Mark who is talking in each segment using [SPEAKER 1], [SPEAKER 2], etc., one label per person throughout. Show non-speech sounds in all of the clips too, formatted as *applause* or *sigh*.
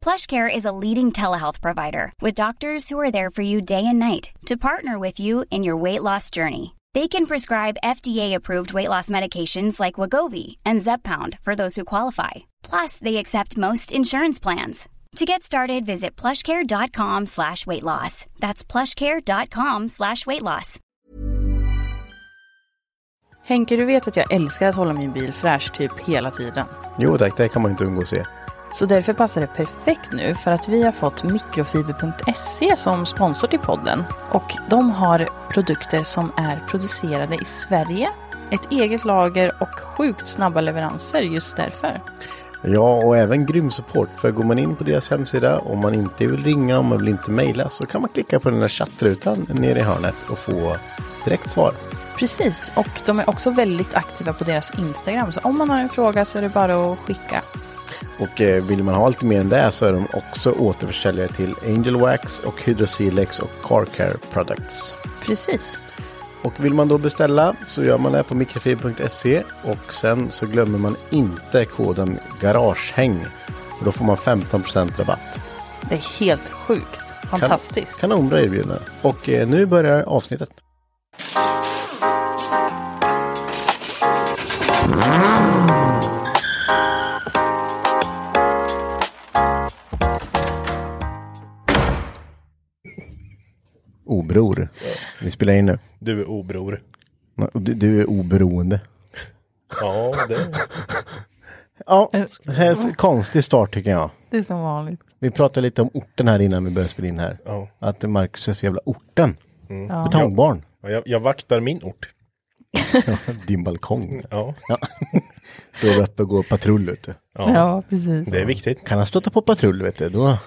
[SPEAKER 1] PlushCare is a leading telehealth provider with doctors who are there for you day and night to partner with you in your weight loss journey. They can prescribe FDA-approved weight loss medications like Wagovi and Zepbound for those who qualify. Plus, they accept most insurance plans. To get started, visit plushcare.com slash weight loss. That's plushcare.com slash weight loss.
[SPEAKER 2] Henke, du vet att jag älskar att hålla min bil fräsch typ hela tiden.
[SPEAKER 3] Jo tack, det kan man inte undgå att se.
[SPEAKER 2] Så därför passar det perfekt nu för att vi har fått mikrofiber.se som sponsor till podden. Och de har produkter som är producerade i Sverige, ett eget lager och sjukt snabba leveranser just därför.
[SPEAKER 3] Ja, och även grym support. För går man in på deras hemsida, om man inte vill ringa, om man vill inte mejla, så kan man klicka på den där chattrutan nere i hörnet och få direkt svar.
[SPEAKER 2] Precis, och de är också väldigt aktiva på deras Instagram. Så om man har en fråga så är det bara att skicka.
[SPEAKER 3] Och eh, vill man ha lite mer än det så är de också återförsäljare till Angel Wax och Hydrosilex och Car Care Products.
[SPEAKER 2] Precis.
[SPEAKER 3] Och vill man då beställa så gör man det på mikrofib.se och sen så glömmer man inte koden GARAGEHÄNG. Och då får man 15% rabatt.
[SPEAKER 2] Det är helt sjukt. Fantastiskt.
[SPEAKER 3] Kan, kanon bra erbjudande. Och eh, nu börjar avsnittet. Obror. Vi spelar in nu.
[SPEAKER 4] Du är obror.
[SPEAKER 3] Du, du är oberoende.
[SPEAKER 4] Ja, det
[SPEAKER 3] Ja, det här är så konstig start tycker jag.
[SPEAKER 2] Det är som vanligt.
[SPEAKER 3] Vi pratade lite om orten här innan vi började spela in här.
[SPEAKER 4] Ja.
[SPEAKER 3] Att Marcus är så jävla orten. Betongbarn.
[SPEAKER 4] ja, jag, jag vaktar min ort.
[SPEAKER 3] Din balkong.
[SPEAKER 4] Ja,
[SPEAKER 3] Står uppe och går patrull vet du.
[SPEAKER 4] ja.
[SPEAKER 2] precis.
[SPEAKER 4] det är viktigt.
[SPEAKER 3] Kan han stöta på patrull vet du, då,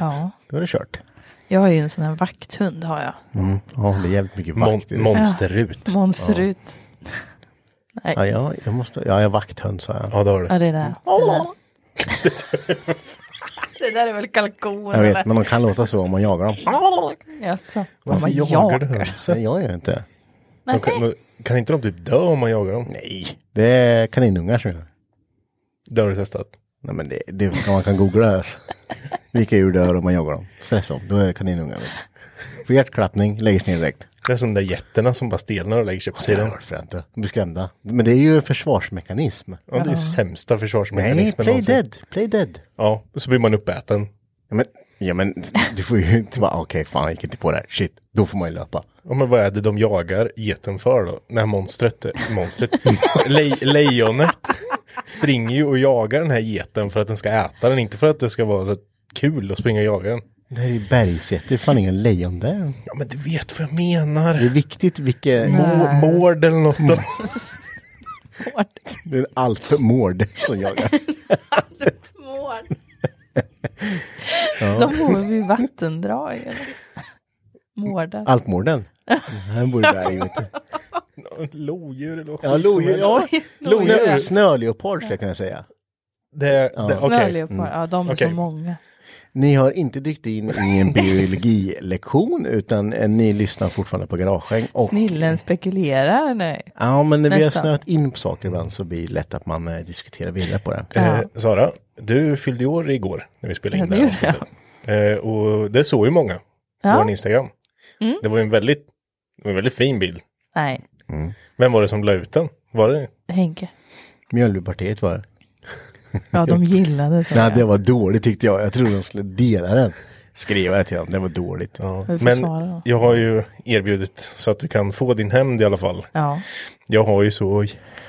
[SPEAKER 2] Ja.
[SPEAKER 3] då är det kört.
[SPEAKER 5] Jag har ju en sån här vakthund har jag.
[SPEAKER 3] Mm. Ja, det är jävligt mycket
[SPEAKER 4] Mon
[SPEAKER 3] vakt. i det.
[SPEAKER 4] monsterut.
[SPEAKER 5] Monsterut.
[SPEAKER 3] ja, jag, jag måste, ja, jag är vakthund sa jag.
[SPEAKER 4] Ja, det har du.
[SPEAKER 5] Ja, det är det. Det där, det där är väl kalkon
[SPEAKER 3] Jag vet, men de kan låta så om man jagar dem.
[SPEAKER 5] Jaså?
[SPEAKER 4] Varför
[SPEAKER 5] Ja,
[SPEAKER 4] jagar du hönsen?
[SPEAKER 3] Nej, jag gör inte.
[SPEAKER 4] De kan- de- Kan inte de typ dö om man jagar dem?
[SPEAKER 3] Nej, det är kaninungar som gör det.
[SPEAKER 4] Det har du testat.
[SPEAKER 3] Nej men det, det kan, man kan googla det här. Vilka djur dör om man jagar dem? Stress dem, då är det kaninungar. vet du. Får hjärtklappning, lägger sig ner direkt.
[SPEAKER 4] Det är som de där getterna som bara stelnar och lägger sig på sidan.
[SPEAKER 3] Fränt. Blir skrämda. Men det är ju en försvarsmekanism.
[SPEAKER 4] Ja, det är ju sämsta
[SPEAKER 3] Nej,
[SPEAKER 4] försvarsmekanismen
[SPEAKER 3] play dead, play dead.
[SPEAKER 4] Ja, och så blir man uppäten.
[SPEAKER 3] Ja men, ja, men du får ju inte bara, "Ah, okej fan jag gick inte på det här, shit, då får man ju löpa.
[SPEAKER 4] Ja, men vad är det de jagar geten för då? När monstret, eh, monstret, *laughs* le, lejonet springer ju och jagar den här geten för att den ska äta den, inte för att det ska vara så kul att springa och jaga den.
[SPEAKER 3] Det här är ju bergsjätte, det är fan ingen lejon där.
[SPEAKER 4] Ja, men du vet vad jag
[SPEAKER 3] Det är
[SPEAKER 4] menar.
[SPEAKER 3] viktigt vilka...
[SPEAKER 4] Må, mård eller något. *laughs* då.
[SPEAKER 3] Det är allt för mård som jagar.
[SPEAKER 5] De bor vid vattendrag. eller?
[SPEAKER 3] Ah,
[SPEAKER 5] Mårdar.
[SPEAKER 3] Alpmården. Han bor i berg vet du.
[SPEAKER 4] Lodjur eller
[SPEAKER 3] Ja, lodjur, ja. Snö,
[SPEAKER 5] Lodjur.
[SPEAKER 3] snöleopard skulle jag kunna säga.
[SPEAKER 4] Det, det, okej.
[SPEAKER 3] Mm.
[SPEAKER 5] Snöleopard. Ja, de är
[SPEAKER 4] Okej.
[SPEAKER 5] så många.
[SPEAKER 3] Ni har inte dykt in i en biologilektion utan eh, ni lyssnar fortfarande på Garagehäng. Och,
[SPEAKER 5] Snillen spekulerar. Nej.
[SPEAKER 3] ja, men när vi har
[SPEAKER 5] Nästan.
[SPEAKER 3] snöat in på saker ibland så blir det lätt att man eh, diskuterar vidare på det.
[SPEAKER 4] Eh, Sara, du fyllde ju år igår när vi spelade in
[SPEAKER 5] Ja,
[SPEAKER 4] det här
[SPEAKER 5] det gjorde
[SPEAKER 4] avsnittet. Eh, och det såg ju många på
[SPEAKER 5] Ja. Mm.
[SPEAKER 4] vår Instagram. Det var ju en väldigt, det var en väldigt fin bild.
[SPEAKER 5] Nej.
[SPEAKER 4] Vem var det som la ut den? Var det
[SPEAKER 5] Henke.
[SPEAKER 3] Mjölbypartiet var det.
[SPEAKER 5] Ja, de gillade så.
[SPEAKER 3] Nej, det var dåligt tyckte jag. Jag trodde de skulle dela den. skriva det till dem. Det var dåligt.
[SPEAKER 4] Ja.
[SPEAKER 2] Vi får
[SPEAKER 4] Men
[SPEAKER 2] svara då.
[SPEAKER 4] jag har ju erbjudit så att du kan få din hämnd i alla fall.
[SPEAKER 2] Ja,
[SPEAKER 4] Jag har ju så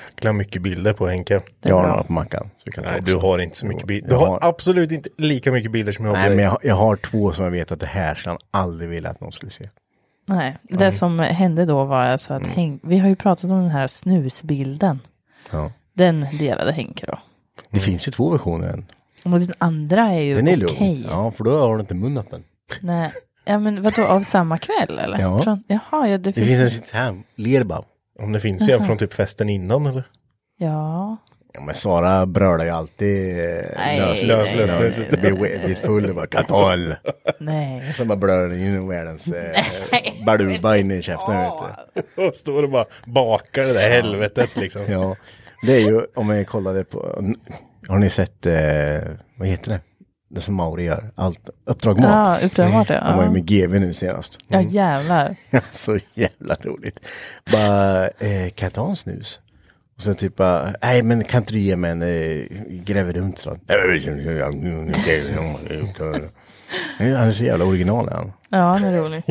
[SPEAKER 4] jäkla mycket bilder på Henke.
[SPEAKER 2] det är
[SPEAKER 3] Jag har
[SPEAKER 2] bra.
[SPEAKER 3] några på mackan. Så vi kan ta
[SPEAKER 4] Nej,
[SPEAKER 3] också.
[SPEAKER 4] du har inte så mycket bilder. Du
[SPEAKER 3] Jag
[SPEAKER 4] har
[SPEAKER 3] har-
[SPEAKER 4] absolut inte lika mycket bilder som jag har på
[SPEAKER 3] Nej, men
[SPEAKER 4] dig.
[SPEAKER 3] jag, jag har två som jag vet att det här skulle han aldrig vilja att någon skulle se.
[SPEAKER 2] Nej,
[SPEAKER 3] Mm.
[SPEAKER 2] det som hände då var alltså att Henk, vi har ju pratat om den här snusbilden.
[SPEAKER 3] Ja.
[SPEAKER 2] Den delade Henke då.
[SPEAKER 4] Mm.
[SPEAKER 3] Det finns ju två versioner än.
[SPEAKER 2] Och den andra är ju
[SPEAKER 3] Den är
[SPEAKER 2] okej.
[SPEAKER 3] lugn. Ja, för då har du inte mun öppen.
[SPEAKER 2] Nej. Ja men vadå, av samma kväll eller?
[SPEAKER 3] Ja.
[SPEAKER 2] Från, jaha, ja det
[SPEAKER 3] Det
[SPEAKER 2] finns...
[SPEAKER 3] finns en sån här, lerbabb.
[SPEAKER 4] Om det
[SPEAKER 2] *laughs*
[SPEAKER 4] finns en från typ festen innan eller?
[SPEAKER 2] Ja.
[SPEAKER 3] Ja, men Sara brölar ju alltid eh,
[SPEAKER 2] Nej,
[SPEAKER 3] lös,
[SPEAKER 4] lös- lös- lös-
[SPEAKER 3] Det blir we- blir full och bara kan ta öl.
[SPEAKER 2] Nej.
[SPEAKER 3] Så bara brölar den ju världens eh, baluba in i käften. Vet du.
[SPEAKER 4] Och står och bara bakar det där helvetet liksom.
[SPEAKER 3] Ja, det är ju om vi kollade på. Har ni sett, eh, vad heter det? Det som Mauri gör, allt, Uppdrag Mat.
[SPEAKER 2] Ja, uppenbart ja.
[SPEAKER 3] Han var ju med GV nu senast.
[SPEAKER 2] Ja jävlar.
[SPEAKER 3] så jävla roligt. Bara, eh, kan jag ta en snus? Och sen typ bara, nej men kan inte du ge mig en eh, gräver runt sån? Han är så jävla original är han.
[SPEAKER 2] Ja, det är
[SPEAKER 3] *laughs*
[SPEAKER 2] roligt.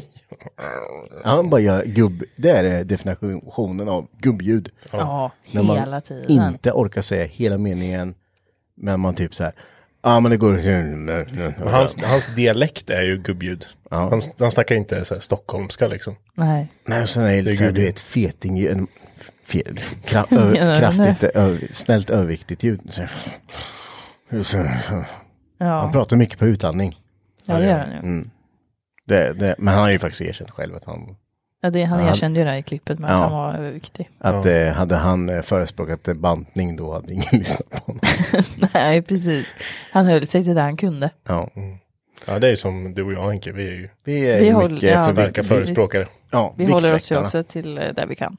[SPEAKER 3] Han bara gör gubb, det är definitionen av gubbljud.
[SPEAKER 2] Ja,
[SPEAKER 3] När man
[SPEAKER 2] hela tiden.
[SPEAKER 3] inte orkar säga hela meningen. Men man typ så här, ja men det går...
[SPEAKER 4] Hans, hans dialekt är ju gubbljud.
[SPEAKER 3] Ja.
[SPEAKER 4] Han, han snackar ju inte så här stockholmska liksom.
[SPEAKER 2] Nej.
[SPEAKER 3] Nej, och sen är det lite
[SPEAKER 4] Det är
[SPEAKER 3] så här,
[SPEAKER 4] gud.
[SPEAKER 3] du vet, feting... en- Fe, kra,
[SPEAKER 2] *laughs*
[SPEAKER 3] ö, kraftigt, ö, snällt överviktigt ljud. Så här. Han
[SPEAKER 2] Ja,
[SPEAKER 3] pratar mycket på utandning.
[SPEAKER 2] ja det gör han ju.
[SPEAKER 3] Mm. Det, det, men han har ju faktiskt erkänt själv att han...
[SPEAKER 2] Ja, det, han
[SPEAKER 3] Ja, han-
[SPEAKER 2] erkände ju det här i klippet med att
[SPEAKER 3] Ja.
[SPEAKER 2] han var överviktig. *laughs*
[SPEAKER 3] Att eh, hade han eh, förespråkat eh, bantning då hade ingen *laughs* lyssnat på honom.
[SPEAKER 2] Nej, precis. Han höll sig till det han kunde.
[SPEAKER 3] Ja.
[SPEAKER 4] Mm. Ja, det är ju som du och jag Henke, vi är ju
[SPEAKER 3] Vi är
[SPEAKER 2] Vi
[SPEAKER 3] ju
[SPEAKER 2] håller-
[SPEAKER 3] mycket
[SPEAKER 2] ja.
[SPEAKER 3] för-
[SPEAKER 4] starka
[SPEAKER 2] vi-
[SPEAKER 4] förespråkare.
[SPEAKER 3] Ja,
[SPEAKER 2] Vi håller oss ju
[SPEAKER 3] viktväktarna.
[SPEAKER 2] också till eh, där vi kan.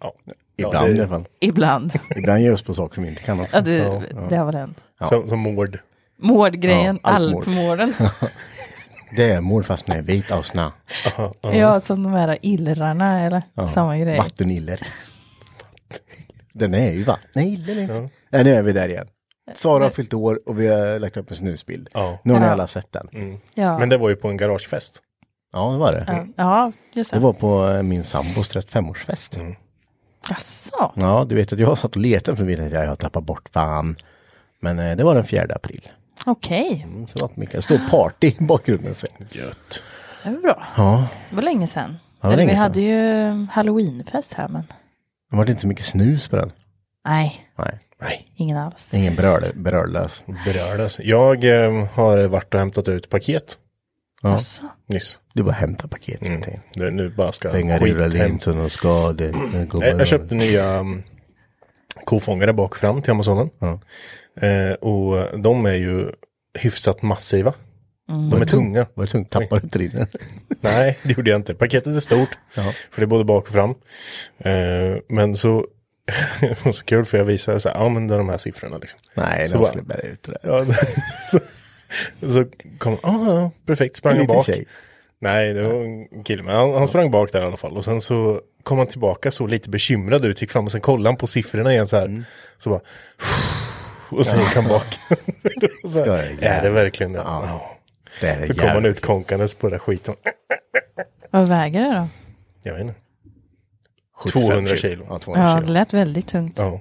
[SPEAKER 4] Ja.
[SPEAKER 3] Ibland
[SPEAKER 4] Ja,
[SPEAKER 3] i
[SPEAKER 4] det-
[SPEAKER 3] alla fall.
[SPEAKER 2] Ibland. *laughs*
[SPEAKER 3] Ibland ger oss på saker vi inte kan också.
[SPEAKER 2] Ja, det,
[SPEAKER 4] Ja,
[SPEAKER 2] det har väl hänt.
[SPEAKER 3] Ja.
[SPEAKER 4] Som, som mord.
[SPEAKER 2] Mordgrejen,
[SPEAKER 3] Ja, allt mord. *laughs*
[SPEAKER 2] alpmorden.
[SPEAKER 3] *laughs* Det är mord fast med vit och snö.
[SPEAKER 4] Aha, ja.
[SPEAKER 2] Ja, som de här illrarna eller
[SPEAKER 3] Ja.
[SPEAKER 2] samma grej.
[SPEAKER 3] Vatteniller. *laughs* Den är ju vatten. Nej, den är inte. Nej, nu är vi där igen. Sara har fyllt år och vi har lagt upp en snusbild.
[SPEAKER 4] Ja.
[SPEAKER 3] Nu har ni
[SPEAKER 2] Ja.
[SPEAKER 3] alla sett den.
[SPEAKER 2] Ja.
[SPEAKER 4] Men det var ju på en garagefest.
[SPEAKER 3] Ja, det var det.
[SPEAKER 2] Ja. ja, just det.
[SPEAKER 3] Det var på eh, min sambos 35-årsfest.
[SPEAKER 2] Jaså?
[SPEAKER 3] Ja, du vet att jag satt och letade för vi tänkte att jag har tappat bort fan. Men eh, det var den 4 april.
[SPEAKER 2] Okej,
[SPEAKER 3] Mm, Så det var det mycket stor party i bakgrunden. Så. Gött.
[SPEAKER 2] det var bra.
[SPEAKER 3] Ja,
[SPEAKER 2] Det var länge sedan.
[SPEAKER 3] var
[SPEAKER 2] eller
[SPEAKER 3] länge
[SPEAKER 2] vi
[SPEAKER 3] sedan.
[SPEAKER 2] hade ju halloweenfest här men
[SPEAKER 3] det var inte så mycket snus på den.
[SPEAKER 2] nej,
[SPEAKER 3] Nej,
[SPEAKER 4] Nej,
[SPEAKER 2] ingen alls.
[SPEAKER 3] ingen bröl, bröllös.
[SPEAKER 4] berördes. Jag eh, har varit och hämtat ut paket
[SPEAKER 3] Ja.
[SPEAKER 2] Jaså?
[SPEAKER 4] nyss.
[SPEAKER 3] Du bara hämtar paketet.
[SPEAKER 4] Mm.
[SPEAKER 3] tänkte jag.
[SPEAKER 4] Nu, nu bara ska
[SPEAKER 3] Pengar
[SPEAKER 4] skit
[SPEAKER 3] rullar
[SPEAKER 4] hem.
[SPEAKER 3] in så de ska det.
[SPEAKER 4] Jag, jag köpte nya um, kofångare bak och fram till Amazonen.
[SPEAKER 3] Ja.
[SPEAKER 4] Eh, och de är ju hyfsat massiva. De är tunga.
[SPEAKER 3] Var det tungt? Tappade du inte din?
[SPEAKER 4] Nej, det gjorde jag inte. Paketet är stort.
[SPEAKER 3] Ja.
[SPEAKER 4] För det är både bak och fram. Eh, men så, *laughs* det var så kul för jag visade så här, ja men det är de här siffrorna liksom.
[SPEAKER 3] Nej,
[SPEAKER 4] Så
[SPEAKER 3] de
[SPEAKER 4] bara-
[SPEAKER 3] skulle bära ut det där.
[SPEAKER 4] Ja, *laughs* så, så kom ah, ja, perfekt, sprang
[SPEAKER 3] En
[SPEAKER 4] han
[SPEAKER 3] liten
[SPEAKER 4] bak.
[SPEAKER 3] tjej.
[SPEAKER 4] Nej, det var en kille, men han, han sprang bak där i alla fall. Och sen så kom han tillbaka så lite bekymrad ut, gick fram och sen kollade han på siffrorna igen så här.
[SPEAKER 3] Mm.
[SPEAKER 4] Så bara, och sen gick han bak. *laughs* Och så
[SPEAKER 3] Ska
[SPEAKER 4] här,
[SPEAKER 3] jag
[SPEAKER 4] är det
[SPEAKER 3] jävla-
[SPEAKER 4] verkligen det?
[SPEAKER 3] Ja.
[SPEAKER 4] Ja.
[SPEAKER 3] Det är
[SPEAKER 4] Så kom han ut konkandes på det där skiten.
[SPEAKER 2] Vad väger det då?
[SPEAKER 4] Jag vet inte.
[SPEAKER 3] 75
[SPEAKER 4] 200 kilo.
[SPEAKER 3] Ja, 200
[SPEAKER 2] Ja,
[SPEAKER 3] kilo.
[SPEAKER 2] det lät väldigt tungt.
[SPEAKER 4] Ja.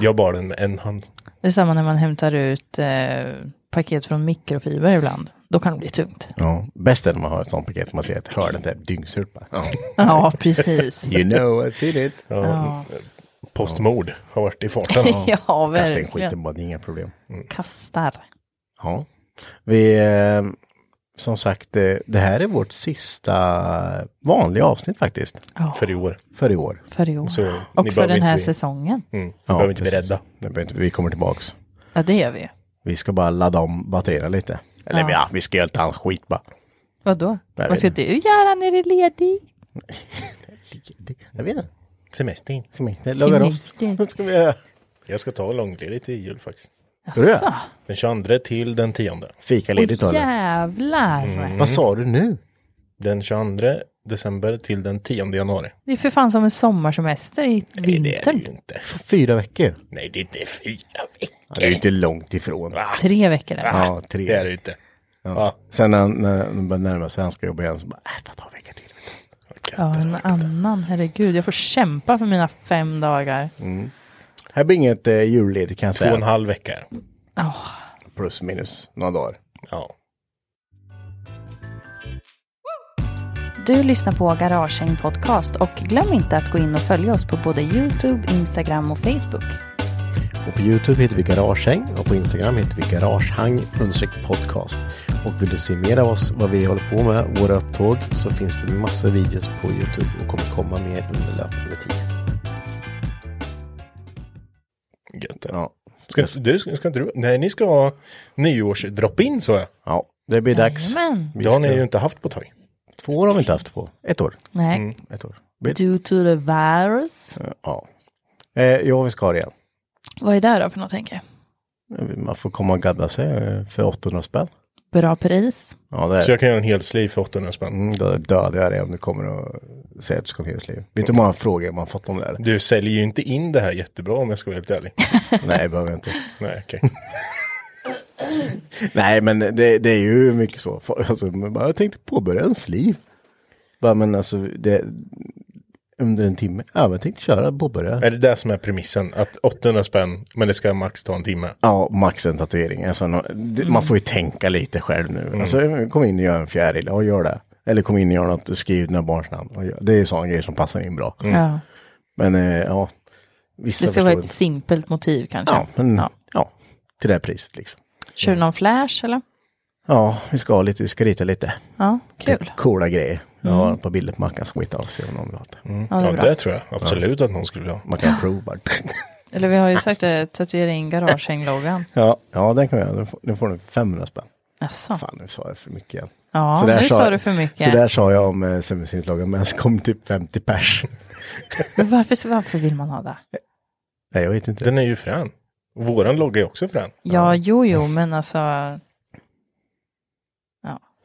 [SPEAKER 4] Jag bar den med en hand.
[SPEAKER 2] Det är samma när man hämtar ut eh, paket från mikrofiber ibland. Då kan det bli tungt.
[SPEAKER 3] Ja, bäst är när man har ett sånt paket, man ser ett hörn, det är dyngsurt bara. Ja.
[SPEAKER 2] *laughs* Ja, precis.
[SPEAKER 3] You know, I've seen *laughs* it.
[SPEAKER 4] Ja.
[SPEAKER 2] Ja,
[SPEAKER 4] Postmord har varit i farten.
[SPEAKER 2] *laughs* ja
[SPEAKER 3] Kasta in
[SPEAKER 2] verkligen.
[SPEAKER 3] skiten bara, det är inga problem.
[SPEAKER 2] Kastar.
[SPEAKER 3] Ja. Vi, eh, som sagt, eh, det här är vårt sista vanliga avsnitt faktiskt,
[SPEAKER 2] Ja,
[SPEAKER 4] för i år.
[SPEAKER 3] för i år.
[SPEAKER 2] för i år.
[SPEAKER 4] Så ni
[SPEAKER 2] Och för
[SPEAKER 4] behöver
[SPEAKER 2] den här
[SPEAKER 4] inte,
[SPEAKER 2] säsongen.
[SPEAKER 4] mm, ni
[SPEAKER 3] Ja,
[SPEAKER 4] behöver inte bli
[SPEAKER 3] precis.
[SPEAKER 4] rädda.
[SPEAKER 3] Nu behöver inte- Vi kommer tillbaks.
[SPEAKER 2] Ja, det gör vi ju.
[SPEAKER 3] Vi ska bara ladda om batterierna lite. Eller
[SPEAKER 2] Ja.
[SPEAKER 3] ja. vi ska göra lite annat skit bara.
[SPEAKER 2] Vadå?
[SPEAKER 3] Jag
[SPEAKER 2] Vad
[SPEAKER 3] vet
[SPEAKER 2] ska
[SPEAKER 3] inte.
[SPEAKER 2] du göra när du är ledig?
[SPEAKER 3] Jag vet inte.
[SPEAKER 4] Semestern.
[SPEAKER 3] Som inte lagar oss. *laughs* Vad ska vi göra?
[SPEAKER 4] Jag ska ta långledigt i jul faktiskt.
[SPEAKER 3] Ska du göra?
[SPEAKER 2] Jaså?
[SPEAKER 4] Den 22 till den 10.
[SPEAKER 3] Fikaledigt
[SPEAKER 2] Åh,
[SPEAKER 3] har du.
[SPEAKER 2] jävlar.
[SPEAKER 3] Vad sa du nu?
[SPEAKER 4] Den 22 december till den 10 januari.
[SPEAKER 2] Det är för fan som en sommarsemester i
[SPEAKER 4] Det är det
[SPEAKER 2] vintern.
[SPEAKER 4] ju inte.
[SPEAKER 3] Fyra veckor.
[SPEAKER 4] Nej, det är inte fyra veckor.
[SPEAKER 3] Ja, det är ju inte långt ifrån.
[SPEAKER 2] Tre veckor. eller?
[SPEAKER 3] Ja, tre.
[SPEAKER 4] Det är det ju inte. Ja.
[SPEAKER 3] Sen när han, när han börjar närma sig, han ska jobba igen, så bara, äh, får ta en vecka till.
[SPEAKER 2] Ja, en annan. Herregud, jag får kämpa för mina fem dagar.
[SPEAKER 3] Här blir inget eh, julled kan jag
[SPEAKER 4] Två och en
[SPEAKER 3] säga.
[SPEAKER 4] halv vecka. är det.
[SPEAKER 3] Plus minus några dagar.
[SPEAKER 4] Ja.
[SPEAKER 2] Du lyssnar på Garagehäng Podcast och glöm inte att gå in och följa oss på både Youtube, Instagram och Facebook.
[SPEAKER 3] Och på Youtube heter vi Garagehäng och på Instagram heter vi garagehang podcast. Och vill du se mer av oss, vad vi håller på med, våra upptåg, så finns det massor videos på Youtube och kommer komma mer under löpande tid.
[SPEAKER 4] Gött. det.
[SPEAKER 3] Ja,
[SPEAKER 4] Ska, du, ska ska inte du? Nej, ni ska ha nyårsdrop-in så jag.
[SPEAKER 3] ja det blir dags.
[SPEAKER 2] Jajamän.
[SPEAKER 3] Vi
[SPEAKER 4] Det har ni
[SPEAKER 3] ska-
[SPEAKER 4] ju inte haft på ett tag.
[SPEAKER 3] Två år har vi inte haft på. Ett år.
[SPEAKER 2] Nej.
[SPEAKER 3] Ett år.
[SPEAKER 2] Due to the virus.
[SPEAKER 3] Mm. Ja. Eh, ja, vi ska ha det igen.
[SPEAKER 2] Vad är det då för något tänker jag?
[SPEAKER 3] Man får komma och gadda sig eh, för 800 spänn.
[SPEAKER 2] Bra pris.
[SPEAKER 3] Ja, det är
[SPEAKER 4] Så jag kan göra en hel sleeve för 800 spänn.
[SPEAKER 3] Mm, då dödar jag dig om du kommer och säger att du ska ha hyresliv. Vet du hur många frågor man fått om det? Här?
[SPEAKER 4] *laughs* Du säljer ju inte in det här jättebra om jag ska vara
[SPEAKER 2] *laughs*
[SPEAKER 4] helt ärlig.
[SPEAKER 3] Nej, det behöver jag inte.
[SPEAKER 4] Nej, okej.
[SPEAKER 3] Nej, men det, det är ju mycket så. Folk- Alltså, man bara, jag tänkte påbörja ens liv. Bara, men alltså, det, under en timme. Ja, men jag tänkte köra, påbörja.
[SPEAKER 4] Är det det som är premissen? Att 800 spänn, men det ska max ta en timme.
[SPEAKER 3] Ja, max en tatuering. Alltså, nå- det- Man får ju tänka lite själv nu. Alltså, kom in och gör en fjäril, ja gör det. Eller kom in och gör något, skriv dina barns namn. Ja, gör- Det är ju sådana grejer som passar in bra.
[SPEAKER 2] Ja.
[SPEAKER 3] Men eh, ja, vissa
[SPEAKER 2] Det ska
[SPEAKER 3] förstår
[SPEAKER 2] vara ett
[SPEAKER 3] inte.
[SPEAKER 2] simpelt motiv kanske.
[SPEAKER 3] Ja, men ja. till det här priset liksom.
[SPEAKER 2] Kör du någon flash eller?
[SPEAKER 3] Ja, vi ska ha lite, vi ska rita lite.
[SPEAKER 2] Ja, kul. Mm.
[SPEAKER 3] Lite Coola grejer. Jag har ett par bilder på Mackan som skita av sig om någon vill ha det.
[SPEAKER 4] Mm.
[SPEAKER 2] Ja, det är
[SPEAKER 4] Ja,
[SPEAKER 2] bra.
[SPEAKER 4] det tror jag absolut att någon skulle vilja ha.
[SPEAKER 3] Man kan prova.
[SPEAKER 2] *laughs* Eller vi har ju sagt det, tatuera in garagehäng-loggan.
[SPEAKER 3] ja, ja, den kan jag göra. Den får- Den får du 500 spänn.
[SPEAKER 2] Jaså?
[SPEAKER 3] Fan, nu sa jag för mycket igen.
[SPEAKER 2] Ja,
[SPEAKER 3] Så där
[SPEAKER 2] nu sa du för mycket.
[SPEAKER 3] Så där sa jag om eh, sömmersinslagen, men så kom typ 50 pers. *laughs*
[SPEAKER 2] Men varför, varför vill man ha det?
[SPEAKER 3] Nej, jag vet inte.
[SPEAKER 4] Den är ju frän. Våran logga är också frän.
[SPEAKER 2] Ja, jo, jo, men alltså.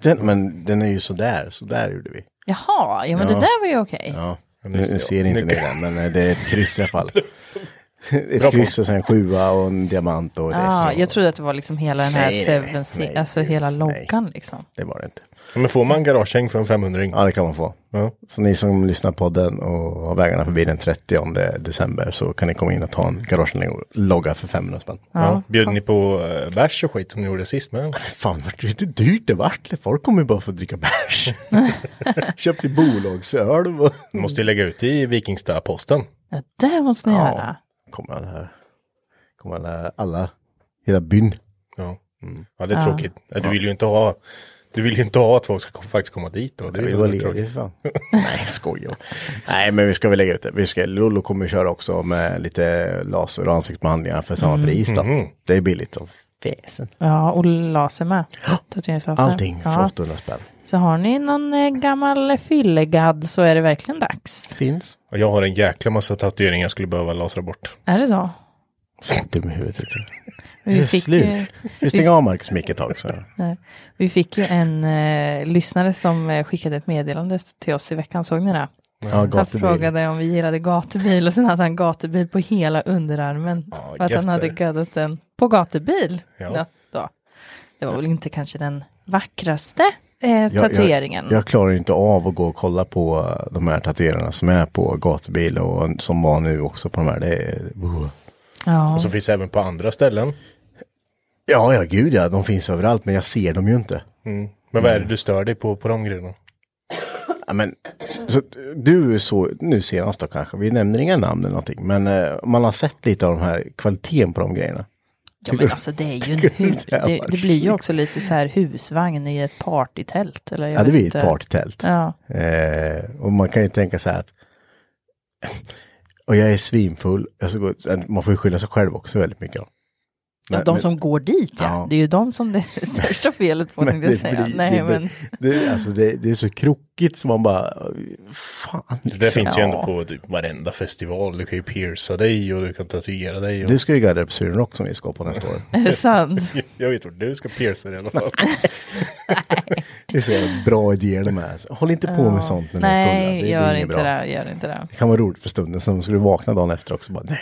[SPEAKER 3] Den, men den är ju sådär, sådär gjorde vi.
[SPEAKER 2] Jaha, ja men det
[SPEAKER 3] Ja.
[SPEAKER 2] där var ju okej.
[SPEAKER 3] Ja, nu,
[SPEAKER 4] nu ser
[SPEAKER 3] nu
[SPEAKER 4] jag.
[SPEAKER 3] ser ni inte
[SPEAKER 4] Nu-
[SPEAKER 3] ni den, men eh, det är ett kryss i alla
[SPEAKER 4] *laughs*
[SPEAKER 3] fall.
[SPEAKER 4] Bra
[SPEAKER 3] Ett
[SPEAKER 4] på.
[SPEAKER 3] kryss och sen en sjua och en diamant och ett
[SPEAKER 2] Ah,
[SPEAKER 3] S. och-
[SPEAKER 2] jag trodde att det var liksom hela den här
[SPEAKER 3] Nej, nej, nej.
[SPEAKER 2] Seven Sea,
[SPEAKER 3] Nej,
[SPEAKER 2] alltså
[SPEAKER 3] gud,
[SPEAKER 2] hela
[SPEAKER 3] nej.
[SPEAKER 2] loggan liksom.
[SPEAKER 3] Det var det inte.
[SPEAKER 4] Ja, Men får man garagehäng för en 500
[SPEAKER 3] Ja, det kan man få.
[SPEAKER 4] Ja.
[SPEAKER 3] Så ni som lyssnar på podden och har vägarna förbi den 30 december så kan ni komma in och ta en garagelogga för 500 spänn.
[SPEAKER 4] Ja. Bjöd ni på eh, bärs och skit som ni gjorde sist med?
[SPEAKER 3] Fan, vart det inte dyrt det vart? Folk kommer ju bara för att dricka bärs. *laughs* Köpte bolagsöl. och-
[SPEAKER 4] Ni måste ju lägga ut i Vikingstad-posten.
[SPEAKER 2] Ja, det måste ni
[SPEAKER 3] Ja.
[SPEAKER 2] göra.
[SPEAKER 3] Kommer alla, kommer alla, alla, hela byn.
[SPEAKER 4] Ja. Mm. ja, det är tråkigt. Ja, Du vill ju inte ha, du vill ju inte ha att folk ska kom- faktiskt komma dit. Då.
[SPEAKER 3] Jag
[SPEAKER 4] Det är
[SPEAKER 3] vill
[SPEAKER 4] ju
[SPEAKER 3] vara
[SPEAKER 4] väldigt tråkigt.
[SPEAKER 3] ledig fan. Nej, skojar. Nej, men vi ska väl lägga ut det. Vi ska, Lollo kommer köra också med lite laser och ansiktsbehandlingar för samma pris då. Det är billigt som väsen.
[SPEAKER 2] Ja, och laser med. Tatueringslaser.
[SPEAKER 3] Allting för
[SPEAKER 2] ja.
[SPEAKER 3] 800 spänn.
[SPEAKER 2] Så har ni någon eh, gammal fyllegadd så är det verkligen dags.
[SPEAKER 3] Finns.
[SPEAKER 4] Och Jag har en jäkla massa tatueringar jag skulle behöva lasra bort.
[SPEAKER 2] Är det så?
[SPEAKER 3] Dum i huvudet. vet du.
[SPEAKER 2] Vi
[SPEAKER 3] Just
[SPEAKER 2] fick, ju,
[SPEAKER 3] slut. Vi stänger av Marcus mick ett tag. Så.
[SPEAKER 2] nej, vi fick ju en eh, lyssnare som eh, skickade ett meddelande till oss i veckan, såg ni det?
[SPEAKER 3] Ja,
[SPEAKER 2] Han
[SPEAKER 3] gatubil.
[SPEAKER 2] frågade om vi gillade gatubil och sen hade han gatubil på hela underarmen.
[SPEAKER 4] Ja,
[SPEAKER 2] för att han
[SPEAKER 4] jätte.
[SPEAKER 2] hade gaddat den på gatubil.
[SPEAKER 4] Ja.
[SPEAKER 2] Då, då. Det var väl inte kanske den vackraste eh,
[SPEAKER 3] Jag-
[SPEAKER 2] tatueringen.
[SPEAKER 3] Jag, jag klarar ju inte av att gå och kolla på eh, de här tatuerarna som är på gatubil och som var nu också på de här. Det är, uh.
[SPEAKER 2] ja.
[SPEAKER 4] Och så finns det även på andra ställen.
[SPEAKER 3] Ja, ja, gud ja, de finns överallt, men jag ser dem ju inte.
[SPEAKER 4] Mm. Men vad är det du stör dig på på de grejerna?
[SPEAKER 3] Ja, men, så, du så, nu senast då kanske, vi nämner inga namn eller någonting, men eh, man har sett lite av de här kvaliteten på de grejerna.
[SPEAKER 2] ja, men alltså det är ju en hus.
[SPEAKER 3] det här
[SPEAKER 2] Det,
[SPEAKER 3] var
[SPEAKER 2] det blir ju också lite så här husvagn i ett partytält. Eller jag
[SPEAKER 3] Ja, det
[SPEAKER 2] vet
[SPEAKER 3] blir
[SPEAKER 2] inte.
[SPEAKER 3] ett partytält.
[SPEAKER 2] Ja.
[SPEAKER 3] Eh, och man kan ju tänka så här att *laughs* och jag är svinfull, jag ska gå, man får ju skylla sig själv också väldigt mycket. Då.
[SPEAKER 2] Ja, de som går dit ja.
[SPEAKER 3] Ja.
[SPEAKER 2] Det är ju de som det
[SPEAKER 3] *laughs*
[SPEAKER 2] är största felet på, tänkte jag säga.
[SPEAKER 3] blir-
[SPEAKER 2] Nej,
[SPEAKER 3] det, blir-
[SPEAKER 2] men
[SPEAKER 3] Det, alltså det, det är så krokigt som man bara, fan.
[SPEAKER 4] Det där finns ju ändå
[SPEAKER 3] Ja.
[SPEAKER 4] på typ varenda festival. Du kan ju pierca dig och du kan tatuera dig. Och...
[SPEAKER 3] Du ska ju gadda upp Syren Rock som vi ska på nästa år.
[SPEAKER 2] är det
[SPEAKER 3] *laughs*
[SPEAKER 2] sant?
[SPEAKER 4] *laughs* Jag vet inte, du ska pierca dig i alla fall.
[SPEAKER 3] Det är så jävla bra idéer de här. Så Håll inte på med sånt när ni är fulla.
[SPEAKER 2] Nej,
[SPEAKER 3] blir
[SPEAKER 2] gör
[SPEAKER 3] inget
[SPEAKER 2] inte
[SPEAKER 3] bra.
[SPEAKER 2] det. Gör inte det.
[SPEAKER 3] Det kan vara roligt för stunden, sen skulle du vakna dagen efter också och bara nej.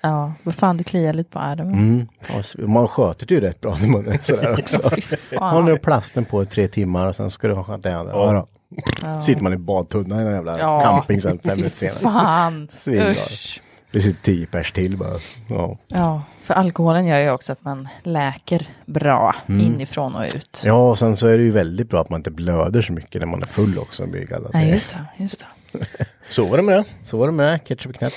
[SPEAKER 5] Ja, vad fan det kliar lite på armen.
[SPEAKER 3] Mm. Och s- Man sköter det ju rätt bra när man är
[SPEAKER 5] *laughs*
[SPEAKER 3] sådär också.
[SPEAKER 5] Fy fan.
[SPEAKER 3] Håller du plasten på i tre timmar och sen ska du ha skönt ändå. Ja. då. Sitter man i badtunnan i den jävla
[SPEAKER 5] Ja.
[SPEAKER 3] campingsen fem
[SPEAKER 5] Fy
[SPEAKER 3] minuter senare. *laughs*
[SPEAKER 5] fan.
[SPEAKER 3] Svinbra.
[SPEAKER 5] Usch.
[SPEAKER 3] Det sitter tio pers till bara. Ja.
[SPEAKER 5] Ja, för alkoholen gör ju också att man läker bra inifrån och ut.
[SPEAKER 3] ja, och sen så är det ju väldigt bra att man inte blöder så mycket när man är full också. Blir gallad.
[SPEAKER 5] Nej, just det. Just det.
[SPEAKER 4] Så var det med det.
[SPEAKER 3] Så var det med ketchup och knäpp.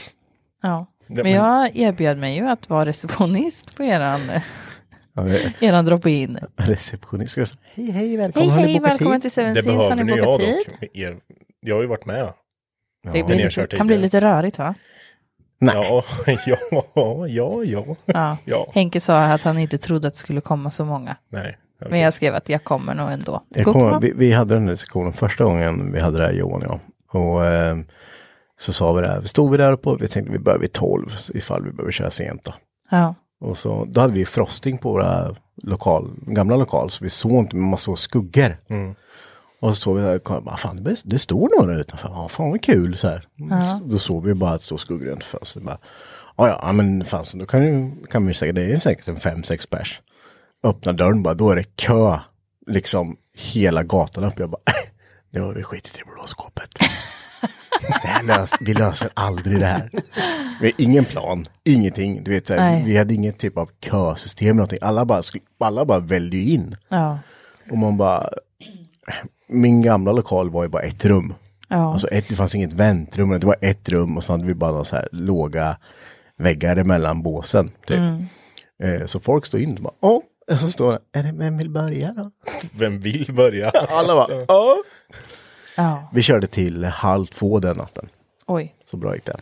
[SPEAKER 5] Ja.
[SPEAKER 4] Ja,
[SPEAKER 5] Men
[SPEAKER 4] men-
[SPEAKER 5] jag erbjöd mig ju att vara receptionist på eran,
[SPEAKER 3] Ja, det-
[SPEAKER 5] eran drop-in.
[SPEAKER 3] Receptionist. Ska jag säga, Hej, hej,
[SPEAKER 5] Hej,
[SPEAKER 3] välkommen. har ni
[SPEAKER 5] hej,
[SPEAKER 3] bokat
[SPEAKER 5] välkommen
[SPEAKER 3] tid?
[SPEAKER 5] till Seven
[SPEAKER 4] det
[SPEAKER 5] Seas.
[SPEAKER 4] behöver
[SPEAKER 5] Har ni
[SPEAKER 4] nu jag
[SPEAKER 5] bokat tid?
[SPEAKER 4] dock. med Er, jag har ju varit med.
[SPEAKER 5] Det
[SPEAKER 3] Ja.
[SPEAKER 5] blir
[SPEAKER 4] ni har
[SPEAKER 5] lite,
[SPEAKER 4] kört
[SPEAKER 5] kan bli
[SPEAKER 4] tidigare.
[SPEAKER 5] lite rörigt va?
[SPEAKER 3] Nej.
[SPEAKER 4] Ja, *laughs* ja, ja, ja, ja.
[SPEAKER 5] Ja.
[SPEAKER 4] Ja,
[SPEAKER 5] Henke sa att han inte trodde att det skulle komma så många.
[SPEAKER 4] nej. okej.
[SPEAKER 5] Men jag skrev att jag kommer nog ändå. Det
[SPEAKER 3] Jag
[SPEAKER 5] går
[SPEAKER 3] kommer,
[SPEAKER 5] bra.
[SPEAKER 3] ihåg, vi, vi hade den här diskussionen första gången vi hade det här Johan och jag. Och eh, så sa vi det här, stod vi där uppe och vi tänkte vi börjar vid 12 så ifall vi behöver köra sent då.
[SPEAKER 5] Ja.
[SPEAKER 3] Och så, då hade vi frosting på våra lokal, gamla lokal så vi såg inte men man såg skuggor. Och så såg vi där och kollade, bara, fan det, börjar- det står några utanför, ja fan vad kul så här. Så, då såg vi bara att det stod skuggor runt fönstret. Bara, Ja ja, ja, men fan så då kan, ju, kan vi säkert, det är ju säkert en fem, sex pers. Öppna dörren bara, då är det kö liksom hela gatan upp. Jag bara, *laughs* nu har vi skitit i blåskåpet. *laughs* Det här lös, vi löser aldrig det här. Vi har ingen plan, ingenting. Du vet, så här,
[SPEAKER 5] Nej.
[SPEAKER 3] vi hade ingen typ av kösystem eller någonting. Alla bara, skulle- alla bara väljer ju in.
[SPEAKER 5] Ja.
[SPEAKER 3] Och man bara, min gamla lokal var ju bara ett rum.
[SPEAKER 5] Ja.
[SPEAKER 3] Alltså ett, det fanns inget väntrum, det var ett rum och så hade vi bara några så här låga väggar emellan båsen. Typ.
[SPEAKER 5] Mm.
[SPEAKER 3] Eh, så folk stod in och bara, åh, och så står det, är det, vem vill börja då?
[SPEAKER 4] Vem vill börja?
[SPEAKER 3] Alla bara, åh.
[SPEAKER 5] ja.
[SPEAKER 3] Vi körde till halv två den natten.
[SPEAKER 5] Oj.
[SPEAKER 3] Så bra gick det.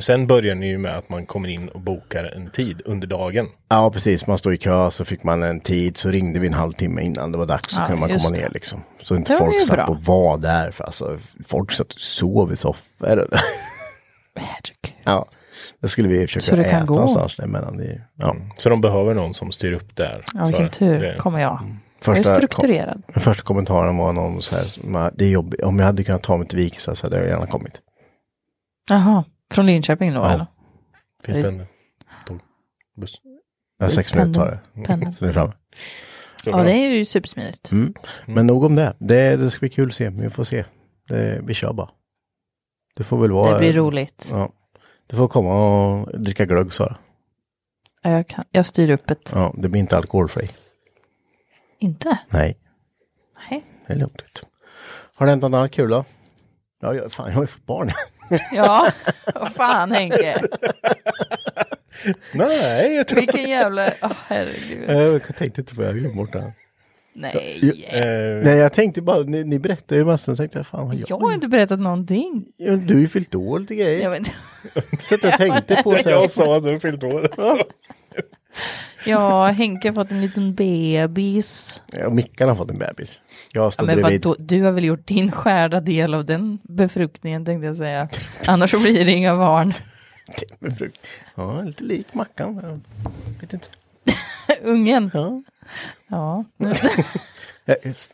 [SPEAKER 4] Sen börjar ni ju med att man kommer in och bokar en tid under dagen.
[SPEAKER 3] Ja, precis. Man står i kö, så fick man en tid, så ringde vi en halvtimme innan det var dags, så
[SPEAKER 5] Ja,
[SPEAKER 3] kunde man
[SPEAKER 5] just
[SPEAKER 3] komma
[SPEAKER 5] det.
[SPEAKER 3] ner liksom. Så inte
[SPEAKER 5] Det var
[SPEAKER 3] folk
[SPEAKER 5] ju
[SPEAKER 3] satt
[SPEAKER 5] bra.
[SPEAKER 3] och var där, för alltså, folk satt och sov i soffor. *laughs*
[SPEAKER 5] Herregud.
[SPEAKER 3] ja, det skulle vi
[SPEAKER 5] Så
[SPEAKER 3] försöka
[SPEAKER 5] det kan
[SPEAKER 3] äta
[SPEAKER 5] gå. Mm.
[SPEAKER 3] någonstans där mellan. Det, ja.
[SPEAKER 4] Så de behöver någon som styr upp där.
[SPEAKER 5] Ja, vilken tur
[SPEAKER 4] Det,
[SPEAKER 5] kommer jag.
[SPEAKER 3] Första
[SPEAKER 5] jag är strukturerad.
[SPEAKER 3] Den första kommentaren var någon så här, som, "Ah, det är jobbigt, om jag hade kunnat ta mig till Vikingstad så hade jag gärna kommit.
[SPEAKER 5] Jaha, från Linköping då
[SPEAKER 3] Ja.
[SPEAKER 5] eller?
[SPEAKER 4] finns pendel. Tåg. Buss.
[SPEAKER 3] Jag har sex minuter tar det. *laughs*
[SPEAKER 5] Pendeln.
[SPEAKER 3] Så det är framme.
[SPEAKER 4] Så
[SPEAKER 5] Ja,
[SPEAKER 4] bra.
[SPEAKER 5] det är ju supersmidigt.
[SPEAKER 3] Mm. Men nog om det. det. Det ska bli kul att se, men vi får se. Det, vi kör bara. Det får väl vara...
[SPEAKER 5] Det blir roligt.
[SPEAKER 3] Ja. Du får komma och dricka glögg Sara.
[SPEAKER 5] Ja, Jag, kan, jag styr upp ett...
[SPEAKER 3] Ja, det blir inte alkoholfri.
[SPEAKER 5] Inte?
[SPEAKER 3] Nej,
[SPEAKER 5] Nej.
[SPEAKER 3] det är lugnt. Har det hänt något annat kul då? Ja, jag, fan, jag har ju fått barn. *laughs*
[SPEAKER 5] Ja, vad fan Henke.
[SPEAKER 3] Nej, jag tror... Eh,
[SPEAKER 5] Vilken jävla... Åh herregud.
[SPEAKER 3] Jag tänkte inte på det, jag glömde bort det.
[SPEAKER 5] Nej.
[SPEAKER 4] Eh,
[SPEAKER 3] Nej, jag tänkte bara, ni, ni berättade ju massor, så tänkte jag, fan vad jag...
[SPEAKER 5] Jag har inte berättat någonting.
[SPEAKER 3] Ja, Du har ju fyllt år och lite grejer.
[SPEAKER 5] Jag, vet,
[SPEAKER 3] Så att jag tänkte på så här,
[SPEAKER 4] jag sa att du fyllt år. alltså.
[SPEAKER 5] ja, Henke har fått en liten bebis.
[SPEAKER 3] ja, Mickan har fått en bebis. Jag
[SPEAKER 5] Ja,
[SPEAKER 3] stod *laughs*
[SPEAKER 5] men
[SPEAKER 3] bredvid.
[SPEAKER 5] vadå, du har väl gjort din skärda del av den befruktningen tänkte jag säga. Annars så blir det inga barn. *laughs*
[SPEAKER 3] med frukt. Ja, lite lik Mackan. Jag vet inte.
[SPEAKER 5] Ungen.
[SPEAKER 3] Ja.
[SPEAKER 5] Ja.
[SPEAKER 3] Ja, just-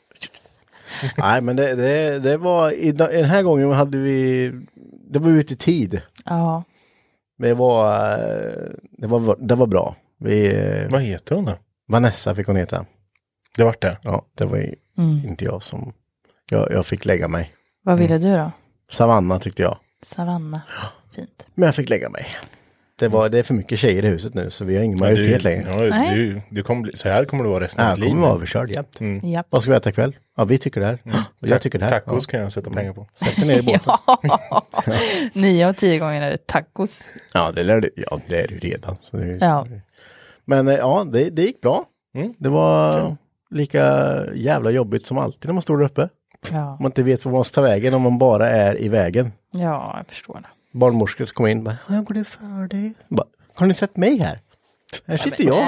[SPEAKER 3] Nej, men det, det, det var, i da- den här gången hade vi, det var ute i tid.
[SPEAKER 5] Ja.
[SPEAKER 3] Men det var, eh, det var, det var bra. Vi, eh,
[SPEAKER 4] Vad heter hon då?
[SPEAKER 3] Vanessa fick hon heta.
[SPEAKER 4] Det vart det.
[SPEAKER 3] Ja, det var ju inte jag som, jag, jag fick lägga mig.
[SPEAKER 5] Mm. Vad ville du då?
[SPEAKER 3] Savanna tyckte jag,
[SPEAKER 5] Savanna. Fint.
[SPEAKER 3] men jag fick lägga mig. Det, var, det är för mycket tjejer i huset nu så vi har ingen
[SPEAKER 4] Ja, du,
[SPEAKER 3] majoritet längre.
[SPEAKER 4] ja,
[SPEAKER 5] Nej.
[SPEAKER 4] du, du kommer bli, så här kommer du vara resten
[SPEAKER 3] Ja,
[SPEAKER 4] av
[SPEAKER 3] jag
[SPEAKER 4] ditt liv.
[SPEAKER 3] kommer vara överkörd jämt.
[SPEAKER 5] Ja.
[SPEAKER 3] Vad ska vi äta ikväll? Ja, vi tycker det här. Och *gasps* Jag tycker det här.
[SPEAKER 4] Tacos kan jag sätta pengar på.
[SPEAKER 3] Ja. Sätt dig ner i
[SPEAKER 5] *laughs*
[SPEAKER 3] båten.
[SPEAKER 5] *laughs* Nio av tio gånger är det tacos.
[SPEAKER 3] Ja, det, lär du, ja, det är du redan. Så det är, ju-
[SPEAKER 5] Ja.
[SPEAKER 3] Men eh, ja, det, det gick bra.
[SPEAKER 4] Mm.
[SPEAKER 3] Det var lika jävla jobbigt som alltid när man står där uppe.
[SPEAKER 5] Ja,
[SPEAKER 3] Om man inte vet var man ska ta vägen, om man bara är i vägen.
[SPEAKER 5] ja jag förstår det.
[SPEAKER 3] Barnmorskor kommer in och bara, jag går det för dig? Bara, har ni sett mig här? Här sitter jag.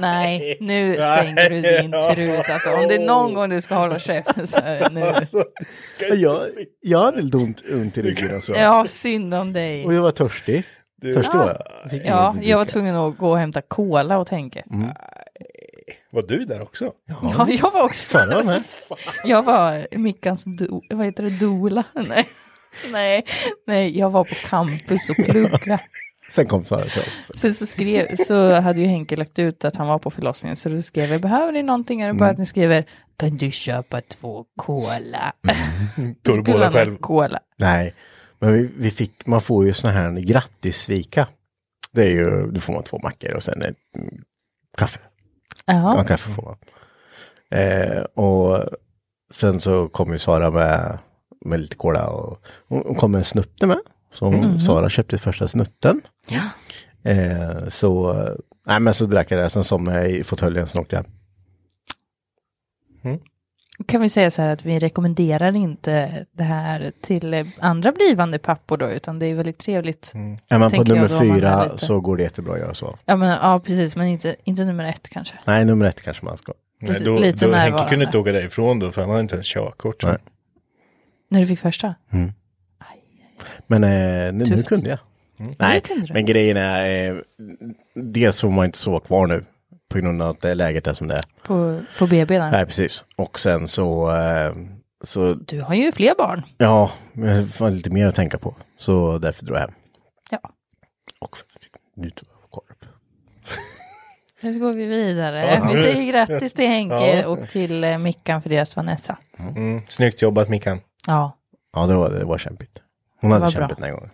[SPEAKER 5] Nej, nu stänger du din trut alltså. Om det är någon gång du ska hålla käften så är det nu.
[SPEAKER 3] Jag, jag hade lite ont, ont i ryggen och så.
[SPEAKER 5] Ja, synd om dig.
[SPEAKER 3] Och jag var törstig. Törstig var jag. jag. fick
[SPEAKER 5] Ja,
[SPEAKER 3] inget att
[SPEAKER 5] jag var
[SPEAKER 3] dricka.
[SPEAKER 5] tvungen att gå och hämta cola och tänka.
[SPEAKER 4] Var du där också?
[SPEAKER 5] Mm, Ja, jag var också.
[SPEAKER 3] Sara var med.
[SPEAKER 5] Jag var Mickans, do, vad *laughs* heter det, dola? Nej. nej, nej, jag var på campus och plugga.
[SPEAKER 3] Sen kom snarare till oss.
[SPEAKER 5] Sen så, skrev, så hade ju Henke lagt ut att han var på förlossningen, så då skrev jag, behöver ni någonting? Är det
[SPEAKER 4] Mm.
[SPEAKER 5] bara att ni skriver, kan du köpa två cola?
[SPEAKER 4] *laughs* Då är det
[SPEAKER 5] Skulle
[SPEAKER 4] båda
[SPEAKER 5] han ha
[SPEAKER 4] själv.
[SPEAKER 5] Cola.
[SPEAKER 3] Nej, men vi, vi fick, man får ju sån här grattissvika. Det är ju, då får man två mackor och sen ett mm, kaffe. Ja,
[SPEAKER 5] Ja.
[SPEAKER 3] kaffe får man. Eh, och sen så kom ju Sara med, med lite cola och hon hon kom med en snutte med. Så hon,
[SPEAKER 5] Mm.
[SPEAKER 3] Sara köpte första snutten. Eh, så, nej men så drack jag det, sen somnade jag i fåtöljen, sen åkte jag hem.
[SPEAKER 5] Kan vi säga så här att vi rekommenderar inte det här till andra blivande pappor då, utan det är väldigt trevligt.
[SPEAKER 4] Mm.
[SPEAKER 3] Är man på
[SPEAKER 5] Tänker jag
[SPEAKER 3] nummer
[SPEAKER 5] då om man är
[SPEAKER 3] fyra
[SPEAKER 5] lite-
[SPEAKER 3] så går det jättebra att göra så.
[SPEAKER 5] Ja, men, ja precis, men inte, inte nummer ett kanske.
[SPEAKER 3] Nej, nummer ett kanske man ska.
[SPEAKER 4] Nej,
[SPEAKER 5] Lite-
[SPEAKER 4] då,
[SPEAKER 5] lite
[SPEAKER 4] då, Henke
[SPEAKER 5] närvarande.
[SPEAKER 4] kunde inte åka därifrån då, för han hade inte ens körkort.
[SPEAKER 3] Nej.
[SPEAKER 5] När du fick första?
[SPEAKER 3] Mm. Men eh, nu, nu
[SPEAKER 5] Tufft.
[SPEAKER 3] kunde jag. Mm. Nej,
[SPEAKER 5] kunde du.
[SPEAKER 3] men grejen är, eh, dels får man inte sova kvar nu på grund av att det är läget är som det är.
[SPEAKER 5] På, på BB där?
[SPEAKER 3] Nej, precis. Och sen så, eh, så
[SPEAKER 5] Du har ju fler barn.
[SPEAKER 3] ja, jag har lite mer att tänka på. Så därför drog jag hem.
[SPEAKER 5] Ja.
[SPEAKER 3] Och för att njuta av korp.
[SPEAKER 5] Nu går vi vidare. Vi säger grattis till Henke
[SPEAKER 4] Ja.
[SPEAKER 5] och till eh, Mickan för deras Vanessa.
[SPEAKER 4] Mm, snyggt jobbat Mickan.
[SPEAKER 5] Ja,
[SPEAKER 3] Ja, det var, det var kämpigt. Hon hade
[SPEAKER 5] var bra.
[SPEAKER 3] kämpat den här gången.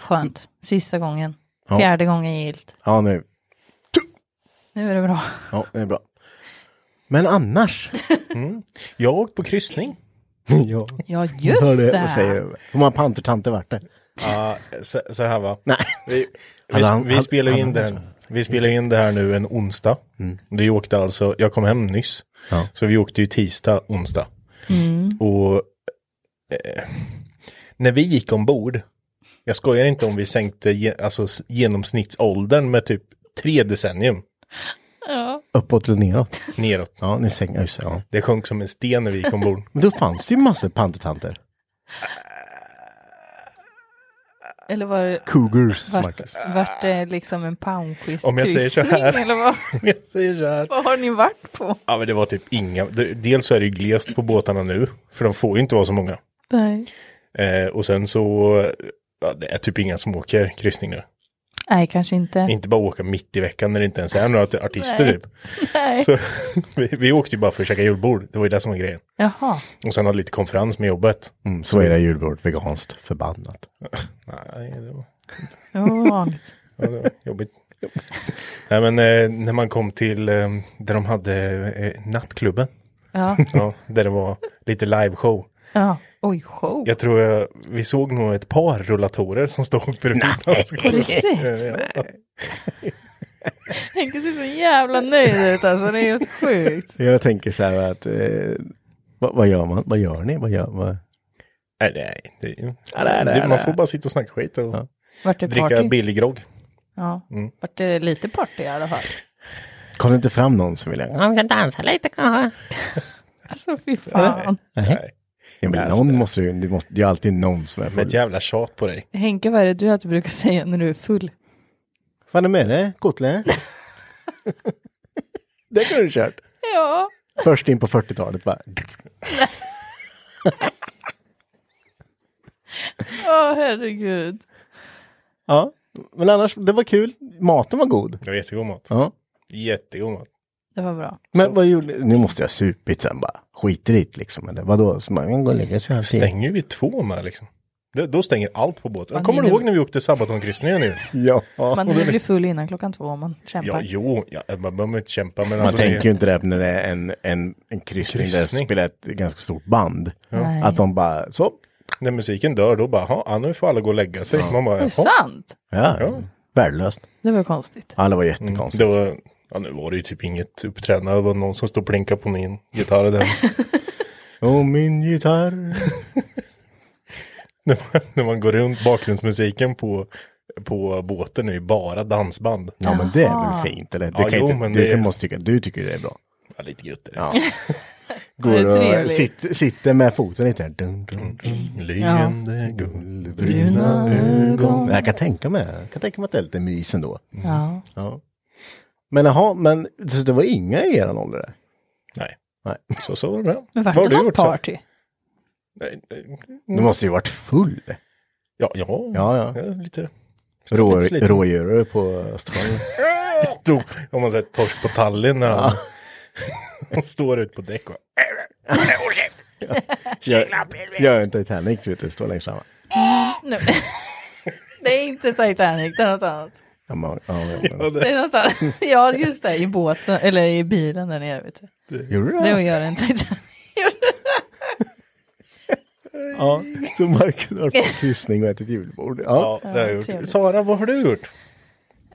[SPEAKER 5] skönt. Sista gången.
[SPEAKER 3] Ja.
[SPEAKER 5] Fjärde gången gillt.
[SPEAKER 3] Ja, nu.
[SPEAKER 5] Nu är det bra.
[SPEAKER 3] Ja, det är bra. Men annars.
[SPEAKER 4] Jag har åkt på kryssning.
[SPEAKER 3] ja,
[SPEAKER 5] *laughs* Ja, just
[SPEAKER 3] hörde-
[SPEAKER 5] det.
[SPEAKER 3] och säger, Hur många pantertanter vart det?
[SPEAKER 4] Ja, så, så här va.
[SPEAKER 3] Nej.
[SPEAKER 4] Vi, vi,
[SPEAKER 3] Hade han-
[SPEAKER 4] vi
[SPEAKER 3] hade-
[SPEAKER 4] spelar ju
[SPEAKER 3] hade
[SPEAKER 4] in
[SPEAKER 3] han Mm.
[SPEAKER 4] det här, vi spelar ju in det här nu en onsdag. Vi åkte alltså, jag kom hem nyss.
[SPEAKER 3] Ja.
[SPEAKER 4] Så vi åkte ju tisdag, onsdag. Och eh, när vi gick ombord, jag skojar inte om vi sänkte ge, alltså, s- genomsnittsåldern med typ tre decennium
[SPEAKER 3] Uppåt eller neråt?
[SPEAKER 4] neråt.
[SPEAKER 3] Ja, ni säng, ja, just det, ja.
[SPEAKER 4] Det sjönk som en sten när vi
[SPEAKER 3] *laughs*
[SPEAKER 4] gick ombord.
[SPEAKER 3] Men då fanns det ju massor pantertanter.
[SPEAKER 5] Eller var det...
[SPEAKER 3] Cougars,
[SPEAKER 5] Vart, vart det liksom en poundquist-kryssning?
[SPEAKER 4] Om jag säger så här.
[SPEAKER 5] *laughs* Eller vad,
[SPEAKER 4] jag säger så här.
[SPEAKER 5] vad har ni varit på?
[SPEAKER 4] Ja men det var typ inga, det- dels så är det ju glest på båtarna nu, för de får ju inte vara så många.
[SPEAKER 5] Nej.
[SPEAKER 4] Eh, och sen så, ja, det är typ inga som åker kryssning nu.
[SPEAKER 5] Nej, kanske inte.
[SPEAKER 4] Inte bara åka mitt i veckan när det inte ens är några art- artister
[SPEAKER 5] Nej.
[SPEAKER 4] typ.
[SPEAKER 5] Nej.
[SPEAKER 4] Så, *laughs* vi, vi åkte ju bara för att käka julbord, det var ju det som var grejen.
[SPEAKER 5] Jaha.
[SPEAKER 4] Och sen hade lite konferens med jobbet.
[SPEAKER 3] Mm, så är det julbord veganskt, förbannat.
[SPEAKER 4] Nej, det var,
[SPEAKER 5] Det var vanligt.
[SPEAKER 4] ja, det var
[SPEAKER 5] *laughs*
[SPEAKER 4] jobbigt. Nej men eh, när man kom till eh, där de hade eh, nattklubben,
[SPEAKER 5] Ja.
[SPEAKER 4] *laughs* ja, där det var lite liveshow.
[SPEAKER 5] ja. Oj, show.
[SPEAKER 4] Jag tror jag, vi såg nog ett par rullatorer som stod bredvid oss.
[SPEAKER 5] På riktigt?
[SPEAKER 4] Ja.
[SPEAKER 5] Henke ser så jävla nöjd ut alltså, det är helt sjukt.
[SPEAKER 3] Jag tänker så här att, eh, vad, vad gör man, vad gör ni, vad gör vad?
[SPEAKER 4] Nej, nej, det,
[SPEAKER 3] Ja, det är det,
[SPEAKER 4] du,
[SPEAKER 3] det är
[SPEAKER 4] man
[SPEAKER 3] det.
[SPEAKER 4] får bara sitta och snacka skit och
[SPEAKER 5] Vart det
[SPEAKER 4] dricka Mm.
[SPEAKER 5] party?
[SPEAKER 4] billig grogg.
[SPEAKER 5] Ja. Vart det lite party i alla fall?
[SPEAKER 3] Kom det inte fram någon som ville, ja, men dansa lite kanske?
[SPEAKER 5] Alltså fy fan.
[SPEAKER 4] Nej.
[SPEAKER 3] Ja, men någon måste ju, det, måste, det är alltid någon som är
[SPEAKER 4] Med ett
[SPEAKER 3] full.
[SPEAKER 4] jävla tjat på dig.
[SPEAKER 5] Henke, vad är det du
[SPEAKER 2] *laughs*
[SPEAKER 5] alltid brukar säga när du är full?
[SPEAKER 3] Vad är med dig, *laughs* Kotle? det kunde du kört.
[SPEAKER 5] Ja.
[SPEAKER 3] Först in på 40-talet bara.
[SPEAKER 5] Åh herregud.
[SPEAKER 3] Ja, men annars, det var kul. Maten var god.
[SPEAKER 4] Det var jättegod mat.
[SPEAKER 3] Ja.
[SPEAKER 4] Jättegod mat.
[SPEAKER 5] Det var bra.
[SPEAKER 3] Men vad gjorde Nu måste jag ha supit sen bara. Skiter i det liksom, eller vadå? Så man går och lägger sig halv tio.
[SPEAKER 4] Stänger ju vi två med liksom. Det, då stänger allt på båten.
[SPEAKER 5] Man
[SPEAKER 4] Kommer du
[SPEAKER 5] hinner-
[SPEAKER 4] ihåg när vi åkte sabbatonkryssningen nu?
[SPEAKER 3] Ja.
[SPEAKER 4] *laughs*
[SPEAKER 5] Man hinner bli full innan klockan två om man
[SPEAKER 4] Ja,
[SPEAKER 5] kämpar.
[SPEAKER 4] jo, ja, man behöver inte kämpa. Men
[SPEAKER 3] Man
[SPEAKER 4] alltså,
[SPEAKER 3] tänker ju
[SPEAKER 4] det,
[SPEAKER 3] inte det när det är en, en, en kryssning, där
[SPEAKER 4] Kryssning.
[SPEAKER 3] det spelar ett ganska stort band.
[SPEAKER 5] Nej.
[SPEAKER 3] Att de bara, så.
[SPEAKER 4] när musiken dör, då bara, "Ha, ja, nu får alla gå och lägga sig. Man bara,
[SPEAKER 5] Det är
[SPEAKER 4] "Jaha."
[SPEAKER 5] sant.
[SPEAKER 3] Ja, värdelöst.
[SPEAKER 5] Det var konstigt.
[SPEAKER 3] Ja, det var jättekonstigt.
[SPEAKER 4] Mm. det var, ja, nu var det ju typ inget uppträdande. Det var någon som stod och plinkade på min
[SPEAKER 3] *laughs*
[SPEAKER 4] gitarr där.
[SPEAKER 3] Och min gitarr.
[SPEAKER 4] när, man, när man går runt, bakgrundsmusiken på, på båten är ju bara dansband.
[SPEAKER 3] Ja, men det är väl fint, eller? Det
[SPEAKER 4] Ja,
[SPEAKER 3] kan
[SPEAKER 4] jo,
[SPEAKER 3] inte,
[SPEAKER 4] men
[SPEAKER 3] du
[SPEAKER 4] det-
[SPEAKER 3] kan måste tycka, du tycker det är bra.
[SPEAKER 4] Ja, lite gött är det.
[SPEAKER 3] Ja.
[SPEAKER 5] Det
[SPEAKER 3] Går
[SPEAKER 5] är
[SPEAKER 3] och
[SPEAKER 5] trevligt.
[SPEAKER 3] sitter, sitter med foten lite här. Dun,
[SPEAKER 4] Mm.
[SPEAKER 3] dun, dun.
[SPEAKER 4] Leende guldbruna
[SPEAKER 5] Bruna
[SPEAKER 4] ögon.
[SPEAKER 3] Men Jag kan tänka mig, jag kan tänka mig att det är lite mys ändå.
[SPEAKER 5] Ja.
[SPEAKER 3] Ja. Men jaha, men så det var inga i eran ålder? där?
[SPEAKER 4] Nej,
[SPEAKER 3] Nej.
[SPEAKER 4] så, så var det bra.
[SPEAKER 5] Men vart
[SPEAKER 4] Vad har
[SPEAKER 5] det
[SPEAKER 4] du
[SPEAKER 5] något
[SPEAKER 4] gjort så?
[SPEAKER 5] party?
[SPEAKER 4] Nej, nej.
[SPEAKER 3] Du måste ju varit full.
[SPEAKER 4] Ja, ja.
[SPEAKER 3] Ja, ja.
[SPEAKER 4] lite
[SPEAKER 3] Rå,
[SPEAKER 4] Pyttelite.
[SPEAKER 3] rådjur på
[SPEAKER 2] *laughs*
[SPEAKER 3] Östersjön.
[SPEAKER 4] Stor, om man säger torsk på Tallinn när han, han *laughs* står ut på däck. Och,
[SPEAKER 3] Gör, gör en Titanic, du vet, det står längst fram.
[SPEAKER 2] Nej. *laughs* Det är inte Titanic, det är något annat.
[SPEAKER 3] Ja, men, ja,
[SPEAKER 2] *laughs*
[SPEAKER 3] men,
[SPEAKER 4] Ja,
[SPEAKER 3] men.
[SPEAKER 2] Det är något annat. Ja, just det, i båten, eller i bilen där nere. Vet du.
[SPEAKER 3] Gjorde du
[SPEAKER 2] Det är
[SPEAKER 3] det?
[SPEAKER 2] att göra en *laughs* Titanic.
[SPEAKER 3] Ja, så Marcus har
[SPEAKER 2] *laughs*
[SPEAKER 3] fått kryssning och ätit julbord. Ja.
[SPEAKER 4] ja, det har jag gjort.
[SPEAKER 2] trevligt.
[SPEAKER 4] Sara, vad har du gjort?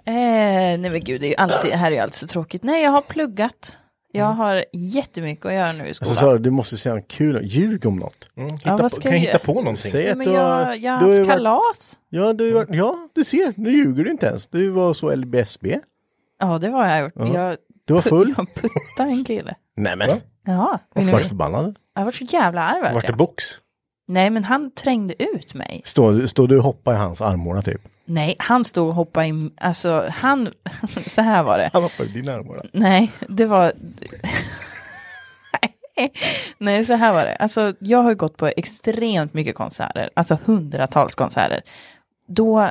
[SPEAKER 2] Eh, nej men gud, det är ju alltid, här är ju allt så tråkigt. Nej, jag har pluggat. Jag
[SPEAKER 5] Mm.
[SPEAKER 2] har jättemycket att göra nu i
[SPEAKER 3] Alltså
[SPEAKER 2] skolan.
[SPEAKER 3] Sara, du måste säga något kul. Ljug om något.
[SPEAKER 4] Mm, hitta
[SPEAKER 2] vad
[SPEAKER 4] på,
[SPEAKER 2] ska
[SPEAKER 4] kan jag
[SPEAKER 2] jag
[SPEAKER 4] hitta
[SPEAKER 2] göra?
[SPEAKER 4] på någonting?
[SPEAKER 3] Säg att
[SPEAKER 2] men
[SPEAKER 3] du
[SPEAKER 2] jag, jag har
[SPEAKER 3] du har ju
[SPEAKER 2] haft
[SPEAKER 3] varit,
[SPEAKER 2] kalas.
[SPEAKER 3] ja, du har, varit- ja, du ser. Nu ljuger du inte ens. Du var så LBSB.
[SPEAKER 2] Ja, det var jag gjort. Jag,
[SPEAKER 3] Du
[SPEAKER 2] *laughs*
[SPEAKER 3] var full.
[SPEAKER 2] jag puttade en kille.
[SPEAKER 3] Nej men.
[SPEAKER 4] Va?
[SPEAKER 2] Ja, vill ni
[SPEAKER 3] Varför var du
[SPEAKER 2] veta?
[SPEAKER 3] förbannad?
[SPEAKER 2] jag var så jävla arg vart
[SPEAKER 4] Vart det
[SPEAKER 2] jag.
[SPEAKER 4] box?
[SPEAKER 2] Nej, men han trängde ut mig.
[SPEAKER 3] Står står du och hoppar i hans armhåla typ?
[SPEAKER 2] Nej, han stod och hoppade i... Alltså, han... *laughs* Så här var det.
[SPEAKER 3] Han hoppar i din armhåla.
[SPEAKER 2] Nej, det var... *laughs* Nej, så här var det. Alltså, jag har ju gått på extremt mycket konserter. Alltså hundratals konserter. Då,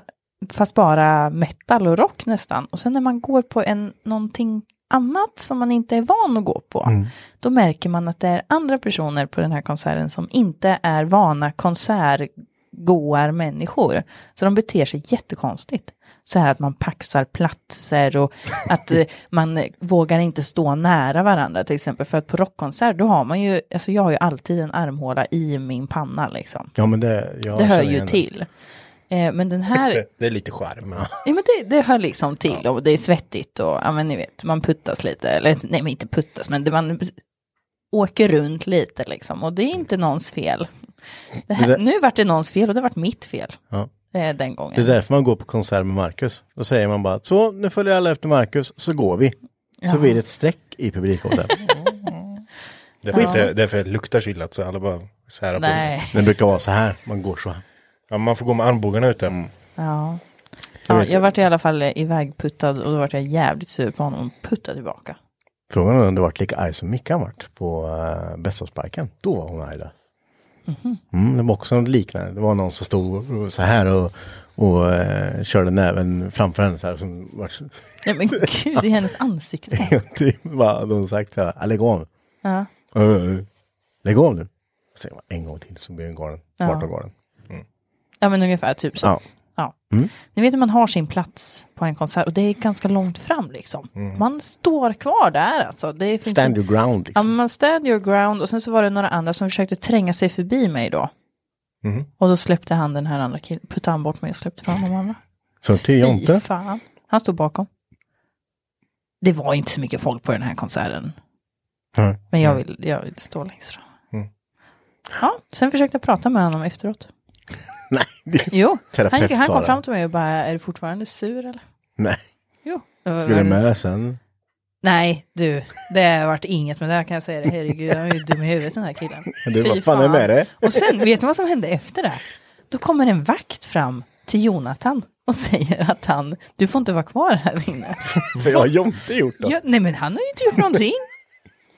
[SPEAKER 2] fast bara metal och rock nästan. Och sen när man går på en, någonting annat som man inte är van att gå på.
[SPEAKER 3] Mm.
[SPEAKER 2] Då märker man att det är andra personer på den här konserten som inte är vana konsertgåar människor. Så de beter sig jättekonstigt. Så här att man paxar platser
[SPEAKER 3] *laughs*
[SPEAKER 2] och att eh, man eh, vågar inte stå nära varandra till exempel. För att på rockkonsert då har man ju, alltså jag har ju alltid en armhåla i min panna liksom.
[SPEAKER 3] Ja men det. Jag
[SPEAKER 2] Det hör
[SPEAKER 3] känner
[SPEAKER 2] ju
[SPEAKER 3] igen
[SPEAKER 2] till. Eh, Men den
[SPEAKER 3] *laughs*
[SPEAKER 2] här,
[SPEAKER 4] Det, det är lite charm.
[SPEAKER 2] Ja, men det, det hör liksom till och det är svettigt och ja, men ni vet, man puttas lite. Eller nej, men inte puttas, men det, man åker runt lite liksom. Och det är inte någons fel. Det här,
[SPEAKER 3] Det där-
[SPEAKER 2] nu vart det någons fel och det vart mitt fel
[SPEAKER 3] Ja.
[SPEAKER 2] eh, den gången.
[SPEAKER 3] Det är därför man går på konsert med Marcus. Då säger man bara så nu följer alla efter Marcus så går vi. Så blir det ett streck i publikåten.
[SPEAKER 2] *laughs*
[SPEAKER 4] Därför, det, därför jag luktar så illa så alla bara särar på sig.
[SPEAKER 2] nej,
[SPEAKER 3] Det brukar vara så här, man går så här.
[SPEAKER 4] Ja, man får gå med armbågarna ute.
[SPEAKER 3] Mm.
[SPEAKER 2] ja. ja. Jag vart i alla fall ivägputtad och då vart jag jävligt sur på honom och puttade tillbaka.
[SPEAKER 3] Frågan är om det varit lika arg som Mickan varit på uh, Bäståsparken. Då var hon arg där.
[SPEAKER 2] Mhm.
[SPEAKER 3] Mm, det var också något liknande. Det var någon som stod och- så här och, och eh, körde näven framför henne så här. Som var,
[SPEAKER 2] Nej
[SPEAKER 3] *laughs*
[SPEAKER 2] men gud, i hennes ansikte.
[SPEAKER 3] typ vad hade hon sagt så här, "Ah, lägg av.
[SPEAKER 2] Ja.
[SPEAKER 3] Uh, lägg av nu. Och Säger man en gång till så blir den galen.
[SPEAKER 2] Ja.
[SPEAKER 3] Vart av galen.
[SPEAKER 2] Ja men ungefär typ så.
[SPEAKER 3] Ja. Mm.
[SPEAKER 2] Ja. Ni vet att man har sin plats på en konsert och det är ganska långt fram liksom.
[SPEAKER 3] Mm.
[SPEAKER 2] Man står kvar där alltså. Det finns
[SPEAKER 3] Stand
[SPEAKER 2] en...
[SPEAKER 3] your ground
[SPEAKER 2] Ja,
[SPEAKER 3] liksom.
[SPEAKER 2] men man stand your ground och sen så var det några andra som försökte tränga sig förbi mig då.
[SPEAKER 3] Mhm.
[SPEAKER 2] Och då släppte han den här andra killen, puttade han bort mig och släppte fram de andra.
[SPEAKER 3] Så till
[SPEAKER 2] Fy
[SPEAKER 3] Jonte.
[SPEAKER 2] fan. Han stod bakom. Det var inte så mycket folk på den här konserten.
[SPEAKER 3] Nej. Mm.
[SPEAKER 2] Men jag vill, jag vill stå längst fram. Ja, sen försökte jag prata med honom efteråt.
[SPEAKER 3] *laughs* Nej, det-
[SPEAKER 2] Jo, han, gick,
[SPEAKER 3] Terapeut
[SPEAKER 2] han kom
[SPEAKER 3] Sara.
[SPEAKER 2] fram till mig och bara, är du fortfarande sur eller?
[SPEAKER 3] nej.
[SPEAKER 2] Jo.
[SPEAKER 3] Ska du med sen?
[SPEAKER 2] Nej, du, det har varit inget med det här kan jag säga det. Herregud, han är ju dum i huvudet den här killen.
[SPEAKER 3] Du,
[SPEAKER 2] Fy
[SPEAKER 3] vad fan är med dig?
[SPEAKER 2] Och sen, vet ni vad som hände efter det? Då kommer en vakt fram till Jonathan och säger att han, du får inte vara kvar här inne.
[SPEAKER 3] Vad har Jonte gjort då?
[SPEAKER 2] Ja, nej men han har ju inte gjort *laughs* någonting.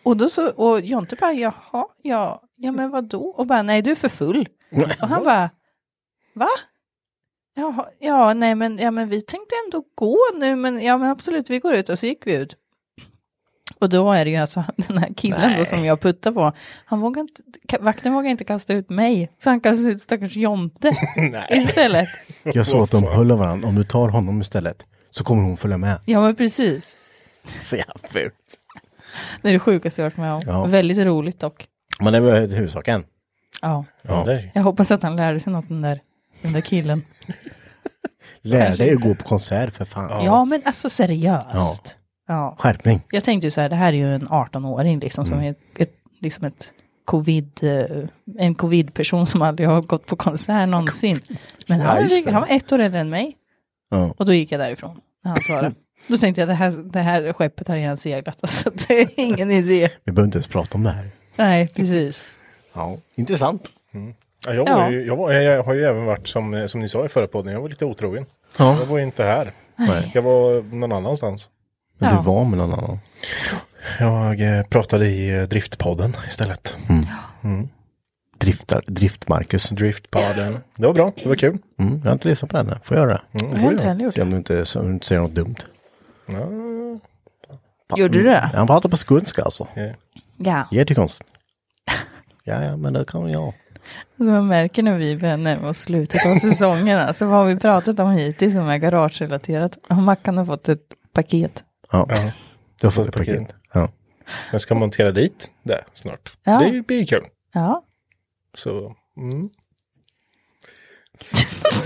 [SPEAKER 2] Och då så, och Jonte bara, jaha, ja, ja men vadå? Och bara, nej du är för full. Och han bara, va? Jaha, ja, nej men, ja, men vi tänkte ändå gå nu, men ja men absolut, vi går ut. Och så gick vi ut. Och då är det ju alltså *laughs* den här killen då som jag puttar på. Han vågar inte, ka- vakten vågar inte kasta ut mig, så han kastar ut stackars *laughs* Jonte istället.
[SPEAKER 3] Jag såg att de höll av varandra. Om du tar honom istället så kommer hon följa med.
[SPEAKER 2] Ja men precis.
[SPEAKER 3] *laughs* Så jävla fult.
[SPEAKER 2] Det är det sjukaste jag varit med om.
[SPEAKER 3] Ja.
[SPEAKER 2] Väldigt roligt dock.
[SPEAKER 3] Men det var huvudsaken.
[SPEAKER 2] Ja.
[SPEAKER 4] Ja. Där.
[SPEAKER 2] Jag hoppas att han lärde sig något den där, den där killen.
[SPEAKER 3] Lär
[SPEAKER 2] Kanske
[SPEAKER 3] dig att gå på konsert för fan.
[SPEAKER 2] Ja, men alltså seriöst. Ja.
[SPEAKER 3] Skärpning.
[SPEAKER 2] Jag tänkte ju så här, det här är ju en 18-åring liksom
[SPEAKER 3] Mm.
[SPEAKER 2] som är ett, ett, liksom ett covid, eh, en covid-person som aldrig har gått på konsert någonsin. Men han,
[SPEAKER 3] Ja,
[SPEAKER 2] var
[SPEAKER 3] just
[SPEAKER 2] lika-
[SPEAKER 3] det.
[SPEAKER 2] han var ett år äldre än mig
[SPEAKER 3] Ja.
[SPEAKER 2] och då gick jag därifrån när han
[SPEAKER 3] Mm.
[SPEAKER 2] svarade. Då tänkte jag det här, det här skeppet har redan seglat, alltså, *laughs* det är ingen idé.
[SPEAKER 3] Vi behöver inte ens prata om det här.
[SPEAKER 2] Nej, precis.
[SPEAKER 3] Ja. Intressant.
[SPEAKER 4] Ja, jag,
[SPEAKER 2] Ja.
[SPEAKER 4] var ju, jag, var, jag har ju även varit som, eh, som ni sa i förra podden, jag var lite otrogen.
[SPEAKER 3] Ja.
[SPEAKER 4] Jag var ju inte här.
[SPEAKER 3] Nej.
[SPEAKER 4] Jag var någon annanstans.
[SPEAKER 3] Men
[SPEAKER 2] Ja.
[SPEAKER 3] du var med någon annan.
[SPEAKER 4] Jag eh, pratade i eh, Driftpodden istället.
[SPEAKER 3] Driftar, Drift-Marcus.
[SPEAKER 4] Driftpodden. Det var bra, det var kul.
[SPEAKER 3] Mm, jag har inte lyssnat på den. än. Får jag göra det?
[SPEAKER 4] Mm,
[SPEAKER 2] Jag
[SPEAKER 4] får
[SPEAKER 2] har inte
[SPEAKER 4] jag.
[SPEAKER 2] heller gjort
[SPEAKER 3] Se
[SPEAKER 2] det.
[SPEAKER 3] om du inte, så om du inte säger något dumt.
[SPEAKER 2] Gjorde
[SPEAKER 4] Mm.
[SPEAKER 2] du det?
[SPEAKER 3] Han pratar på skånska alltså.
[SPEAKER 2] Ja.
[SPEAKER 3] Jättekonstigt. Ja, ja, men det kan jag.
[SPEAKER 2] Som man märker när vi börjar närma oss slutet av säsongerna, så vad har vi pratat om hittills som är garagerelaterat? Och Mackan har fått ett paket.
[SPEAKER 3] Ja.
[SPEAKER 4] Ja.
[SPEAKER 3] Du har fått ett paket. Ja.
[SPEAKER 4] Jag ska montera dit det snart.
[SPEAKER 2] Ja.
[SPEAKER 4] Det blir ju kul.
[SPEAKER 2] Ja.
[SPEAKER 4] Så, mm. *laughs*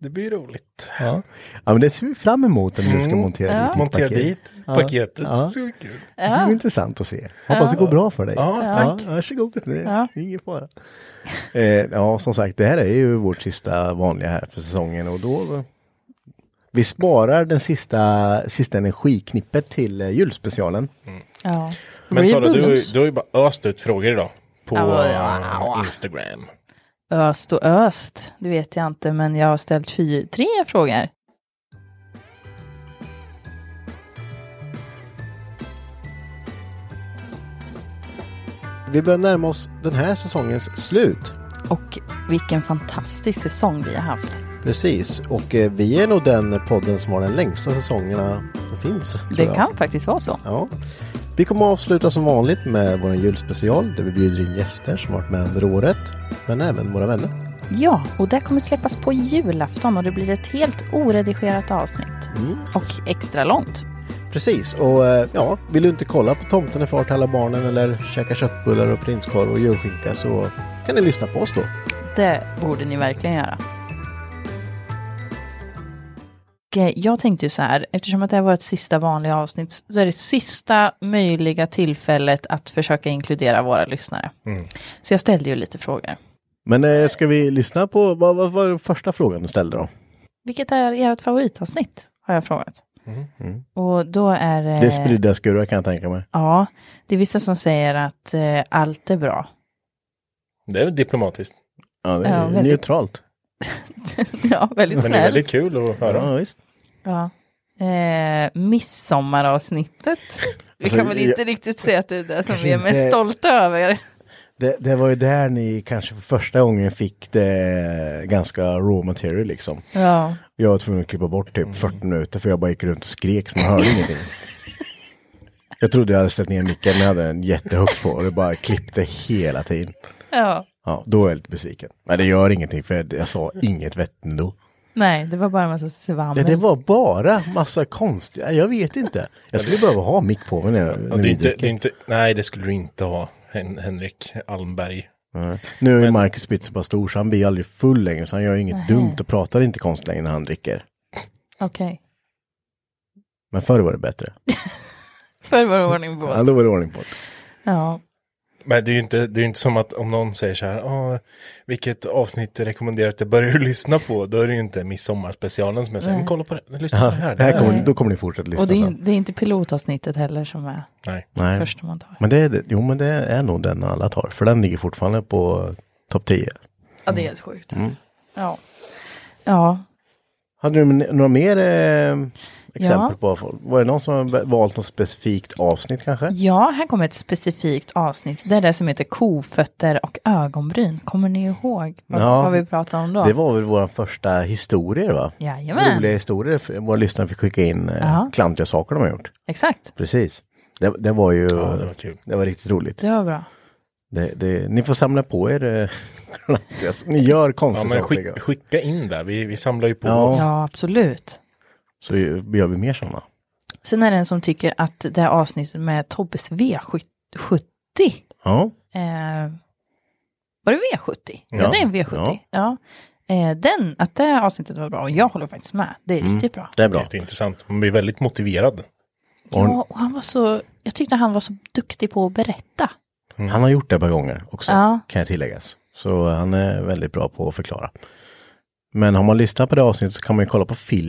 [SPEAKER 4] Det blir roligt.
[SPEAKER 3] Ja. ja, men det ser vi fram emot när du ska montera dit ditt
[SPEAKER 4] Mm. Montera
[SPEAKER 3] paket.
[SPEAKER 4] dit paketet.
[SPEAKER 3] Ja.
[SPEAKER 4] Så kul.
[SPEAKER 3] Det ska bli intressant att se. Hoppas det går bra för dig.
[SPEAKER 4] Ja, tack.
[SPEAKER 3] Ja, varsågod. Det är
[SPEAKER 2] Ja.
[SPEAKER 3] ingen fara. Eh, ja, som sagt, det här är ju vårt sista vanliga här för säsongen och då vi sparar den sista, sista energiknippet till eh, julspecialen.
[SPEAKER 2] ja.
[SPEAKER 4] Men Sara, du, har ju-
[SPEAKER 2] Rebulus.
[SPEAKER 4] du har ju bara öst ut frågor idag. På
[SPEAKER 2] Ja, ja,
[SPEAKER 4] eh, Instagram.
[SPEAKER 2] Öst och öst, det vet jag inte, men jag har ställt fy, tre frågor.
[SPEAKER 3] Vi börjar närma oss den här säsongens slut.
[SPEAKER 2] Och vilken fantastisk säsong vi har haft.
[SPEAKER 3] Precis, och eh, vi är nog den podden som har den längsta säsongerna som finns. tror
[SPEAKER 2] Det
[SPEAKER 3] jag.
[SPEAKER 2] kan faktiskt vara så.
[SPEAKER 3] Ja. Vi kommer att avsluta som vanligt med vår julspecial där vi bjuder in gäster som varit med under året, men även våra vänner.
[SPEAKER 2] Ja, och det kommer släppas på julafton och det blir ett helt oredigerat avsnitt. Och extra långt.
[SPEAKER 3] Precis, och eh, ja, vill du inte kolla på Tomten är far till alla barnen eller käka köttbullar och prinskorv och julskinka så kan ni lyssna på oss då.
[SPEAKER 2] Det borde ni verkligen göra. Och, eh, Jag tänkte ju så här, eftersom att det här var ett sista vanliga avsnitt så är det sista möjliga tillfället att försöka inkludera våra lyssnare. Så jag ställde ju lite frågor.
[SPEAKER 3] Men eh, ska vi lyssna på, vad, vad var den första frågan du ställde då?
[SPEAKER 2] Vilket är ert favoritavsnitt? Har jag frågat.
[SPEAKER 3] Mm.
[SPEAKER 2] Och då är eh, det...
[SPEAKER 3] Det spridda skurar kan jag tänka mig.
[SPEAKER 2] Ja, det är vissa som säger att eh, allt är bra.
[SPEAKER 4] Det är väl diplomatiskt.
[SPEAKER 3] Ja, det
[SPEAKER 2] Ja,
[SPEAKER 3] är
[SPEAKER 2] väldigt.
[SPEAKER 3] neutralt.
[SPEAKER 2] *laughs* ja, väldigt
[SPEAKER 4] Men det är
[SPEAKER 2] snällt.
[SPEAKER 4] väldigt kul att höra.
[SPEAKER 3] Ja, visst.
[SPEAKER 2] Ja. Eh, midsommaravsnittet. *laughs* Vi
[SPEAKER 3] Alltså,
[SPEAKER 2] kan väl
[SPEAKER 3] jag-
[SPEAKER 2] inte riktigt säga att det är det som
[SPEAKER 3] Kanske
[SPEAKER 2] vi är mest
[SPEAKER 3] inte-
[SPEAKER 2] stolta över.
[SPEAKER 3] Det, det var ju där ni kanske för första gången fick det ganska raw material liksom.
[SPEAKER 2] Ja.
[SPEAKER 3] Jag var tvungen att klippa bort
[SPEAKER 4] Mm.
[SPEAKER 3] typ 40 minuter för jag bara gick runt och skrek så man hörde ingenting. Jag trodde jag hade ställt ner micken men jag hade den jättehögt på och det bara klippte hela tiden.
[SPEAKER 2] ja.
[SPEAKER 3] Ja, då är jag lite besviken. Men det gör ingenting för jag, jag sa inget vett ändå.
[SPEAKER 2] Nej, det var bara en massa
[SPEAKER 3] Det,
[SPEAKER 2] svammel.
[SPEAKER 3] det var bara massa konstiga, jag vet inte. Jag skulle behöva ha mick på mig när, jag-
[SPEAKER 4] Ja,
[SPEAKER 3] när
[SPEAKER 4] det är
[SPEAKER 3] vi
[SPEAKER 4] inte, det är
[SPEAKER 3] dricker.
[SPEAKER 4] inte, nej, det skulle du inte ha, Hen Henrik Almberg.
[SPEAKER 3] Nej. Nu är ju Marcus Pitt så pass stor så han blir aldrig full längre så han gör inget dumt och pratar inte konstigt längre när han dricker.
[SPEAKER 2] Okej.
[SPEAKER 3] Men förr var det bättre.
[SPEAKER 2] Förr var det ordning på.
[SPEAKER 3] Ja, då var det ordning på det.
[SPEAKER 2] Ja.
[SPEAKER 4] Men det är ju inte, det är ju inte som att om någon säger så här, ah, vilket avsnitt rekommenderar att jag börjar *laughs* lyssna på? Då är det ju inte midsommarspecialen som är så här,
[SPEAKER 2] Nej.
[SPEAKER 4] men kolla på det, lyssna på
[SPEAKER 3] Ja,
[SPEAKER 4] det här.
[SPEAKER 3] det här kommer,
[SPEAKER 2] Nej.
[SPEAKER 3] då kommer ni fortsätta lyssna
[SPEAKER 2] Och det är,
[SPEAKER 3] sen.
[SPEAKER 2] det är inte pilotavsnittet heller som är
[SPEAKER 4] Nej.
[SPEAKER 3] Nej.
[SPEAKER 2] första man tar.
[SPEAKER 3] Men det är, jo, men det är nog den alla tar, för den ligger fortfarande på topp 10.
[SPEAKER 2] Ja, det är helt sjukt. Ja. Ja,
[SPEAKER 3] Hade du n- några mer eh, exempel
[SPEAKER 2] Ja.
[SPEAKER 3] på på? Var det någon som har valt något specifikt avsnitt kanske?
[SPEAKER 2] Ja, här kommer ett specifikt avsnitt. Det är det som heter kofötter och ögonbryn. Kommer ni ihåg vad,
[SPEAKER 3] Ja.
[SPEAKER 2] vad vi pratade om då?
[SPEAKER 3] Det var väl vår första historier va?
[SPEAKER 2] Jajamän.
[SPEAKER 3] Roliga historier, för- våra lyssnare fick skicka in eh,
[SPEAKER 2] Ja.
[SPEAKER 3] klantiga saker de har gjort.
[SPEAKER 2] Exakt,
[SPEAKER 3] Precis. Det, det var ju,
[SPEAKER 4] Ja, det var kul.
[SPEAKER 3] det var riktigt roligt.
[SPEAKER 2] det var bra.
[SPEAKER 3] Det, det, ni får samla på er, eh, *laughs* klantiga- ni gör
[SPEAKER 4] Ja,
[SPEAKER 3] konstiga
[SPEAKER 4] men
[SPEAKER 3] saker.
[SPEAKER 4] skick, skicka in det, vi, vi samlar ju på
[SPEAKER 3] Ja.
[SPEAKER 4] oss.
[SPEAKER 2] Ja, absolut.
[SPEAKER 3] Så gör vi mer sådana.
[SPEAKER 2] Sen är det en som tycker att det här avsnittet med Tobbes V70
[SPEAKER 3] Ja.
[SPEAKER 2] eh, var det V70? Ja,
[SPEAKER 3] Ja.
[SPEAKER 2] det är en V70. Ja. Eh, den, att det här avsnittet var bra och jag håller faktiskt med. Det är riktigt bra.
[SPEAKER 3] Mm. Det är bra.
[SPEAKER 4] Jätteintressant, man blir väldigt motiverad.
[SPEAKER 2] Ja, och han var så, jag tyckte han var så duktig på att berätta.
[SPEAKER 3] Han har gjort det ett par gånger också,
[SPEAKER 2] Ja.
[SPEAKER 3] kan jag tilläggas. Så han är väldigt bra på att förklara. Men har man lyssnat på det avsnittet så kan man ju kolla på film.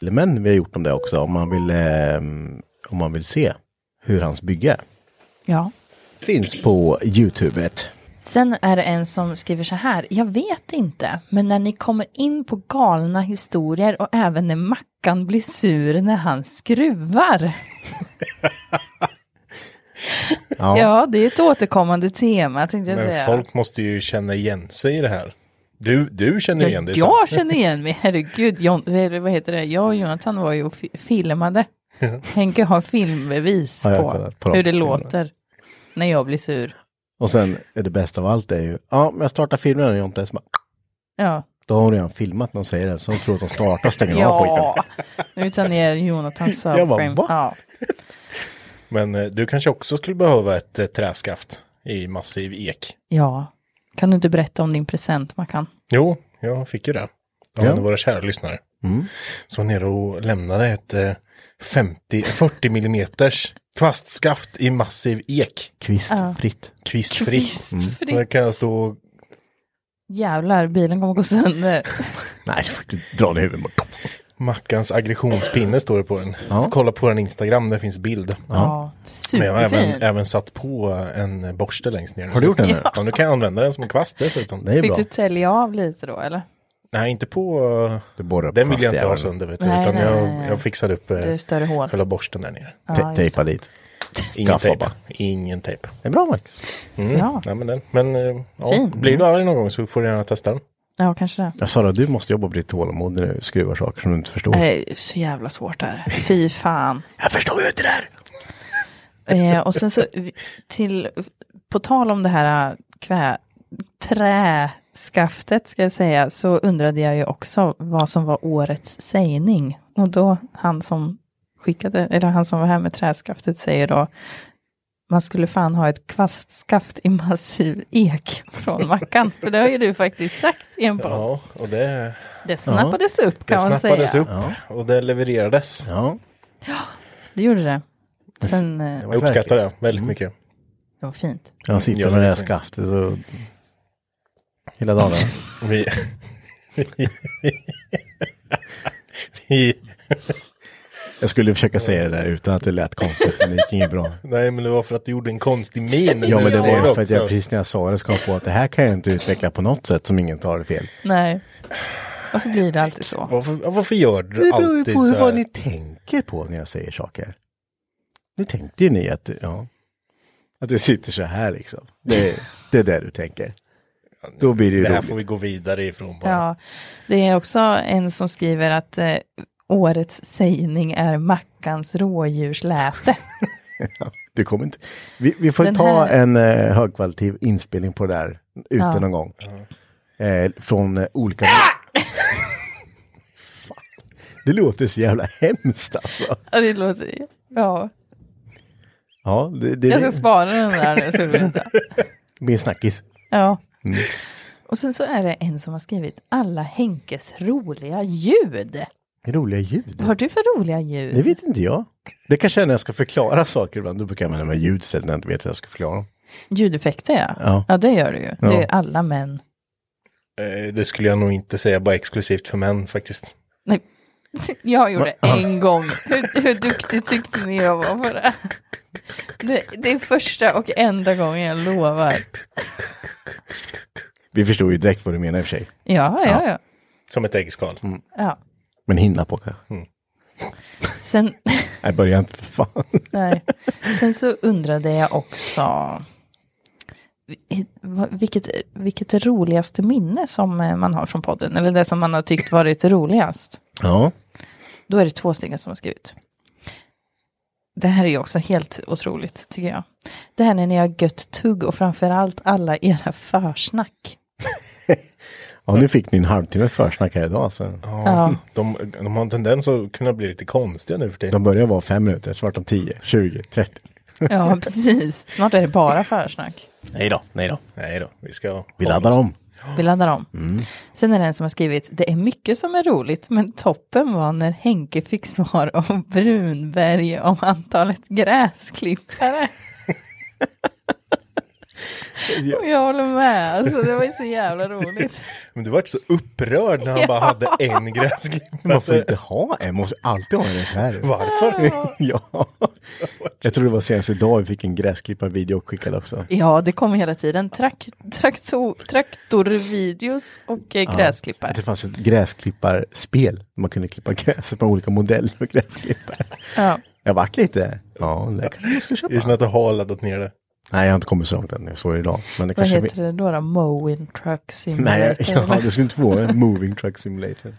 [SPEAKER 3] filmen vi har gjort om det också, om man vill, eh, om man vill se hur hans bygge är.
[SPEAKER 2] Ja.
[SPEAKER 3] Finns på Youtube.
[SPEAKER 2] Sen är det en som skriver så här. Jag vet inte, men när ni kommer in på galna historier och även när Mackan blir sur när han skruvar.
[SPEAKER 3] Ja.
[SPEAKER 2] Ja, det är ett återkommande tema tänkte jag
[SPEAKER 4] Men
[SPEAKER 2] säga.
[SPEAKER 4] folk måste ju känna igen sig i det här. Du, du känner
[SPEAKER 2] Ja,
[SPEAKER 4] igen dig.
[SPEAKER 2] jag känner igen mig, herregud. Jon, eller vad heter det? Jag och
[SPEAKER 3] Mm.
[SPEAKER 2] Jonathan var ju och fi- filmade. Tänk att ha filmbevis
[SPEAKER 3] Ja, jag har
[SPEAKER 2] på,
[SPEAKER 3] kollat på de
[SPEAKER 2] hur det
[SPEAKER 3] filmerna.
[SPEAKER 2] låter när jag blir sur.
[SPEAKER 3] Och sen är det bästa av allt är ju, ja men jag startar filmen och Jonte är som bara,
[SPEAKER 2] Ja,
[SPEAKER 3] då har hon redan filmat när hon säger det. Så hon tror att hon startar och stänger av skiten.
[SPEAKER 2] ja. nu tar ner Jonathans
[SPEAKER 4] *laughs* Jag bara,
[SPEAKER 2] subframe.
[SPEAKER 4] va?
[SPEAKER 2] Ja.
[SPEAKER 4] Men eh, du kanske också skulle behöva ett eh, träskaft i massiv ek.
[SPEAKER 2] ja, kan du inte berätta om din present, Mackan?
[SPEAKER 4] Jo, jag fick ju det. Av
[SPEAKER 3] Ja. Mm.
[SPEAKER 4] en av våra kära lyssnare. Så nere och lämnade ett eh, 50, 40 millimeters kvastskaft i massiv ek.
[SPEAKER 3] Kvistfritt.
[SPEAKER 4] Kvistfritt.
[SPEAKER 2] Kvistfritt.
[SPEAKER 4] Mm. Där kan jag stå och
[SPEAKER 2] Jävlar, bilen kommer gå sönder.
[SPEAKER 3] Nej, du får inte dra ner huvudet.
[SPEAKER 4] Mackans aggressionspinne står det på den. Får Kolla på den Instagram, där finns bild.
[SPEAKER 2] Ja,
[SPEAKER 4] Men jag har även,
[SPEAKER 2] superfin.
[SPEAKER 4] även satt på en borste längst ner.
[SPEAKER 3] Har du gjort den nu?
[SPEAKER 4] Ja, nu kan jag använda den som en kvast dessutom.
[SPEAKER 3] Det är
[SPEAKER 2] Fick
[SPEAKER 3] bra.
[SPEAKER 2] du tälja av lite då, eller?
[SPEAKER 4] Nej, inte på... eh,
[SPEAKER 3] Du borrar upp
[SPEAKER 4] Den vill jag inte ha
[SPEAKER 3] plastjäveln.
[SPEAKER 4] sönder, vet du,
[SPEAKER 2] Nej,
[SPEAKER 4] utan
[SPEAKER 2] nej,
[SPEAKER 4] jag,
[SPEAKER 2] nej, nej.
[SPEAKER 4] jag fixade upp eh,
[SPEAKER 2] Det är större hål.
[SPEAKER 4] själva borsten där nere.
[SPEAKER 2] Ja,
[SPEAKER 3] Te-
[SPEAKER 2] just det.
[SPEAKER 3] tejpa dit.
[SPEAKER 4] Ingen
[SPEAKER 3] Gaffa
[SPEAKER 4] tejp.
[SPEAKER 3] bara.
[SPEAKER 4] Ingen tejp.
[SPEAKER 3] Det är bra Marcus.
[SPEAKER 4] Mm.
[SPEAKER 2] Ja.
[SPEAKER 4] Nej, men den. men eh, ja,
[SPEAKER 2] Fin.
[SPEAKER 4] blir du arg någon gång så får du gärna testa den.
[SPEAKER 2] Ja, kanske det.
[SPEAKER 3] Jag sa det, du måste jobba på ditt tålamod när du skruvar saker som du inte förstår.
[SPEAKER 2] Det är så jävla svårt där. Fy fan.
[SPEAKER 3] Jag förstår ju inte det här.
[SPEAKER 2] Eh, och sen så, vi- till, på tal om det här eh, kvä, träskaftet ska jag säga, så undrade jag ju också vad som var årets sägning. Och då han som skickade, eller han som var här med träskaftet säger då, man skulle fan ha ett kvastskaft i massiv ek från Mackan. För det har ju du faktiskt sagt i en podd.
[SPEAKER 4] Ja, och det,
[SPEAKER 2] Det snappades upp
[SPEAKER 4] det
[SPEAKER 2] kan man säga.
[SPEAKER 4] snappades upp och det levererades.
[SPEAKER 3] Ja,
[SPEAKER 2] Det gjorde det. Sen, eh,
[SPEAKER 3] det
[SPEAKER 4] Jag uppskattar det väldigt
[SPEAKER 3] Mm.
[SPEAKER 4] mycket.
[SPEAKER 2] det var fint.
[SPEAKER 3] Han sitter
[SPEAKER 4] Ja, det
[SPEAKER 3] med det här
[SPEAKER 4] vet jag.
[SPEAKER 3] skaftet så... Hela dagen.
[SPEAKER 4] Vi, *laughs* vi,
[SPEAKER 3] *laughs* Jag skulle försöka säga det där utan att det lät konstigt, men det gick inget *laughs* bra.
[SPEAKER 4] nej, men det var för att du gjorde en konstig min.
[SPEAKER 3] Ja, men det var ju för att jag
[SPEAKER 4] också.
[SPEAKER 3] precis när jag sa det ska på att det här kan jag inte utveckla på något sätt som ingen tar det fel.
[SPEAKER 2] Nej. Varför blir det alltid så?
[SPEAKER 4] Varför, varför gör du
[SPEAKER 3] Det beror ju
[SPEAKER 4] alltid
[SPEAKER 3] på
[SPEAKER 4] så
[SPEAKER 3] hur,
[SPEAKER 4] här?
[SPEAKER 3] vad ni tänker på när jag säger saker. Nu tänkte ju ni att, ja, att du sitter så här liksom. Det, det är det du tänker. Då blir det ju
[SPEAKER 4] Det här
[SPEAKER 3] roligt.
[SPEAKER 4] får vi gå vidare ifrån bara.
[SPEAKER 2] Ja, det är också en som skriver att eh, årets sägning är Mackans rådjursläte.
[SPEAKER 3] Det kommer inte. Vi, vi får
[SPEAKER 2] Den
[SPEAKER 3] ta
[SPEAKER 2] här-
[SPEAKER 3] en eh, högkvalitativ inspelning på det där ute
[SPEAKER 2] Ja. Ah!
[SPEAKER 3] någon gång. Eh, från eh, olika... *laughs* Fan. Det låter så jävla hemskt alltså.
[SPEAKER 2] Ja, det låter... Ja,
[SPEAKER 3] Ja, det, det
[SPEAKER 2] jag ska
[SPEAKER 3] är
[SPEAKER 2] spara den där nu så du vet det.
[SPEAKER 3] min snackis.
[SPEAKER 2] Ja. Och sen så är det en som har skrivit alla Henkes roliga ljud.
[SPEAKER 3] Roliga ljud.
[SPEAKER 2] Vad har du för roliga ljud?
[SPEAKER 3] Det vet inte jag. Det kanske är när jag ska förklara saker ibland. Då brukar jag använda mig av ljud istället när jag inte vet hur jag ska förklara dem.
[SPEAKER 2] Ljudeffekter ja.
[SPEAKER 3] Ja.
[SPEAKER 2] det gör du ju. Det är ju alla män.
[SPEAKER 4] Eh, Det skulle jag nog inte säga bara exklusivt för män faktiskt.
[SPEAKER 2] Nej. *laughs* Jag gjorde en gång. Hur, hur duktig tyckte ni jag var på det? det? Det är första och enda gången jag lovar.
[SPEAKER 3] Vi förstod ju direkt vad du menar i och för sig.
[SPEAKER 2] Ja, ja, ja.
[SPEAKER 4] Som ett äggskal.
[SPEAKER 2] ja.
[SPEAKER 3] Men hinna på kanske.
[SPEAKER 2] Sen,
[SPEAKER 4] Nej, börja inte för fan.
[SPEAKER 2] nej. Sen så undrade jag också vi- vad- vilket, vilket är roligaste minne som eh, man har från podden, eller det som man har tyckt varit roligast.
[SPEAKER 4] Ja.
[SPEAKER 2] Då är det två stycken som har skrivit. Det här är ju också helt otroligt, tycker jag. Det här när ni har gött tugg och framförallt alla era försnack.
[SPEAKER 3] Ja, nu fick ni en halvtimme försnack här idag. Så.
[SPEAKER 2] Ja.
[SPEAKER 4] De, de har en tendens att kunna bli lite konstiga nu för tiden.
[SPEAKER 3] De börjar vara fem minuter, så vart de 10, 20, 30.
[SPEAKER 2] ja, precis. Snart är det bara försnack.
[SPEAKER 3] Nej då, nej då.
[SPEAKER 4] Nej då, vi ska...
[SPEAKER 3] Vi laddar om.
[SPEAKER 2] Vi laddar om.
[SPEAKER 3] Mm.
[SPEAKER 2] Sen är det en som har skrivit, det är mycket som är roligt, men toppen var när Henke fick svar om Brunberg om antalet gräsklippare. Och jag håller med, alltså, det var ju så jävla roligt.
[SPEAKER 4] Men du vart så upprörd när han bara hade en gräsklippare.
[SPEAKER 3] Man får inte ha en, man måste alltid ha en i reserv.
[SPEAKER 4] Varför?
[SPEAKER 3] *laughs* ja. Jag tror det var senast idag vi fick en gräsklipparvideo skickad också.
[SPEAKER 2] Ja, det kommer hela tiden. Trak, traktor, traktorvideos och eh, gräsklippare.
[SPEAKER 3] Att det fanns ett gräsklipparspel. Man kunde klippa gräset med olika modeller och gräsklippare.
[SPEAKER 2] Ja.
[SPEAKER 3] Jag vart lite, ja, det kanske jag ska
[SPEAKER 4] Jag känner
[SPEAKER 3] köpa.
[SPEAKER 4] att du har laddat ner det.
[SPEAKER 3] Nej, jag har inte kommit så långt än. Jag såg det idag. Men det
[SPEAKER 2] Vad
[SPEAKER 3] kanske...
[SPEAKER 2] heter det då? då? Mowing Truck Simulator?
[SPEAKER 3] Nej, *laughs* ja,
[SPEAKER 2] eller?
[SPEAKER 3] det skulle inte vara en moving truck simulator.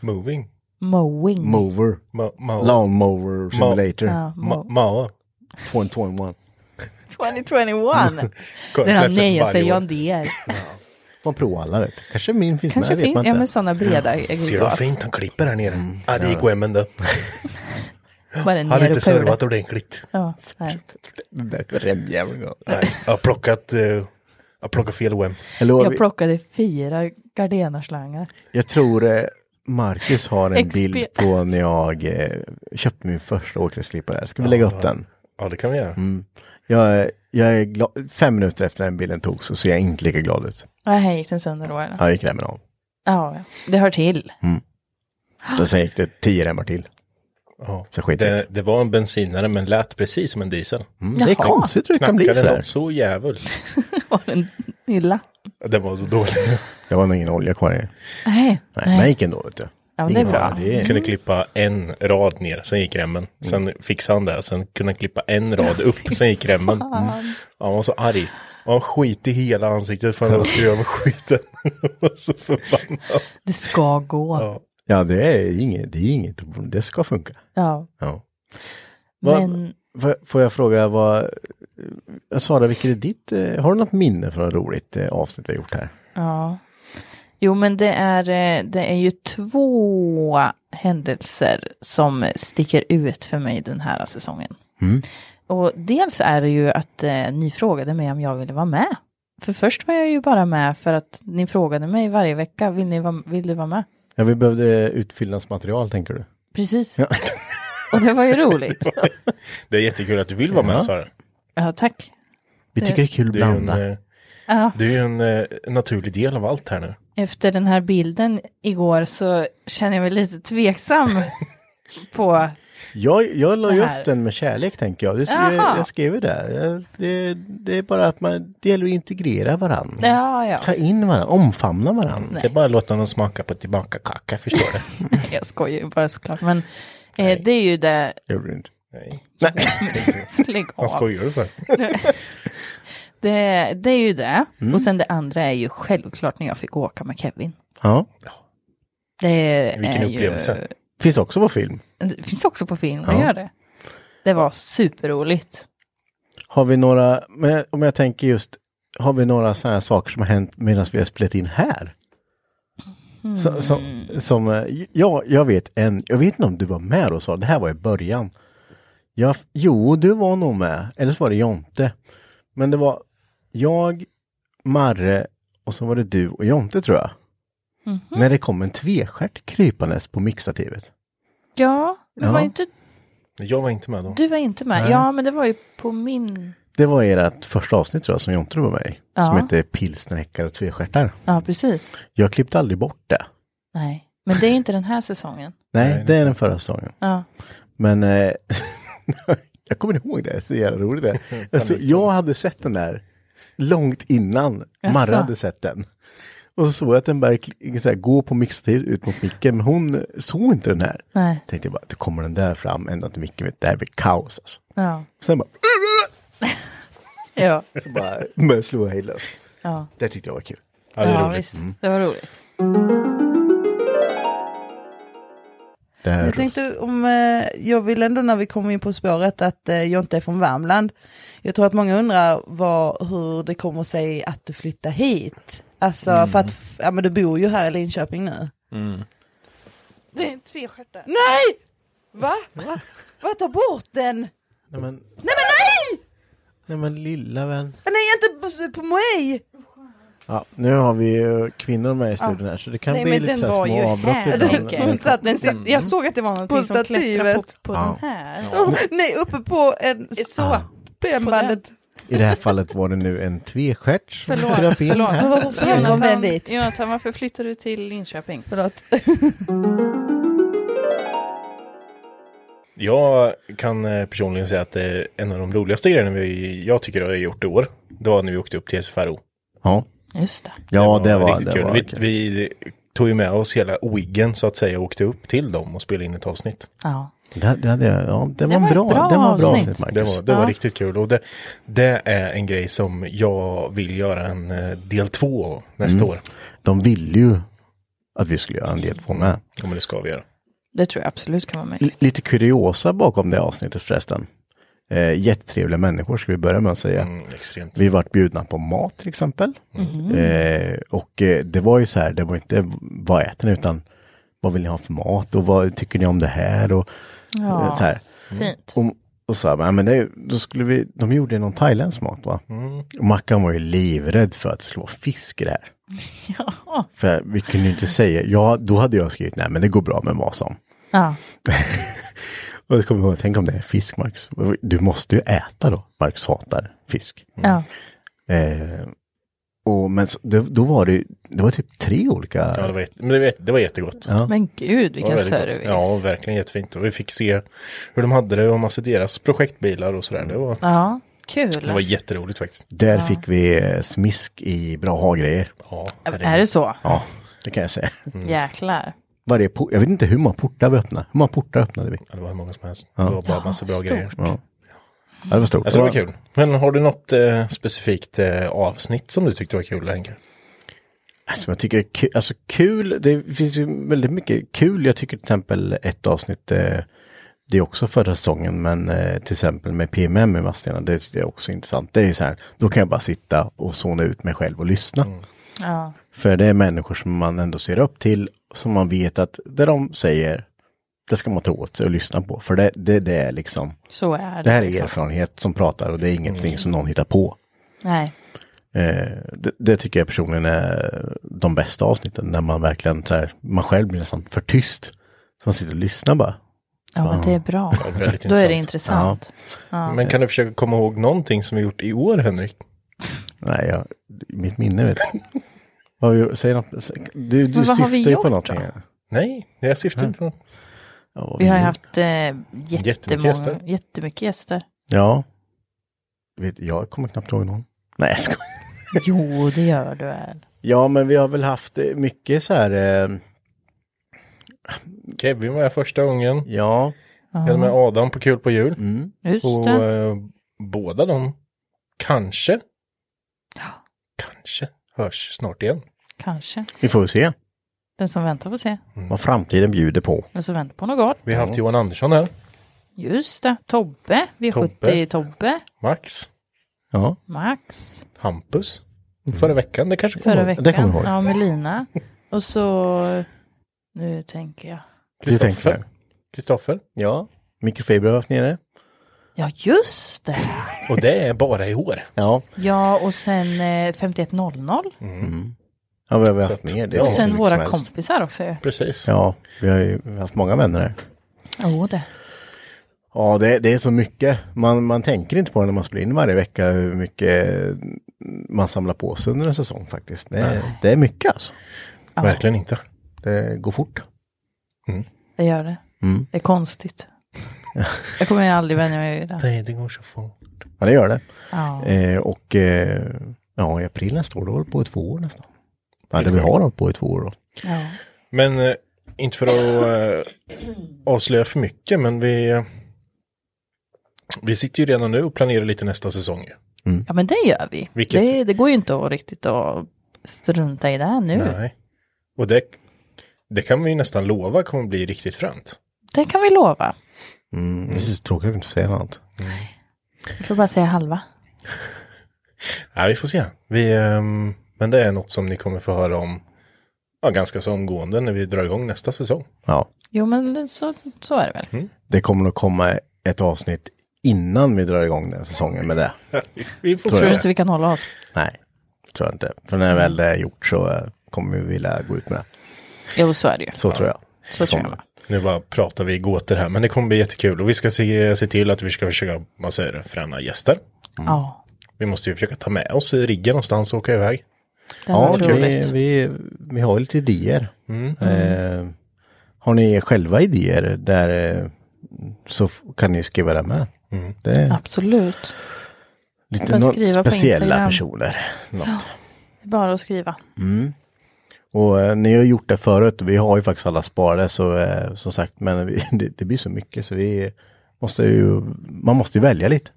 [SPEAKER 4] Moving.
[SPEAKER 2] Mowing.
[SPEAKER 3] Mover.
[SPEAKER 4] Ma- ma-
[SPEAKER 3] Lawnmower simulator.
[SPEAKER 2] Ja,
[SPEAKER 4] ma-
[SPEAKER 2] mow-
[SPEAKER 4] ma-
[SPEAKER 3] 2021. *laughs*
[SPEAKER 2] 2021! Den har nyaste John Deere.
[SPEAKER 3] Från Proalla vet du. Kanske min finns
[SPEAKER 2] Kanske
[SPEAKER 3] med, vet
[SPEAKER 2] finns,
[SPEAKER 3] man
[SPEAKER 2] ja men
[SPEAKER 3] inte.
[SPEAKER 2] sådana breda
[SPEAKER 4] Ser du vad
[SPEAKER 2] aggregat.
[SPEAKER 4] fint han klipper här nere?
[SPEAKER 3] Mm.
[SPEAKER 4] ja, det gick
[SPEAKER 2] *laughs*
[SPEAKER 4] Wemmen det.
[SPEAKER 2] Bara
[SPEAKER 4] Han
[SPEAKER 2] ner
[SPEAKER 4] har
[SPEAKER 2] och
[SPEAKER 4] inte
[SPEAKER 2] pula.
[SPEAKER 4] servat ordentligt.
[SPEAKER 2] Ja, nej.
[SPEAKER 3] Den där remjäveln.
[SPEAKER 4] Nej, jag har plockat, eh, jag har plockat fel Wem.
[SPEAKER 3] Hallå,
[SPEAKER 2] Jag
[SPEAKER 3] vi-
[SPEAKER 2] plockade fyra Gardena-slangar.
[SPEAKER 3] Jag tror eh, Marcus har en
[SPEAKER 2] Exper-
[SPEAKER 3] bild på när jag eh, köpte min första åkgräsklippare. här. Ska vi lägga upp den?
[SPEAKER 4] Ja, det kan vi göra.
[SPEAKER 3] Mm. Jag, är- jag är glad. Fem minuter efter den bilden togs så ser jag inte lika glad ut.
[SPEAKER 2] Nej, gick den sönder då eller?
[SPEAKER 3] Jag gick
[SPEAKER 2] *gasps*
[SPEAKER 3] remmen av.
[SPEAKER 2] Ja, ja. det hör till.
[SPEAKER 3] Så sen gick det tio remmar till.
[SPEAKER 4] Ja.
[SPEAKER 3] Så skit i
[SPEAKER 4] Det,
[SPEAKER 3] det.
[SPEAKER 4] det var en bensinare men lät precis som en diesel.
[SPEAKER 3] Mm. Det är
[SPEAKER 2] Jaha.
[SPEAKER 3] konstigt hur det kan bli
[SPEAKER 4] Knackade
[SPEAKER 3] sådär.
[SPEAKER 4] den så djävulskt.
[SPEAKER 2] Var den illa?
[SPEAKER 4] Det var så dålig.
[SPEAKER 3] Det var nog ingen olja kvar i. Nej,
[SPEAKER 2] Nej.
[SPEAKER 3] men den gick ändå vet du.
[SPEAKER 2] Ja, men det är
[SPEAKER 3] Ingen
[SPEAKER 2] bra.
[SPEAKER 3] fara, det är-
[SPEAKER 4] kunde klippa en rad ner, sen gick remmen. Sen fixade han det, sen kunde han klippa en rad upp, sen gick remmen. Mm. Ja, han var så arg. Och han skit i hela ansiktet för han skrev över skiten. *laughs* Han var så förbannad.
[SPEAKER 2] Det ska gå. Ja.
[SPEAKER 3] Ja, det är inget, det är inget problem. Det ska funka. Ja. Vad-
[SPEAKER 2] Men
[SPEAKER 3] Får- Får jag fråga vad, eh, Sara, vilket är ditt, eh, har du något minne från ett roligt eh, avsnitt vi har gjort här?
[SPEAKER 2] Ja. Jo, men det är, eh, det är ju två händelser som sticker ut för mig den här säsongen.
[SPEAKER 4] Mm.
[SPEAKER 2] Och dels är det ju att eh, ni frågade mig om jag ville vara med. För först var jag ju bara med för att ni frågade mig varje vecka, vill, ni va, vill du vara med?
[SPEAKER 3] Ja, vi behövde utfyllnadsmaterial tänker du?
[SPEAKER 2] Precis. Och det var ju
[SPEAKER 4] *laughs*
[SPEAKER 2] roligt.
[SPEAKER 4] Det är jättekul att du vill vara med, Sara.
[SPEAKER 2] Ja, tack.
[SPEAKER 3] Vi tycker det är kul att
[SPEAKER 4] Du är ju en,
[SPEAKER 3] blanda.
[SPEAKER 4] eh,
[SPEAKER 2] Ja.
[SPEAKER 4] du är ju en eh, naturlig del av allt här nu.
[SPEAKER 2] Efter den här bilden igår så känner jag mig lite tveksam på
[SPEAKER 3] Jag, jag la ju
[SPEAKER 2] Det här.
[SPEAKER 3] upp den med kärlek tänker jag. Det, jag,
[SPEAKER 2] Jaha.
[SPEAKER 3] jag skrev ju det. Jag- det. Det är bara att man, det gäller att integrera varandra.
[SPEAKER 2] Ja, ja.
[SPEAKER 3] Ta in varandra, omfamna varandra.
[SPEAKER 4] Det är bara att låta någon smaka på tillbaka-kaka, *laughs* förstår du?
[SPEAKER 2] Jag skojar ju bara såklart, men eh, det är ju
[SPEAKER 4] *laughs*
[SPEAKER 2] det,
[SPEAKER 3] Det gjorde du inte.
[SPEAKER 4] Nej.
[SPEAKER 2] lägg
[SPEAKER 4] Vad
[SPEAKER 2] av.
[SPEAKER 4] skojar du för?
[SPEAKER 2] Det, det är ju det,
[SPEAKER 4] Mm.
[SPEAKER 2] och sen det andra är ju självklart när jag fick åka med Kevin.
[SPEAKER 3] Ja,
[SPEAKER 2] Det
[SPEAKER 4] Vilken
[SPEAKER 2] är
[SPEAKER 4] upplevelse.
[SPEAKER 3] finns också på film.
[SPEAKER 2] Ju, det finns också på film, det
[SPEAKER 3] Ja.
[SPEAKER 2] gör det. Det var superroligt.
[SPEAKER 3] Har vi några, men om jag tänker just, har vi några sådana här saker som har hänt medan vi har spelat in här? Så, som, som, eh, ja, jag vet en, jag vet inte om du var med och sa, det här var i början. Jag, jo, du var nog med, eller så var det Jonte. Men det var jag, Marre och så var det du och Jonte tror jag. När det kom en tvestjärt krypandes på mixtativet.
[SPEAKER 2] Ja, det
[SPEAKER 3] Ja.
[SPEAKER 2] var ju inte,
[SPEAKER 4] Jag var inte med då.
[SPEAKER 2] du var inte med. Ja, men det var ju på min...
[SPEAKER 3] Det var ert första avsnitt tror jag som Jonte var med i. Som
[SPEAKER 2] Ja.
[SPEAKER 3] hette Pilsnerhäckar och tvestjärtar.
[SPEAKER 2] Ja, precis.
[SPEAKER 3] Jag klippte aldrig bort det.
[SPEAKER 2] Nej, men det är inte den här säsongen.
[SPEAKER 3] Nej, det är den förra säsongen.
[SPEAKER 2] Ja.
[SPEAKER 3] Men eh, *laughs* jag kommer ihåg det, så jävla roligt det är. alltså, Jag hade sett den där långt innan Marre
[SPEAKER 2] Jaså?
[SPEAKER 3] hade sett den. Och så såg jag att den började så här, gå på mixtativ ut mot micken, men hon såg inte den här.
[SPEAKER 2] Nej.
[SPEAKER 3] Tänkte jag bara, då kommer den där fram, ända till micken, vet, det här blir kaos alltså.
[SPEAKER 2] Ja.
[SPEAKER 3] Sen bara, *laughs*
[SPEAKER 2] Ja.
[SPEAKER 3] så bara började jag slå hejdlöst.
[SPEAKER 2] Ja.
[SPEAKER 3] Det tyckte jag var kul.
[SPEAKER 4] Ja, det är
[SPEAKER 2] ja,
[SPEAKER 4] roligt. Mm.
[SPEAKER 2] visst. Det var roligt.
[SPEAKER 3] Det här
[SPEAKER 5] Jag tänkte om, eh, jag vill ändå när vi kommer in på spåret att eh, jag inte är från Värmland. Jag tror att många undrar vad, hur det kommer sig att du flyttar hit. Alltså
[SPEAKER 3] Mm.
[SPEAKER 5] för att, ja men du bor ju här i Linköping nu.
[SPEAKER 2] Det är en tvestjärt där.
[SPEAKER 5] Nej! Va? Va? Va? Ta bort den!
[SPEAKER 3] Nej men,
[SPEAKER 5] Nej men nej!
[SPEAKER 3] nej men lilla vän.
[SPEAKER 5] Nej inte på- på mig!
[SPEAKER 3] Ja, nu har vi ju kvinnor med i studion här, så det kan
[SPEAKER 2] Nej,
[SPEAKER 3] bli
[SPEAKER 2] men
[SPEAKER 3] lite
[SPEAKER 2] den
[SPEAKER 3] så här
[SPEAKER 2] var ju
[SPEAKER 3] små avbrott
[SPEAKER 2] här. *laughs*
[SPEAKER 3] ibland. Mm.
[SPEAKER 5] Den satt, den satt,
[SPEAKER 2] Jag såg att det var någonting
[SPEAKER 5] På
[SPEAKER 2] som klättrade på,
[SPEAKER 5] stativet.
[SPEAKER 2] på
[SPEAKER 3] Ja.
[SPEAKER 2] den här.
[SPEAKER 5] Oh, nej uppe på en
[SPEAKER 3] Ah,
[SPEAKER 5] benbandet.
[SPEAKER 3] I det här fallet var det nu en tvestjärt som
[SPEAKER 2] Förlåt,
[SPEAKER 3] kröp in
[SPEAKER 2] förlåt.
[SPEAKER 3] här.
[SPEAKER 5] Varför kom den dit?
[SPEAKER 2] Jonathan, varför flyttade du till Linköping?
[SPEAKER 5] Förlåt.
[SPEAKER 4] Jag kan eh, personligen säga att eh, en av de roligaste grejerna vi, jag tycker har gjort i år, det var när vi åkte upp till SFRO.
[SPEAKER 3] Ja,
[SPEAKER 2] Just det.
[SPEAKER 3] ja det var,
[SPEAKER 4] riktigt
[SPEAKER 3] det
[SPEAKER 4] kul.
[SPEAKER 3] var
[SPEAKER 4] vi,
[SPEAKER 3] kul.
[SPEAKER 4] vi tog ju med oss hela wiggen så att säga och åkte upp till dem och spelade in ett avsnitt.
[SPEAKER 2] Ja.
[SPEAKER 3] Det, det, hade jag- ja, det var en
[SPEAKER 2] var ett
[SPEAKER 3] bra,
[SPEAKER 2] bra
[SPEAKER 3] det var en bra
[SPEAKER 2] avsnitt.
[SPEAKER 3] avsnitt, Marcus.
[SPEAKER 4] Det var, det
[SPEAKER 2] Ja.
[SPEAKER 4] var riktigt kul och det, det är en grej som jag vill göra en eh, del två av
[SPEAKER 3] Mm.
[SPEAKER 4] nästa år.
[SPEAKER 3] De ville ju att vi skulle göra en del två med.
[SPEAKER 4] Ja men det ska vi göra.
[SPEAKER 2] Det tror jag absolut kan vara
[SPEAKER 3] L-
[SPEAKER 2] möjligt.
[SPEAKER 3] lite kuriosa bakom det avsnittet förresten. Eh, jättetrevliga människor ska vi börja med att säga.
[SPEAKER 4] Mm, extremt.
[SPEAKER 3] Vi vart bjudna på mat till exempel.
[SPEAKER 2] Mhm.
[SPEAKER 3] Eh, och eh, det var ju så här, det var inte vad äter ni utan vad vill ni ha för mat och vad tycker ni om det här och eh,
[SPEAKER 2] Ja,
[SPEAKER 3] så här.
[SPEAKER 2] fint.
[SPEAKER 3] Och, och så här, "Ja, men det, är ju- då skulle vi, de gjorde någon thailändsk mat va?
[SPEAKER 2] Mm.
[SPEAKER 3] Och Mackan var ju livrädd för att det skulle vara fisk i det här.
[SPEAKER 2] *laughs* Ja.
[SPEAKER 3] För vi kunde ju inte säga, ja då hade jag skrivit nej men det går bra med vad som.
[SPEAKER 2] Ja.
[SPEAKER 3] Och jag kommer ihåg, tänk om det är fisk Marcus. Du måste ju äta då. Marcus hatar fisk.
[SPEAKER 2] Ja.
[SPEAKER 3] Eh, och, men så, det, då var det, det var typ tre olika.
[SPEAKER 4] Ja, det, var, jätte- men det, var, jätte- det var jättegott.
[SPEAKER 3] Ja.
[SPEAKER 2] Men gud
[SPEAKER 4] Det var
[SPEAKER 2] vilken
[SPEAKER 4] väldigt gott.
[SPEAKER 2] service.
[SPEAKER 4] Ja, verkligen jättefint. Och vi fick se hur de hade det och massa deras projektbilar och sådär. Det var,
[SPEAKER 2] Ja,
[SPEAKER 4] det var
[SPEAKER 2] kul.
[SPEAKER 4] jätteroligt faktiskt.
[SPEAKER 3] Där fick vi eh, smisk i bra ha-grejer.
[SPEAKER 4] Ja,
[SPEAKER 2] Är det så?
[SPEAKER 3] Ja, det kan jag
[SPEAKER 4] *laughs*
[SPEAKER 3] säga.
[SPEAKER 2] Jäklar.
[SPEAKER 3] Varje por- jag vet inte hur många portar vi öppnade. Hur många portar öppnade vi?
[SPEAKER 4] Ja, det var hur många som helst. Det var bara massa bra grejer.
[SPEAKER 3] Ja. Ja, det var stort.
[SPEAKER 4] Jag tror Alltså, det var kul. Men har du något eh, specifikt eh, avsnitt som du tyckte var kul, Henke?
[SPEAKER 3] Alltså, jag tycker är ku- alltså kul, det finns ju väldigt mycket kul. Jag tycker till exempel ett avsnitt, eh, det är också förra säsongen, men eh, till exempel med PMM i Vadstena, det tycker jag också är intressant. Det är ju så här, då kan jag bara sitta och zona ut mig själv och lyssna.
[SPEAKER 2] Ja.
[SPEAKER 3] För det är människor som man ändå ser upp till, som man vet att det de säger, det ska man ta åt sig och lyssna på. För det, det, det är liksom,
[SPEAKER 2] Så är Mm. det.
[SPEAKER 3] det här är
[SPEAKER 2] liksom.
[SPEAKER 3] erfarenhet som pratar och det är ingenting som någon hittar på.
[SPEAKER 2] Nej.
[SPEAKER 3] Eh, det, det tycker jag personligen är de bästa avsnitten, när man verkligen så här, man själv blir nästan för tyst. Så man sitter och lyssnar bara.
[SPEAKER 2] Ja, men typ. det är bra. *laughs*
[SPEAKER 4] väldigt
[SPEAKER 2] Då är det
[SPEAKER 3] intressant.
[SPEAKER 2] intressant.
[SPEAKER 4] Men kan du försöka komma ihåg någonting som vi gjort i år, Henrik?
[SPEAKER 3] Nej, jag, mitt minne vet
[SPEAKER 2] *laughs*
[SPEAKER 3] du. Vad vi, säg något, säg- du du
[SPEAKER 2] Men vad har
[SPEAKER 3] syftar
[SPEAKER 2] vi
[SPEAKER 3] ju
[SPEAKER 2] gjort
[SPEAKER 3] på någonting.
[SPEAKER 2] då?
[SPEAKER 3] här.
[SPEAKER 4] Nej, jag syftar inte på något.
[SPEAKER 3] Ja, vad
[SPEAKER 2] Vi har ju
[SPEAKER 3] gjort.
[SPEAKER 2] haft eh,
[SPEAKER 4] Jättemycket
[SPEAKER 2] jättemånga,
[SPEAKER 4] gäster.
[SPEAKER 2] jättemycket, gäster.
[SPEAKER 3] Ja. Vet, jag kommer knappt ihåg någon. Nej, jag skojar.
[SPEAKER 2] Jo, det gör du väl.
[SPEAKER 3] Ja, men vi har väl haft eh, mycket så här, eh,
[SPEAKER 4] Kevin var här första gången.
[SPEAKER 3] ja.
[SPEAKER 4] Jag hade med Adam på Kul på jul.
[SPEAKER 3] Mm.
[SPEAKER 2] Just
[SPEAKER 4] Och
[SPEAKER 2] det.
[SPEAKER 4] eh, båda de kanske, kanske hörs snart igen.
[SPEAKER 2] Kanske.
[SPEAKER 3] Vi får se
[SPEAKER 2] Den som väntar får se.
[SPEAKER 3] vad framtiden bjuder på.
[SPEAKER 2] Den som väntar på något gott.
[SPEAKER 4] Vi har haft Johan Andersson här,
[SPEAKER 2] Just det. Tobbe. V70 Tobbe.
[SPEAKER 4] Tobbe. Max,
[SPEAKER 3] Ja,
[SPEAKER 2] Max.
[SPEAKER 4] Hampus.
[SPEAKER 3] Mm.
[SPEAKER 4] Förra veckan, det kanske kommer
[SPEAKER 2] Förra
[SPEAKER 4] ihåg.
[SPEAKER 2] veckan.
[SPEAKER 3] det kommer jag ihåg.
[SPEAKER 2] Ja, med Lina. Och så... Nu tänker jag.
[SPEAKER 3] du tänker
[SPEAKER 4] Kristoffer.
[SPEAKER 3] jag.
[SPEAKER 4] Kristoffer.
[SPEAKER 3] Ja, mikrofibrer har varit nere.
[SPEAKER 2] Ja, just det.
[SPEAKER 4] Och det är bara i år.
[SPEAKER 3] Ja,
[SPEAKER 2] Ja, och sen eh, 5100.
[SPEAKER 3] ja vi har väl haft
[SPEAKER 4] Så att-
[SPEAKER 3] mer.
[SPEAKER 4] Ja,
[SPEAKER 2] Och
[SPEAKER 3] Mm. hur
[SPEAKER 2] sen
[SPEAKER 3] mycket som
[SPEAKER 2] våra
[SPEAKER 3] helst.
[SPEAKER 2] kompisar också ju.
[SPEAKER 4] Precis.
[SPEAKER 3] Ja, vi har ju haft många vänner här.
[SPEAKER 2] Jo, det.
[SPEAKER 3] Ja, det, det är så mycket. Man, man tänker inte på det när man spelar in varje vecka hur mycket man samlar på sig under en säsong faktiskt. Det, är- det är mycket alltså.
[SPEAKER 4] Verkligen inte.
[SPEAKER 3] Det går fort.
[SPEAKER 2] Det gör det.
[SPEAKER 3] Mm.
[SPEAKER 2] Det är *laughs* konstigt. Jag kommer ju aldrig vänja mig vid det.
[SPEAKER 4] Nej, det går så fort.
[SPEAKER 3] Ja, det gör det.
[SPEAKER 2] Ja.
[SPEAKER 3] Eh, och eh, ja, i april nästa år, då håller det på i två år nästan. Nej, det vi har hållit på i två år då.
[SPEAKER 2] Ja.
[SPEAKER 4] Men eh, inte för att eh, avslöja för mycket, men vi, eh, vi sitter ju redan nu och planerar lite nästa säsong. ju.
[SPEAKER 2] Ja men det gör vi.
[SPEAKER 4] Vilket-
[SPEAKER 2] Det, det går ju inte att riktigt att strunta i det här nu.
[SPEAKER 4] Nej. Och det, det kan vi ju nästan lova kommer bli riktigt fränt.
[SPEAKER 2] Det kan vi lova.
[SPEAKER 3] Mm. Det är så tråkigt att inte säga något annat.
[SPEAKER 2] Vi får bara säga halva.
[SPEAKER 4] Ja, vi får se. Vi, ehm, men det är något som ni kommer få höra om ja, ganska så omgående när vi drar igång nästa säsong.
[SPEAKER 3] Ja.
[SPEAKER 2] Jo men det- så, så är det väl.
[SPEAKER 3] Det kommer att komma ett avsnitt innan vi drar igång den här säsongen med det.
[SPEAKER 4] Vi får
[SPEAKER 3] Tror
[SPEAKER 2] Tror
[SPEAKER 3] jag.
[SPEAKER 2] du inte vi kan hålla oss?
[SPEAKER 3] Nej, tror jag inte. För när väl det är gjort så eh, kommer vi vilja gå ut med det.
[SPEAKER 2] Jo så är det ju.
[SPEAKER 3] Så tror jag.
[SPEAKER 2] Så tror jag.
[SPEAKER 3] Kommer.
[SPEAKER 2] med.
[SPEAKER 4] Nu bara pratar vi i gåtor här, men det kommer bli jättekul. Och vi ska se, se till att vi ska försöka, vad säger det, fräna gäster.
[SPEAKER 3] Mm.
[SPEAKER 2] Ja.
[SPEAKER 4] Vi måste ju försöka ta med oss riggen någonstans och åka iväg.
[SPEAKER 2] Det var
[SPEAKER 3] ja, vi,
[SPEAKER 2] roligt.
[SPEAKER 3] vi, vi har lite idéer. Eh, har ni själva idéer där eh, så f- kan ni skriva det med. Det är
[SPEAKER 2] Absolut.
[SPEAKER 3] lite
[SPEAKER 2] kan
[SPEAKER 3] nå-
[SPEAKER 2] skriva på
[SPEAKER 3] speciella
[SPEAKER 2] Instagram.
[SPEAKER 3] personer. Något.
[SPEAKER 2] Det är Bara att skriva.
[SPEAKER 3] Och eh, ni har gjort det förut. Vi har ju faktiskt alla sparade så eh, som sagt, men vi, *laughs* det, det blir så mycket så vi måste ju, man måste ju välja lite.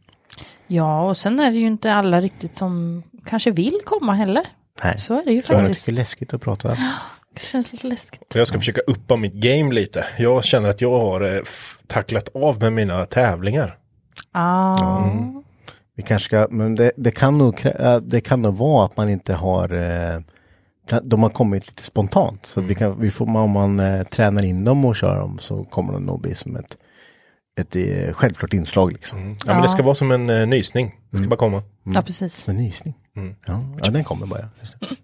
[SPEAKER 2] Ja och sen är det ju inte alla riktigt som kanske vill komma heller.
[SPEAKER 3] Nej.
[SPEAKER 2] Så är det ju
[SPEAKER 3] Så jag tycker
[SPEAKER 2] faktiskt.
[SPEAKER 3] det är läskigt att prata.
[SPEAKER 2] Det känns lite läskigt.
[SPEAKER 4] Så jag ska försöka uppa mitt game lite. Jag känner att jag har eh, f- tacklat av med mina tävlingar.
[SPEAKER 2] Ah.
[SPEAKER 3] Vi kanske ska, men det, det kan nog, krä- äh, det kan nog vara att man inte har, eh, pla- de har kommit lite spontant. Så att
[SPEAKER 2] Mm.
[SPEAKER 3] vi kan, vi får, om man eh, tränar in dem och kör dem så kommer de nog bli som ett, ett eh, självklart inslag liksom.
[SPEAKER 2] Mm.
[SPEAKER 4] Ja, men det ska vara som en eh, nysning. Det ska bara komma.
[SPEAKER 2] Ja precis.
[SPEAKER 3] Som en nysning.
[SPEAKER 4] Mm.
[SPEAKER 3] Ja, ja, den kommer bara. Just
[SPEAKER 4] *laughs*
[SPEAKER 3] det.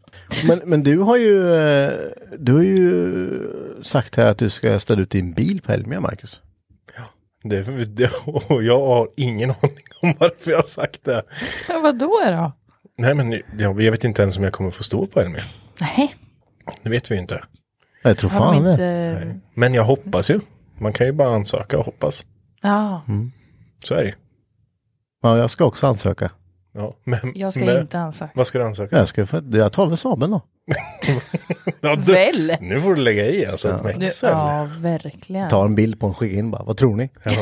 [SPEAKER 3] Men, men du har ju, eh, du har ju sagt här att du ska ställa ut din bil på Elmia, Marcus.
[SPEAKER 4] Det, *laughs* det, och jag har ingen *laughs* aning om varför jag har sagt det.
[SPEAKER 2] Ja, vadå då?
[SPEAKER 4] Nej, men jag, jag vet inte ens om jag kommer få stå på Elmia.
[SPEAKER 2] Nej.
[SPEAKER 4] Det vet vi ju inte.
[SPEAKER 3] Jag tror
[SPEAKER 2] Har de
[SPEAKER 3] fan det.
[SPEAKER 2] inte...
[SPEAKER 4] Men jag hoppas ju. Man kan ju bara ansöka och hoppas.
[SPEAKER 2] Ja.
[SPEAKER 4] Så är det ju.
[SPEAKER 3] Ja, jag ska också ansöka.
[SPEAKER 4] ja, men,
[SPEAKER 2] Jag ska
[SPEAKER 4] men,
[SPEAKER 2] inte ansöka.
[SPEAKER 4] Vad ska du ansöka?
[SPEAKER 3] Jag, ska, för- jag tar väl Saben då.
[SPEAKER 4] Ja, du,
[SPEAKER 2] Väl?
[SPEAKER 4] Nu får du lägga i alltså ett
[SPEAKER 2] Nu,
[SPEAKER 4] växel.
[SPEAKER 2] ja, verkligen.
[SPEAKER 3] Ta en bild på en skicka in bara. Vad tror ni?
[SPEAKER 2] *laughs*
[SPEAKER 4] Ja.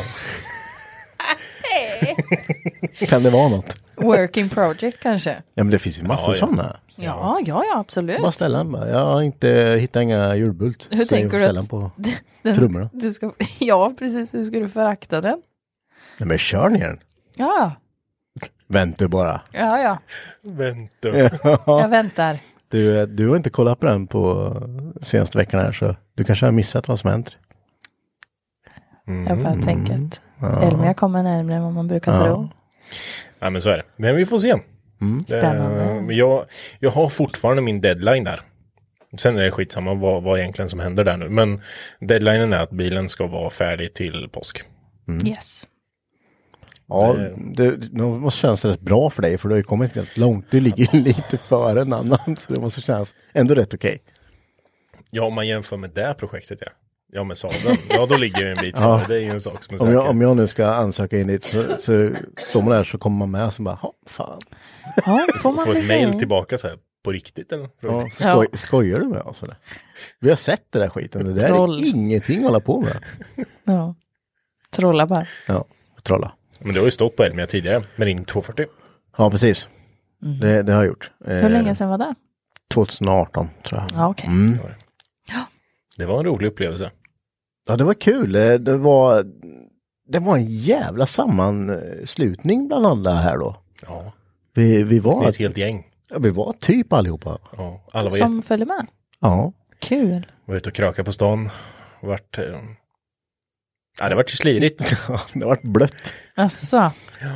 [SPEAKER 3] Kan det vara något?
[SPEAKER 2] Working project kanske?
[SPEAKER 3] Ja men det finns ju massor
[SPEAKER 4] Ja, ja.
[SPEAKER 3] sådana.
[SPEAKER 2] Ja, ja, ja, absolut.
[SPEAKER 3] Bara ställa den bara. Jag har inte hittat inga julbult.
[SPEAKER 2] Hur
[SPEAKER 3] så jag
[SPEAKER 2] tänker
[SPEAKER 3] får
[SPEAKER 2] du
[SPEAKER 3] ställa
[SPEAKER 2] att-
[SPEAKER 3] den på.
[SPEAKER 2] *laughs* Den-
[SPEAKER 3] trummorna.
[SPEAKER 2] Du ska, *laughs* ja, precis. Hur ska du förakta den?
[SPEAKER 3] Nej men kör ner den.
[SPEAKER 2] Ja,
[SPEAKER 3] Vänta bara.
[SPEAKER 2] ja, ja.
[SPEAKER 4] Vänta.
[SPEAKER 2] Jag väntar.
[SPEAKER 3] Du, du har inte kollat på den på senaste veckan här så du kanske har missat vad som hänt.
[SPEAKER 2] Jag bara tänker att Elmia kommer närmare än vad man brukar tro.
[SPEAKER 4] Ja, men så är det. Men vi får se.
[SPEAKER 3] Mm.
[SPEAKER 2] Spännande.
[SPEAKER 4] Eh, jag, jag har fortfarande min deadline där. Sen är det skitsamma vad, vad egentligen som händer där nu. Men deadlinen är att bilen ska vara färdig till påsk.
[SPEAKER 2] Yes.
[SPEAKER 3] Ja, det, det måste kännas rätt bra för dig för du har ju kommit rätt långt. Du ligger ju *laughs* lite före en annan så det måste kännas ändå rätt okej.
[SPEAKER 4] Ja, om man jämför med det projektet ja. Ja, med Saben. Ja, då ligger jag ju en
[SPEAKER 3] *laughs*
[SPEAKER 4] bit före. Det är ju en sak som är
[SPEAKER 3] Om,
[SPEAKER 4] säker.
[SPEAKER 3] jag, om jag nu ska ansöka in dit så, så står man där så kommer man med och så bara, "Ha, fan.
[SPEAKER 2] Ja, får man
[SPEAKER 4] Få ett
[SPEAKER 2] lägga in?
[SPEAKER 4] mail tillbaka så här. På riktigt eller?
[SPEAKER 3] Ja, skoj, Skojar du med oss eller? Vi har sett det där skiten, det där
[SPEAKER 2] Troll.
[SPEAKER 3] är ingenting att hålla på med.
[SPEAKER 2] Ja. Trolla bara.
[SPEAKER 3] Ja, trolla.
[SPEAKER 4] Men du har ju stått på Elmia tidigare med din 240.
[SPEAKER 3] Ja, precis. Det, det har jag gjort.
[SPEAKER 2] Mm. Hur länge sedan var det?
[SPEAKER 3] 2018 tror jag.
[SPEAKER 2] Ja, okej.
[SPEAKER 3] Eh. Mm.
[SPEAKER 4] Det var en rolig upplevelse.
[SPEAKER 3] Ja, det var kul. Eh, Det var, det var en jävla sammanslutning bland alla här då.
[SPEAKER 4] Ja,
[SPEAKER 3] Vi, vi,
[SPEAKER 4] det är
[SPEAKER 3] var,
[SPEAKER 4] ett helt gäng.
[SPEAKER 3] ja, vi var typ allihopa.
[SPEAKER 4] Ja, alla var,
[SPEAKER 2] Som följer med.
[SPEAKER 3] Ja. *laughs*
[SPEAKER 2] Kul.
[SPEAKER 4] jätte- var ute och krökade på stan. Vart... Eh... Ja, det vart ju slirigt.
[SPEAKER 3] det var blött.
[SPEAKER 2] Alltså,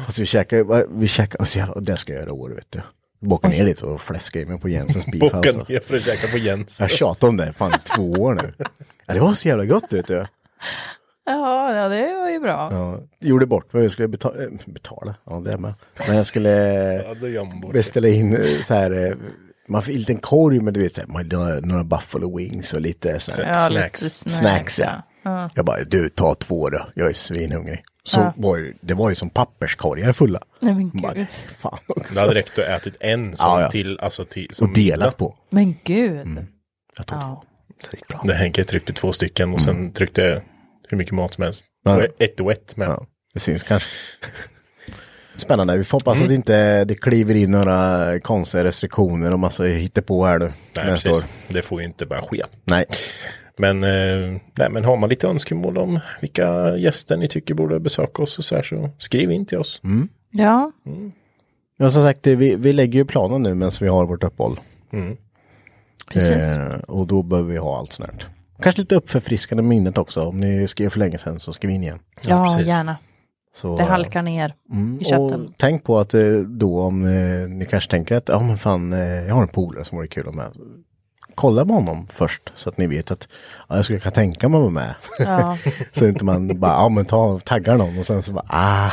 [SPEAKER 3] Alltså vi käkade, vi käkade, alltså, jävla- det ska jag göra i år vet du. Bocka ner lite och fläska i mig på Jensens beef
[SPEAKER 4] Boka
[SPEAKER 3] house. alltså.
[SPEAKER 4] ner för att käka på Jens.
[SPEAKER 3] Jag tjatar om det i fan två år nu. Ja, det var så jävla gott vet du.
[SPEAKER 2] ja, ja, det var ju bra.
[SPEAKER 3] Ja, gjorde bort mig, jag skulle betala, betala, ja det är med. Men jag skulle
[SPEAKER 4] Ja, då gör man bort det.
[SPEAKER 3] beställa in eh, så här, eh, man fick en liten korg med du vet så här, man, några- några buffalo wings och lite så här.
[SPEAKER 2] Ja,
[SPEAKER 4] Snacks.
[SPEAKER 2] lite snacks.
[SPEAKER 3] Snacks ja. Jag bara, du ta två då, jag är svinhungrig. så
[SPEAKER 4] Ja.
[SPEAKER 3] var ju, det var ju som papperskorgar fulla.
[SPEAKER 2] Nej, men
[SPEAKER 3] Man bara,
[SPEAKER 2] gud.
[SPEAKER 3] Fan också.
[SPEAKER 4] Det hade räckt att ätit en som
[SPEAKER 3] Ja, ja.
[SPEAKER 4] till, alltså till, som
[SPEAKER 3] Och delat på.
[SPEAKER 2] Men gud.
[SPEAKER 3] Mm. Jag tog två.
[SPEAKER 4] När Henke tryckte två stycken och sen tryckte hur mycket mat som helst.
[SPEAKER 3] Mm. Ja.
[SPEAKER 4] Och ett och ett med.
[SPEAKER 3] Det syns kanske. Spännande. Vi får hoppas
[SPEAKER 4] Mm.
[SPEAKER 3] att det inte det kliver in några konstiga restriktioner och massa hittepå här nu.
[SPEAKER 4] Nej,
[SPEAKER 3] nästa
[SPEAKER 4] precis.
[SPEAKER 3] år.
[SPEAKER 4] Det får ju inte bara ske.
[SPEAKER 3] Nej.
[SPEAKER 4] Men, eh, nej, men har man lite önskemål om vilka gäster ni tycker borde besöka oss och så här så skriv in till oss.
[SPEAKER 3] Mm.
[SPEAKER 2] Ja.
[SPEAKER 3] Ja, som sagt, det- vi, vi lägger ju planen nu medan vi har vårt uppehåll.
[SPEAKER 4] Mm.
[SPEAKER 2] Precis.
[SPEAKER 3] Eh, och då behöver vi ha allt sånt här. Kanske lite uppförfriskande minnet också. Om ni skrev för länge sedan så skriv in igen.
[SPEAKER 2] Ja, gärna.
[SPEAKER 3] Så,
[SPEAKER 2] det halkar ner
[SPEAKER 3] Mm,
[SPEAKER 2] i chatten.
[SPEAKER 3] Och tänk på att eh, då om eh, ni kanske tänker att ja men fan eh, jag har en polare som vore kul att vara med. Kolla på honom först så att ni vet att ja, jag skulle kunna tänka mig att vara med. *laughs*
[SPEAKER 2] Ja.
[SPEAKER 3] så inte man bara ja men ta, taggar någon och sen så bara ah,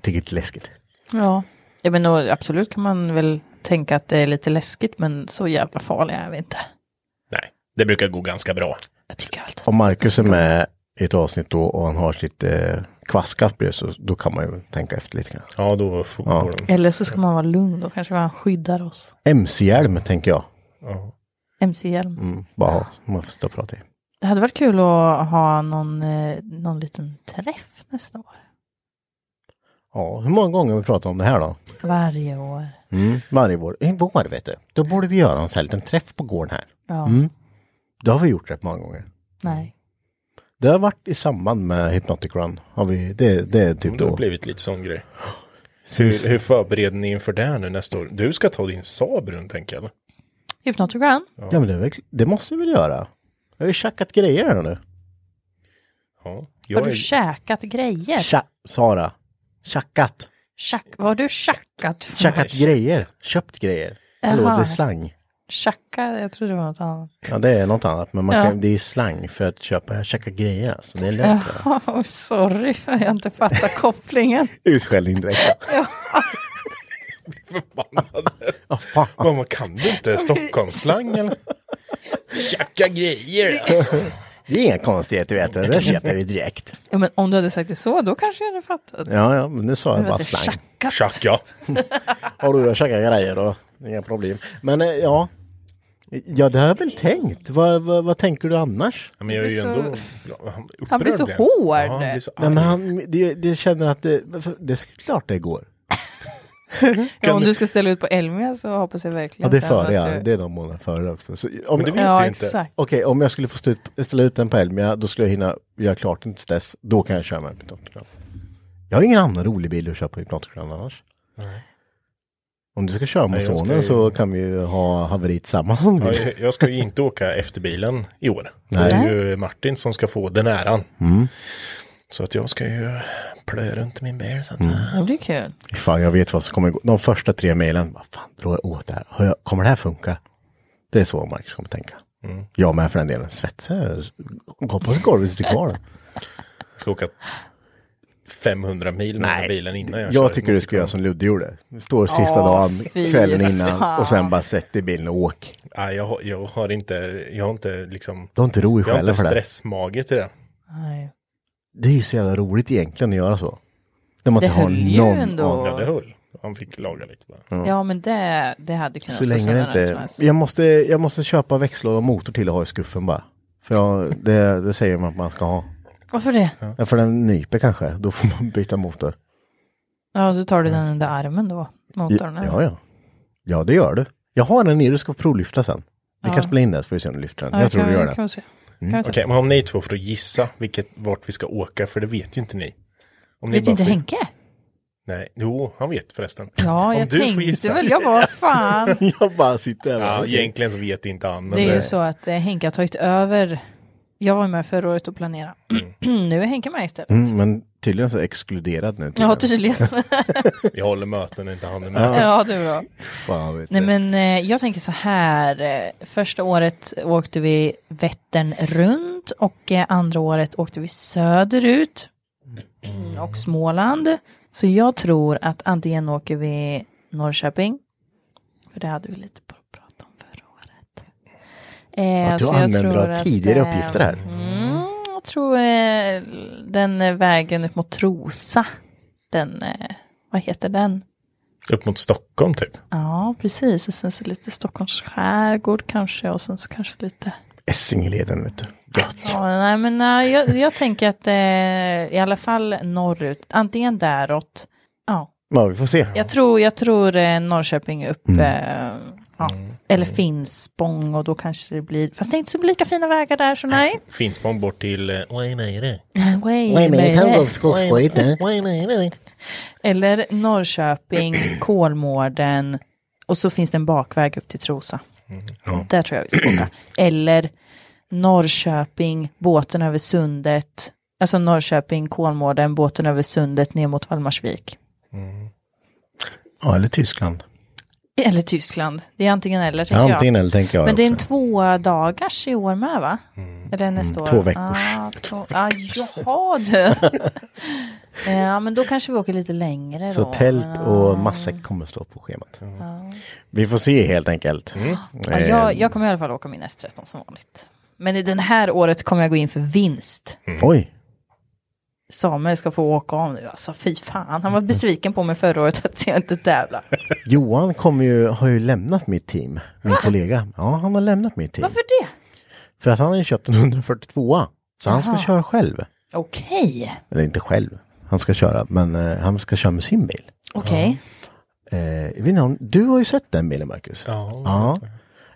[SPEAKER 3] tycker det är läskigt.
[SPEAKER 2] Ja. ja men då, absolut kan man väl tänka att det är lite läskigt men så jävla farliga är vi inte.
[SPEAKER 4] Nej, det brukar gå ganska bra.
[SPEAKER 3] Om Marcus är med i ett avsnitt då och han har sitt eh, kvastskaft bredvid så då kan man ju tänka efter lite grann.
[SPEAKER 4] Ja, då får
[SPEAKER 3] ja.
[SPEAKER 2] Eller så ska man vara lugn, då kanske man skyddar oss.
[SPEAKER 3] MC-hjälm tänker jag.
[SPEAKER 2] MC-hjälm.
[SPEAKER 3] Mm, bara ha, man får stå och prata i.
[SPEAKER 2] Det hade varit kul att ha någon, eh, någon liten träff nästa år.
[SPEAKER 3] Ja, hur många gånger har vi pratat om det här då?
[SPEAKER 2] Varje år.
[SPEAKER 3] Mm, varje vår. I vår vet du. Då borde vi göra en sån här liten träff på gården här.
[SPEAKER 2] Ja.
[SPEAKER 3] Mm. Det har vi gjort rätt många gånger.
[SPEAKER 2] Nej.
[SPEAKER 3] Det har varit i samband med Hypnotic Run. Har vi, det, det är typ
[SPEAKER 4] Men Mm, Det har
[SPEAKER 3] då.
[SPEAKER 4] blivit lite sån grej. Hur, hur förbereder ni inför det här nu nästa år? Du ska ta din Saab runt tänker jag. eller?
[SPEAKER 2] Hypnotic Run.
[SPEAKER 3] Ja men det, är väl- det måste vi väl göra. Jag har ju tjackat grejer här nu.
[SPEAKER 4] Ja.
[SPEAKER 2] Har du käkat grejer?
[SPEAKER 3] Tja, Sara. Tjackat.
[SPEAKER 2] Tjack. Vad har du tjackat? för?
[SPEAKER 3] Tjackat grejer. Köpt grejer. Hallå,
[SPEAKER 2] Jaha.
[SPEAKER 3] det är slang.
[SPEAKER 2] Tjacka, jag trodde det var något annat.
[SPEAKER 3] Ja det är något annat men man
[SPEAKER 2] Ja.
[SPEAKER 3] kan, det är ju slang för att köpa, jag tjackar grejer alltså. Det är lätt. va?
[SPEAKER 2] Jaha, sorry *laughs* för att jag inte fattar kopplingen.
[SPEAKER 3] Utskällning direkt.
[SPEAKER 4] Vad man kan du inte Stockholmsslang eller? Tjacka grejer alltså.
[SPEAKER 3] Det är inga konstigheter vet du, det köper vi direkt.
[SPEAKER 2] Ja, men om du hade sagt det så, då kanske jag hade fattat.
[SPEAKER 3] Ja ja, men nu sa jag
[SPEAKER 2] Men
[SPEAKER 3] bara
[SPEAKER 2] att det är
[SPEAKER 3] slang.
[SPEAKER 2] tjackat.
[SPEAKER 4] Tjacka.
[SPEAKER 3] Har du käkat grejer då? Inga problem. Men eh, ja. Ja, det har jag väl tänkt. Vad, vad, vad tänker du annars?
[SPEAKER 4] Ja, men jag är ju
[SPEAKER 2] blir
[SPEAKER 4] ändå
[SPEAKER 2] så-
[SPEAKER 4] upprörd.
[SPEAKER 2] Han blir så
[SPEAKER 4] igen.
[SPEAKER 2] hård.
[SPEAKER 4] Ja, han blir så arg.
[SPEAKER 3] Nej, men han, det, det känner att det, för- det är klart det går.
[SPEAKER 2] Ja, om du ska ställa ut på Elmia så hoppas jag verkligen
[SPEAKER 3] Ja, det är
[SPEAKER 2] sen att
[SPEAKER 3] före ja.
[SPEAKER 2] du-
[SPEAKER 3] Det är de månaderna före också. Så, om,
[SPEAKER 4] Men det
[SPEAKER 3] Okej,
[SPEAKER 4] vet
[SPEAKER 2] Ja,
[SPEAKER 4] jag inte.
[SPEAKER 2] exakt.
[SPEAKER 3] om jag skulle få ställa ut, ställa ut den på Elmia, då skulle jag hinna göra klart den till dess. Då kan jag köra med hypnotikran. Jag har ingen annan rolig bil att köra på hypnotikran annars. Om du ska köra med
[SPEAKER 4] Nej, jag ska
[SPEAKER 3] sonen
[SPEAKER 4] ju-
[SPEAKER 3] så kan vi ju ha haveriet tillsammans. om du
[SPEAKER 4] Ja,
[SPEAKER 3] vill.
[SPEAKER 4] jag- jag ska ju inte åka efter bilen i år. Det är
[SPEAKER 3] Nej.
[SPEAKER 4] ju Martin som ska få den äran.
[SPEAKER 3] Mm.
[SPEAKER 4] Så att jag ska ju plöja runt i min bil. Så att,
[SPEAKER 3] Mm.
[SPEAKER 2] Ja, det är kul.
[SPEAKER 3] *laughs* Fan, jag vet vad som kommer gå. De första tre mejlen, vad fan drar jag åt det här? Har jag- Kommer det här funka? Det är så Marcus kommer tänka.
[SPEAKER 4] Mm.
[SPEAKER 3] Jag med för den delen. Svetsar Gå på golvet sitter kvar då.
[SPEAKER 4] Jag ska åka 500 mil med den här bilen innan jag
[SPEAKER 3] jag,
[SPEAKER 4] kör
[SPEAKER 3] tycker du ska göra som Ludde gjorde. Står sista
[SPEAKER 2] Åh,
[SPEAKER 3] dagen,
[SPEAKER 2] fy
[SPEAKER 3] kvällen innan
[SPEAKER 2] fan.
[SPEAKER 3] och sen bara sätt dig i bilen och åk.
[SPEAKER 4] Nej, jag, har- jag har inte, jag har inte liksom,
[SPEAKER 3] Du har inte ro i
[SPEAKER 4] jag har
[SPEAKER 3] själen
[SPEAKER 4] inte
[SPEAKER 3] för det.
[SPEAKER 4] stressmage till det.
[SPEAKER 2] Nej.
[SPEAKER 3] Det är ju så jävla roligt egentligen att göra så. När man
[SPEAKER 2] Det
[SPEAKER 3] inte har
[SPEAKER 2] höll ju
[SPEAKER 3] någon
[SPEAKER 2] ändå.
[SPEAKER 3] aning.
[SPEAKER 4] Ja, det höll. Han fick laga lite bara.
[SPEAKER 2] Ja, men det, det hade kunnat
[SPEAKER 3] Så
[SPEAKER 2] vara
[SPEAKER 3] länge det
[SPEAKER 2] när som
[SPEAKER 3] inte...
[SPEAKER 2] helst.
[SPEAKER 3] Jag måste, jag måste köpa växlar och motor till och ha i skuffen bara. För jag, det, det säger man att man ska ha.
[SPEAKER 2] Varför det?
[SPEAKER 3] Ja, för den nyper kanske, då får man byta motor.
[SPEAKER 2] Ja, så tar du
[SPEAKER 3] Mm.
[SPEAKER 2] den under armen då, motorn. eller?
[SPEAKER 3] Ja, ja. Ja, det gör du. Jag har den nere, du ska provlyfta sen. Vi kan spela in det så får vi se om du lyfter den.
[SPEAKER 2] Ja,
[SPEAKER 3] jag tror
[SPEAKER 2] kan
[SPEAKER 3] du
[SPEAKER 2] vi-
[SPEAKER 3] gör
[SPEAKER 2] kan
[SPEAKER 3] det. *laughs*
[SPEAKER 2] vi se. Kan
[SPEAKER 3] Mm,
[SPEAKER 2] vi
[SPEAKER 4] Okej,
[SPEAKER 2] testa?
[SPEAKER 4] men om ni två får gissa vilket, vart vi ska åka, för det vet ju inte ni. Om ni
[SPEAKER 2] Vet
[SPEAKER 4] bara
[SPEAKER 2] inte
[SPEAKER 4] får-
[SPEAKER 2] Henke?
[SPEAKER 4] Nej, jo, han vet förresten.
[SPEAKER 2] Ja,
[SPEAKER 4] Om
[SPEAKER 2] jag
[SPEAKER 4] du får
[SPEAKER 2] tänkte
[SPEAKER 4] gissa.
[SPEAKER 2] väl, jag bara
[SPEAKER 3] *laughs*
[SPEAKER 2] fan.
[SPEAKER 3] jag bara sitter här. Mm,
[SPEAKER 4] Ja, egentligen så vet inte han. Men
[SPEAKER 2] Det är ju
[SPEAKER 4] det,
[SPEAKER 2] så att eh, Henke har tagit över. Jag var ju med förra året och planerade. *clears throat* nu är Henke med istället.
[SPEAKER 3] Mm, men tydligen så exkluderad nu.
[SPEAKER 2] Ja,
[SPEAKER 3] tydligen. *laughs*
[SPEAKER 2] tydligen.
[SPEAKER 4] jag håller möten inte han är med.
[SPEAKER 2] ja, det är bra.
[SPEAKER 3] Fan, vet
[SPEAKER 2] Nej
[SPEAKER 3] du.
[SPEAKER 2] men eh, jag tänker så här. eh, Första året åkte vi Vättern runt och eh, andra året åkte vi söderut
[SPEAKER 3] Mm.
[SPEAKER 2] och Småland. Så jag tror att antingen åker vi Norrköping, för det hade vi lite på att prata om förra året. Eh,
[SPEAKER 3] Att du
[SPEAKER 2] så alltså, jag
[SPEAKER 3] använder
[SPEAKER 2] tror
[SPEAKER 3] av tidigare
[SPEAKER 2] eh,
[SPEAKER 3] uppgifter här.
[SPEAKER 2] Mm, jag tror eh, den eh, vägen upp mot Trosa, den, eh, vad heter den?
[SPEAKER 4] Upp mot Stockholm typ.
[SPEAKER 2] Ja, precis. Och sen så lite Stockholms skärgård kanske och sen så kanske lite
[SPEAKER 3] Essingeleden vet du.
[SPEAKER 2] Ja, nej, men nej, jag, jag tänker att eh, i alla fall norrut, antingen däråt. Ja,
[SPEAKER 3] Ja, vi får se.
[SPEAKER 2] jag tror, jag tror eh, Norrköping upp, eh, ja, eller Finspång och då kanske det blir, fast det är inte så lika fina vägar där så nej.
[SPEAKER 4] Finspång bort till eh, Waymeire.
[SPEAKER 2] Way,
[SPEAKER 4] Way
[SPEAKER 2] way.
[SPEAKER 4] med Handbollsskogsbrytare.
[SPEAKER 2] Eller Norrköping, Kolmården och så finns det en bakväg upp till Trosa. Där tror jag vi ska åka. Eller Norrköping, båten över sundet. Alltså Norrköping, Kolmården, båten över sundet ner mot Valdemarsvik.
[SPEAKER 3] Ja, eller Tyskland.
[SPEAKER 2] Eller Tyskland. Det är antingen eller.
[SPEAKER 3] Ja,
[SPEAKER 2] Tänker
[SPEAKER 3] antingen
[SPEAKER 2] jag.
[SPEAKER 3] eller, tänker jag
[SPEAKER 2] Men det är en
[SPEAKER 3] också. Mm.
[SPEAKER 2] två dagars i år med va? Eller nästa år?
[SPEAKER 3] Två veckors.
[SPEAKER 2] Ah, två... ah, jaha
[SPEAKER 3] *laughs*
[SPEAKER 2] du. ja men då kanske vi åker lite längre
[SPEAKER 3] Så
[SPEAKER 2] då.
[SPEAKER 3] tält
[SPEAKER 2] Men,
[SPEAKER 3] och matsäck kommer stå på schemat. Vi får se helt enkelt.
[SPEAKER 2] Mm. Ja,
[SPEAKER 3] Eh,
[SPEAKER 2] jag, jag kommer i alla fall åka min S13 som vanligt. Men i det här året kommer jag gå in för vinst.
[SPEAKER 3] mm. Oj,
[SPEAKER 2] Samuel ska få åka av nu. Alltså fy fan, han var besviken på mig förra året att jag inte tävlar.
[SPEAKER 3] Johan kommer ju, har ju lämnat mitt team. Min kollega. Ja, han har lämnat mitt team.
[SPEAKER 2] Varför det?
[SPEAKER 3] För att han har ju köpt en 142a. Så han ska
[SPEAKER 2] Jaha.
[SPEAKER 3] köra själv.
[SPEAKER 2] Okej,
[SPEAKER 3] Eller inte själv. Han ska köra, men eh, han ska köra med sin bil.
[SPEAKER 2] okej.
[SPEAKER 3] Eh, jag vet inte om- du har ju sett den bilen Marcus.
[SPEAKER 4] Ja.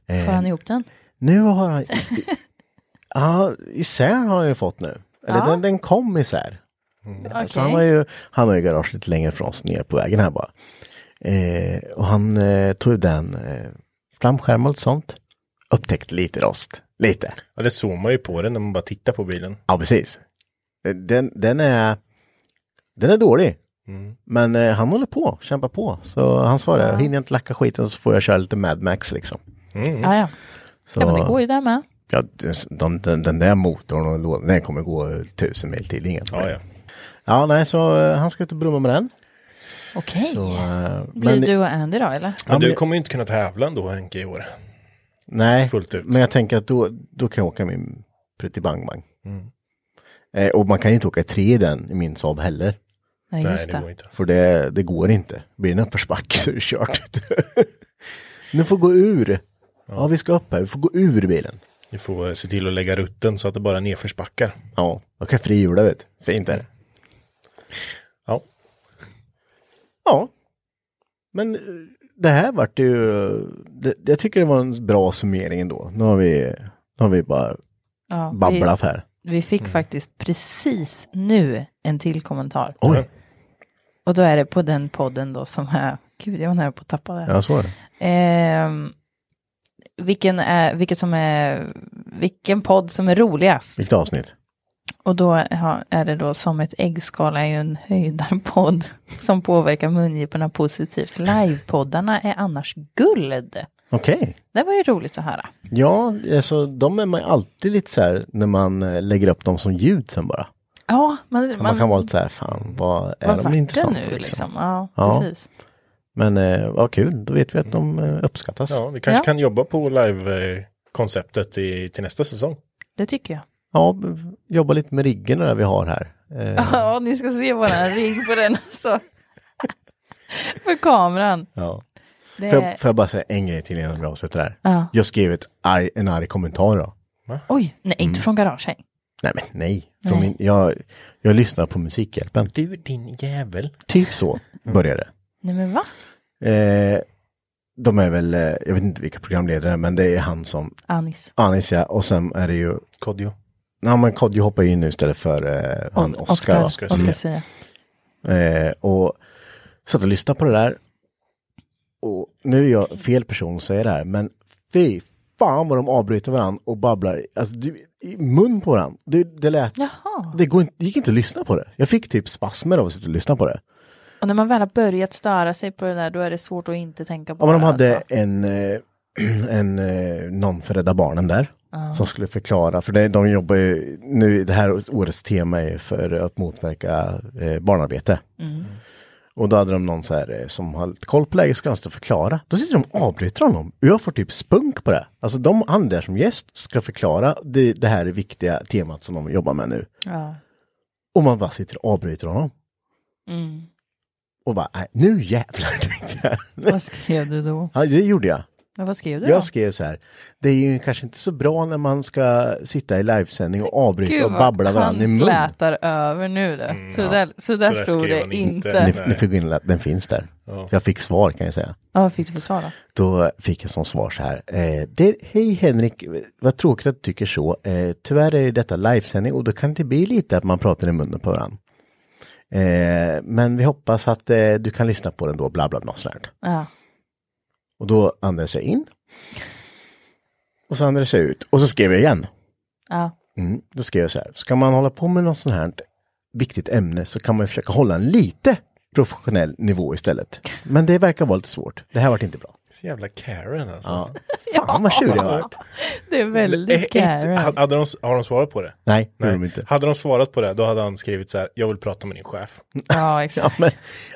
[SPEAKER 3] Eh,
[SPEAKER 2] Får han ihop den?
[SPEAKER 3] Nu har han... ja, isär har han ju fått nu. Eller
[SPEAKER 2] Ja. Mm.
[SPEAKER 3] den, den kom isär. Så han har, ju, han har ju garage lite längre från oss ner på vägen här bara. Eh, och han eh, tog ju den eh, framskärm och allt sånt. Upptäckte lite rost. Lite.
[SPEAKER 4] Ja, det zoomar ju på den när man bara tittar på bilen.
[SPEAKER 3] Ja, precis. Eh, Den, den, är, den är dålig.
[SPEAKER 2] Mm.
[SPEAKER 3] Men eh, han håller på, kämpar på. Så han sa det, hinner jag inte lacka skiten så får jag köra lite Mad Max liksom.
[SPEAKER 2] Ja, ja.
[SPEAKER 3] Så,
[SPEAKER 2] ja, men det går ju där med.
[SPEAKER 3] Ja, de, den, den där motorn och lådan, den kommer gå eh, tusen mil till. Inget
[SPEAKER 4] Ja, ja.
[SPEAKER 3] ja, nej, så eh, han ska ut och brumma med den.
[SPEAKER 2] Okej.
[SPEAKER 3] Så, eh,
[SPEAKER 2] Blir
[SPEAKER 3] men-
[SPEAKER 2] du och Andy då eller?
[SPEAKER 4] Men
[SPEAKER 3] men-
[SPEAKER 4] du kommer ju inte kunna tävla ändå Henke i år.
[SPEAKER 3] Nej,
[SPEAKER 4] Fullt ut.
[SPEAKER 3] men jag tänker att då, då kan jag åka min Pretty Bang Bang.
[SPEAKER 4] Mm.
[SPEAKER 3] Eh, och man kan ju inte åka tre i den i min Saab heller.
[SPEAKER 2] Nej,
[SPEAKER 4] Nej,
[SPEAKER 2] just
[SPEAKER 4] det går
[SPEAKER 2] det.
[SPEAKER 4] inte.
[SPEAKER 3] För det, det går inte. Blir det en uppförsbacke så är det kört. *laughs* nu får gå ur. Ja, vi ska upp här. Vi får gå ur bilen.
[SPEAKER 4] Du får se till att lägga rutten så att det bara nedförsbackar.
[SPEAKER 3] Ja, och kan frihjula vet du. Fint är det.
[SPEAKER 4] Ja.
[SPEAKER 3] Ja. Men eh, det här vart ju... Det, jag tycker det var en bra summering ändå. Nu har vi, nu har vi bara
[SPEAKER 2] Ja,
[SPEAKER 3] babblat här.
[SPEAKER 2] Vi, vi fick
[SPEAKER 3] Mm.
[SPEAKER 2] faktiskt precis nu en till kommentar.
[SPEAKER 3] Oj,
[SPEAKER 2] Och då är det på den podden då som är, gud jag var nära på att tappa det.
[SPEAKER 3] ja så var det.
[SPEAKER 2] Ehm, vilken, är, vilket som är, vilken podd som är roligast?
[SPEAKER 3] Vilket avsnitt?
[SPEAKER 2] Och då ha- är det då som ett äggskal är ju en höjdarpodd *laughs* som påverkar mungiporna positivt. Livepoddarna är annars guld.
[SPEAKER 3] Okej.
[SPEAKER 2] Det var ju roligt att höra.
[SPEAKER 3] Ja, alltså de är man ju alltid lite så här när man eh, lägger upp dem som ljud sen bara.
[SPEAKER 2] Ja, man,
[SPEAKER 3] Man, kan vara lite så här, fan vad är
[SPEAKER 2] vad vart
[SPEAKER 3] de
[SPEAKER 2] det
[SPEAKER 3] intressanta?
[SPEAKER 2] nu liksom? Ja,
[SPEAKER 3] Ja.
[SPEAKER 2] precis.
[SPEAKER 3] Men eh, vad kul, då vet vi att de eh, uppskattas.
[SPEAKER 4] Ja, vi kanske
[SPEAKER 2] Ja.
[SPEAKER 4] kan jobba på live-konceptet i- till nästa säsong.
[SPEAKER 2] Det tycker jag.
[SPEAKER 3] Ja, b- jobba lite med riggen där vi har här. Eh,
[SPEAKER 2] Ja, ni ska se våran rigg på den alltså. För kameran.
[SPEAKER 3] ja.
[SPEAKER 2] Det
[SPEAKER 3] Får,
[SPEAKER 2] är-
[SPEAKER 3] jag, får jag bara säga en grej till innan vi avslutar här?
[SPEAKER 2] Ja.
[SPEAKER 3] Jag skrev ett arg, en arg kommentar då.
[SPEAKER 2] Oj, nej,
[SPEAKER 3] Mm.
[SPEAKER 2] inte från garagen.
[SPEAKER 3] Nej men nej, Från
[SPEAKER 2] Nej.
[SPEAKER 3] Min, jag, jag lyssnar på Musikhjälpen.
[SPEAKER 4] Du din jävel.
[SPEAKER 3] Typ så började
[SPEAKER 2] Nej men va?
[SPEAKER 3] det. Eh, de är väl, eh, jag vet inte vilka programledare, men det är han som
[SPEAKER 2] Anis.
[SPEAKER 3] Anis ja, och sen är det ju
[SPEAKER 4] Kodjo.
[SPEAKER 3] Ja men Kodjo hoppar ju in nu istället för eh, han Mm. Oscar.
[SPEAKER 2] Oscar,
[SPEAKER 3] va?
[SPEAKER 4] Oscar
[SPEAKER 2] Oscar,
[SPEAKER 4] Sia.
[SPEAKER 2] Sia.
[SPEAKER 3] Eh, och satt och lyssnade på det där. Och nu är jag fel person att säga det här, men fy fan vad de avbryter varandra och babblar alltså, du, i mun på varandra. Det, det lät...
[SPEAKER 2] Jaha.
[SPEAKER 3] Det går inte, det gick inte att lyssna på det. Jag fick typ spasmer av att sitta och lyssna på det.
[SPEAKER 2] Och när man väl har börjat störa sig på det där då är det svårt att inte tänka på
[SPEAKER 3] Ja, men de
[SPEAKER 2] det.
[SPEAKER 3] hade
[SPEAKER 2] alltså.
[SPEAKER 3] en, eh, *clears throat* en, eh, någon för Rädda Barnen där. Som skulle förklara, för det, de jobbar ju nu, det här årets tema är för att motverka eh, barnarbete.
[SPEAKER 2] Mm.
[SPEAKER 3] Och då hade de någon så här eh, som har lite koll på läget, ska han stå och förklara. Då sitter de och avbryter honom. Och jag får typ spunk på det. Alltså de, han där som gäst ska förklara det, det här viktiga temat som de jobbar med nu.
[SPEAKER 2] Ja.
[SPEAKER 3] Och man bara sitter och avbryter honom.
[SPEAKER 5] Mm.
[SPEAKER 3] Och bara, nej, nu jävlar *laughs* tänkte jag.
[SPEAKER 5] Vad skrev du då?
[SPEAKER 3] Ja, det gjorde jag.
[SPEAKER 5] Ja, vad skrev du då?
[SPEAKER 3] Jag skrev så här, det är ju kanske inte så bra när man ska sitta i livesändning och avbryta och
[SPEAKER 5] vad
[SPEAKER 3] babbla
[SPEAKER 5] han
[SPEAKER 3] varandra i mun.
[SPEAKER 5] slätar över nu då. så, där, Mm, så där stod
[SPEAKER 3] skrev
[SPEAKER 5] det
[SPEAKER 3] han
[SPEAKER 5] inte.
[SPEAKER 3] Ni, ni fick gå in, och lä- den finns där. Jag fick svar kan jag säga.
[SPEAKER 5] Ja, vad fick du för svar då?
[SPEAKER 3] Då fick jag som svar så här. Eh, det, Hej Henrik, vad tråkigt att du tycker så. Eh, tyvärr är detta livesändning och då kan det bli lite att man pratar i munnen på varandra. Eh, men vi hoppas att eh, du kan lyssna på den då, bla bla bla. sånt där.
[SPEAKER 5] Ja.
[SPEAKER 3] Och då andades jag in. Och så andades jag ut och så skrev jag igen.
[SPEAKER 5] Ja.
[SPEAKER 3] Mm, då skrev jag så här, ska man hålla på med något sånt här viktigt ämne så kan man ju försöka hålla en lite professionell nivå istället. Men det verkar vara lite svårt. Det här vart inte bra.
[SPEAKER 4] Så jävla Karen alltså.
[SPEAKER 3] Ja. Fan vad tjurig jag vart.
[SPEAKER 5] Det är väldigt
[SPEAKER 4] Eh, ett-
[SPEAKER 5] Karen.
[SPEAKER 4] hade de, s- har de svarat på det?
[SPEAKER 3] Nej, det gjorde de inte.
[SPEAKER 4] Hade de svarat på det, då hade han skrivit så här, jag vill prata med din chef.
[SPEAKER 5] Ja,
[SPEAKER 3] Ja,
[SPEAKER 5] exakt.
[SPEAKER 3] men,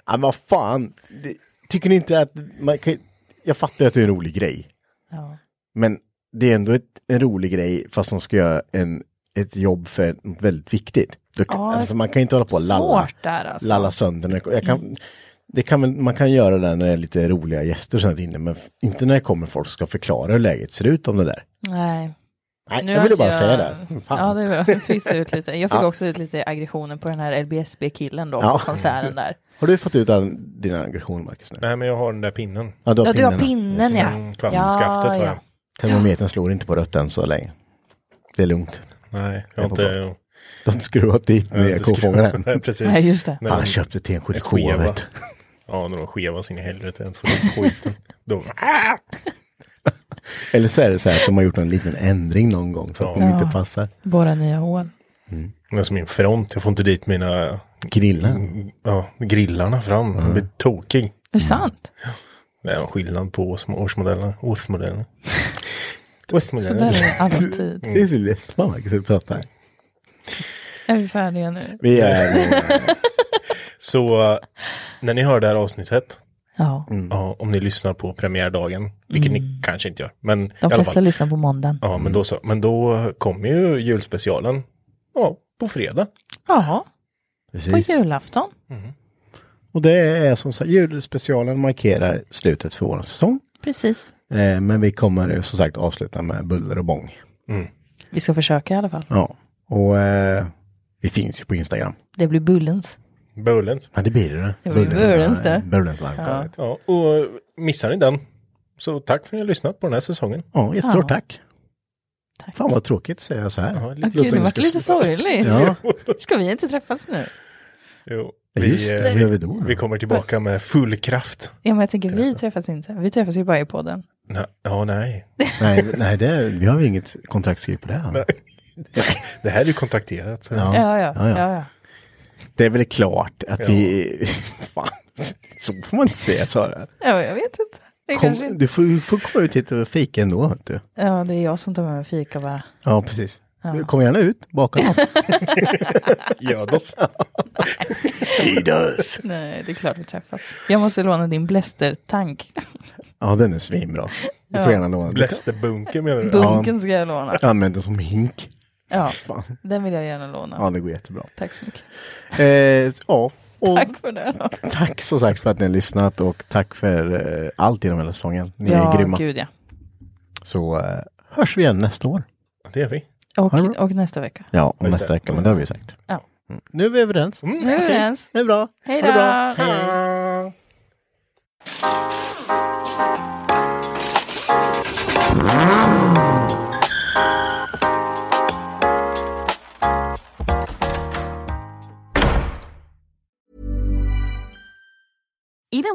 [SPEAKER 3] ja, men vad fan. Det- Tycker ni inte att man kan... Jag fattar ju att det är en rolig grej.
[SPEAKER 5] Ja.
[SPEAKER 3] Men det är ändå ett, en rolig grej fast de ska göra en, ett jobb för något väldigt viktigt. Då, kan-
[SPEAKER 5] Ja,
[SPEAKER 3] alltså, man kan ju inte hålla på och lalla,
[SPEAKER 5] Svårt där alltså.
[SPEAKER 3] lalla sönder. när det- Jag kan, det kan väl, man kan göra det när det är lite roliga gäster och sånt inne, men f- inte när det kommer folk som ska förklara hur läget ser ut om det där.
[SPEAKER 5] Nej.
[SPEAKER 3] Nej,
[SPEAKER 5] Nu
[SPEAKER 3] jag ville
[SPEAKER 5] vart
[SPEAKER 3] bara säga det. Mm, Fan.
[SPEAKER 5] Ja, det är bra. Nu fick du ut lite. Jag fick
[SPEAKER 3] Ja.
[SPEAKER 5] också ut lite aggressionen på den här LBSB-killen då,
[SPEAKER 3] Ja.
[SPEAKER 5] på konserten där.
[SPEAKER 3] Har du fått ut all din aggression, Marcus? Nu?
[SPEAKER 4] Nej, men jag har den där pinnen.
[SPEAKER 3] Ja,
[SPEAKER 5] Ja, du har pinnen, ja.
[SPEAKER 4] Mm, kvastskaftet har
[SPEAKER 5] Ah. Ja,
[SPEAKER 4] jag.
[SPEAKER 5] ja.
[SPEAKER 3] Termometern slår inte på rött än så länge. Det är lugnt.
[SPEAKER 4] Nej,
[SPEAKER 3] Det
[SPEAKER 4] jag
[SPEAKER 3] är
[SPEAKER 4] har
[SPEAKER 3] på
[SPEAKER 4] inte...
[SPEAKER 3] De har skruvat dit
[SPEAKER 4] jag har
[SPEAKER 3] ner
[SPEAKER 4] inte skruvat-
[SPEAKER 3] kofångaren.
[SPEAKER 4] *laughs* Nej, precis.
[SPEAKER 5] Nej, just det.
[SPEAKER 4] När
[SPEAKER 3] Han
[SPEAKER 4] de-
[SPEAKER 3] köpte till en skit
[SPEAKER 4] är skeva.
[SPEAKER 3] skeva, vet *laughs* du.
[SPEAKER 4] Ja, när de skeva sin i helvete. Jag får ut skiten. Då, ah!
[SPEAKER 3] Eller så är det så här att de har gjort en liten ändring någon gång så att de
[SPEAKER 5] Ja.
[SPEAKER 3] inte passar.
[SPEAKER 5] Borra nya hål.
[SPEAKER 4] Men som min front, jag får inte dit mina
[SPEAKER 3] Grillar.
[SPEAKER 4] ja, grillarna fram.
[SPEAKER 3] Mm.
[SPEAKER 4] Jag blir tokig.
[SPEAKER 5] Är det sant?
[SPEAKER 4] Det är en skillnad på års- årsmodellerna.
[SPEAKER 5] *laughs*
[SPEAKER 4] Årsmodellerna.
[SPEAKER 5] Så där är
[SPEAKER 4] Årsmodellerna.
[SPEAKER 5] det alltid.
[SPEAKER 3] Det är så lätt man verkar prata här.
[SPEAKER 5] Är vi färdiga nu?
[SPEAKER 3] Vi är...
[SPEAKER 4] Så eh, när ni hör det här avsnittet,
[SPEAKER 5] Ja,
[SPEAKER 4] ja, om ni lyssnar på premiärdagen, vilket ni kanske inte gör, men i
[SPEAKER 5] Mm. de
[SPEAKER 4] alla
[SPEAKER 5] flesta
[SPEAKER 4] fall.
[SPEAKER 5] lyssnar på måndagen.
[SPEAKER 4] Ja, men då så. Men då kommer ju julspecialen ja, på fredag.
[SPEAKER 5] Ja, på
[SPEAKER 3] Precis.
[SPEAKER 5] julafton.
[SPEAKER 3] Och det är som sagt, julspecialen markerar slutet för vår säsong.
[SPEAKER 5] Precis.
[SPEAKER 3] Eh, men vi kommer ju som sagt avsluta med buller och bång.
[SPEAKER 5] Vi ska försöka i alla fall.
[SPEAKER 3] Ja. Och eh, vi finns ju på Instagram.
[SPEAKER 5] Det blir bullens.
[SPEAKER 4] Bullens.
[SPEAKER 3] Ja, det blir det.
[SPEAKER 5] Det blir Bullens det.
[SPEAKER 3] Bullens varmkorv.
[SPEAKER 4] Ja, och missar ni den, så tack för att ni har lyssnat på den här säsongen.
[SPEAKER 3] Ja, jättestort
[SPEAKER 5] Ja.
[SPEAKER 3] tack. Fan vad tråkigt säger jag så här.
[SPEAKER 4] Ja,
[SPEAKER 5] Ah,
[SPEAKER 4] lite
[SPEAKER 5] Gud, det vart
[SPEAKER 4] lustigt.
[SPEAKER 5] lite sorgligt.
[SPEAKER 3] Ja.
[SPEAKER 5] Ska vi inte träffas nu?
[SPEAKER 4] Jo,
[SPEAKER 3] Ja,
[SPEAKER 4] vi,
[SPEAKER 3] Just det,
[SPEAKER 4] eh,
[SPEAKER 3] vad gör vi då?
[SPEAKER 4] vi kommer tillbaka med full kraft.
[SPEAKER 5] Ja, men jag tänker vi
[SPEAKER 4] Träffas.
[SPEAKER 5] träffas inte. Vi träffas ju bara i podden.
[SPEAKER 4] Nej, ja, nej.
[SPEAKER 3] Nej, nej det, vi har ju inget kontraktskriv på det här.
[SPEAKER 4] Det här är ju kontrakterat. Så.
[SPEAKER 3] Ja.
[SPEAKER 5] Ja, ja,
[SPEAKER 3] Ja, ja.
[SPEAKER 5] ja. ja.
[SPEAKER 3] Det är väl klart att
[SPEAKER 4] Ja.
[SPEAKER 3] vi... *laughs* Fan, så får man inte säga Sara.
[SPEAKER 5] ja men jag vet inte. Det är kanske
[SPEAKER 3] Kom,
[SPEAKER 5] inte.
[SPEAKER 3] du får, du får komma ut hit och fika ändå. vet Du.
[SPEAKER 5] Ja, det är jag som tar med mig fika bara.
[SPEAKER 3] Ja, precis. Du, kom gärna ut, baka något. *laughs*
[SPEAKER 4] Göd oss.
[SPEAKER 3] Idas.
[SPEAKER 5] Nej, det är klart vi träffas. Jag måste låna din blästertank.
[SPEAKER 3] Ja, den är svinbra. Du får gärna låna. den.
[SPEAKER 4] Blästerbunken menar du?
[SPEAKER 5] Bunken ska jag låna.
[SPEAKER 3] Använd den som hink.
[SPEAKER 5] Ja,
[SPEAKER 3] Fan.
[SPEAKER 5] den vill jag gärna låna.
[SPEAKER 3] Ja, det går jättebra.
[SPEAKER 5] Tack så mycket.
[SPEAKER 3] Eh, ja, och tack.
[SPEAKER 5] Tack för det. då.
[SPEAKER 3] som sagt för att ni har lyssnat och tack för eh, allt genom hela säsongen. Ni
[SPEAKER 5] Ja,
[SPEAKER 3] är grymma.
[SPEAKER 5] gud ja.
[SPEAKER 3] Så eh, hörs vi igen nästa år.
[SPEAKER 4] Det gör vi.
[SPEAKER 3] Ha det
[SPEAKER 5] Och,
[SPEAKER 3] bra.
[SPEAKER 5] och nästa vecka.
[SPEAKER 3] Ja, om
[SPEAKER 4] Just
[SPEAKER 3] nästa
[SPEAKER 4] det.
[SPEAKER 3] vecka, men det har vi ju sagt.
[SPEAKER 5] Ja.
[SPEAKER 3] Mm. Nu är vi överens.
[SPEAKER 5] Nu är vi överens.
[SPEAKER 3] Det är bra.
[SPEAKER 5] Hej
[SPEAKER 3] Ha det bra.
[SPEAKER 5] då!
[SPEAKER 6] Even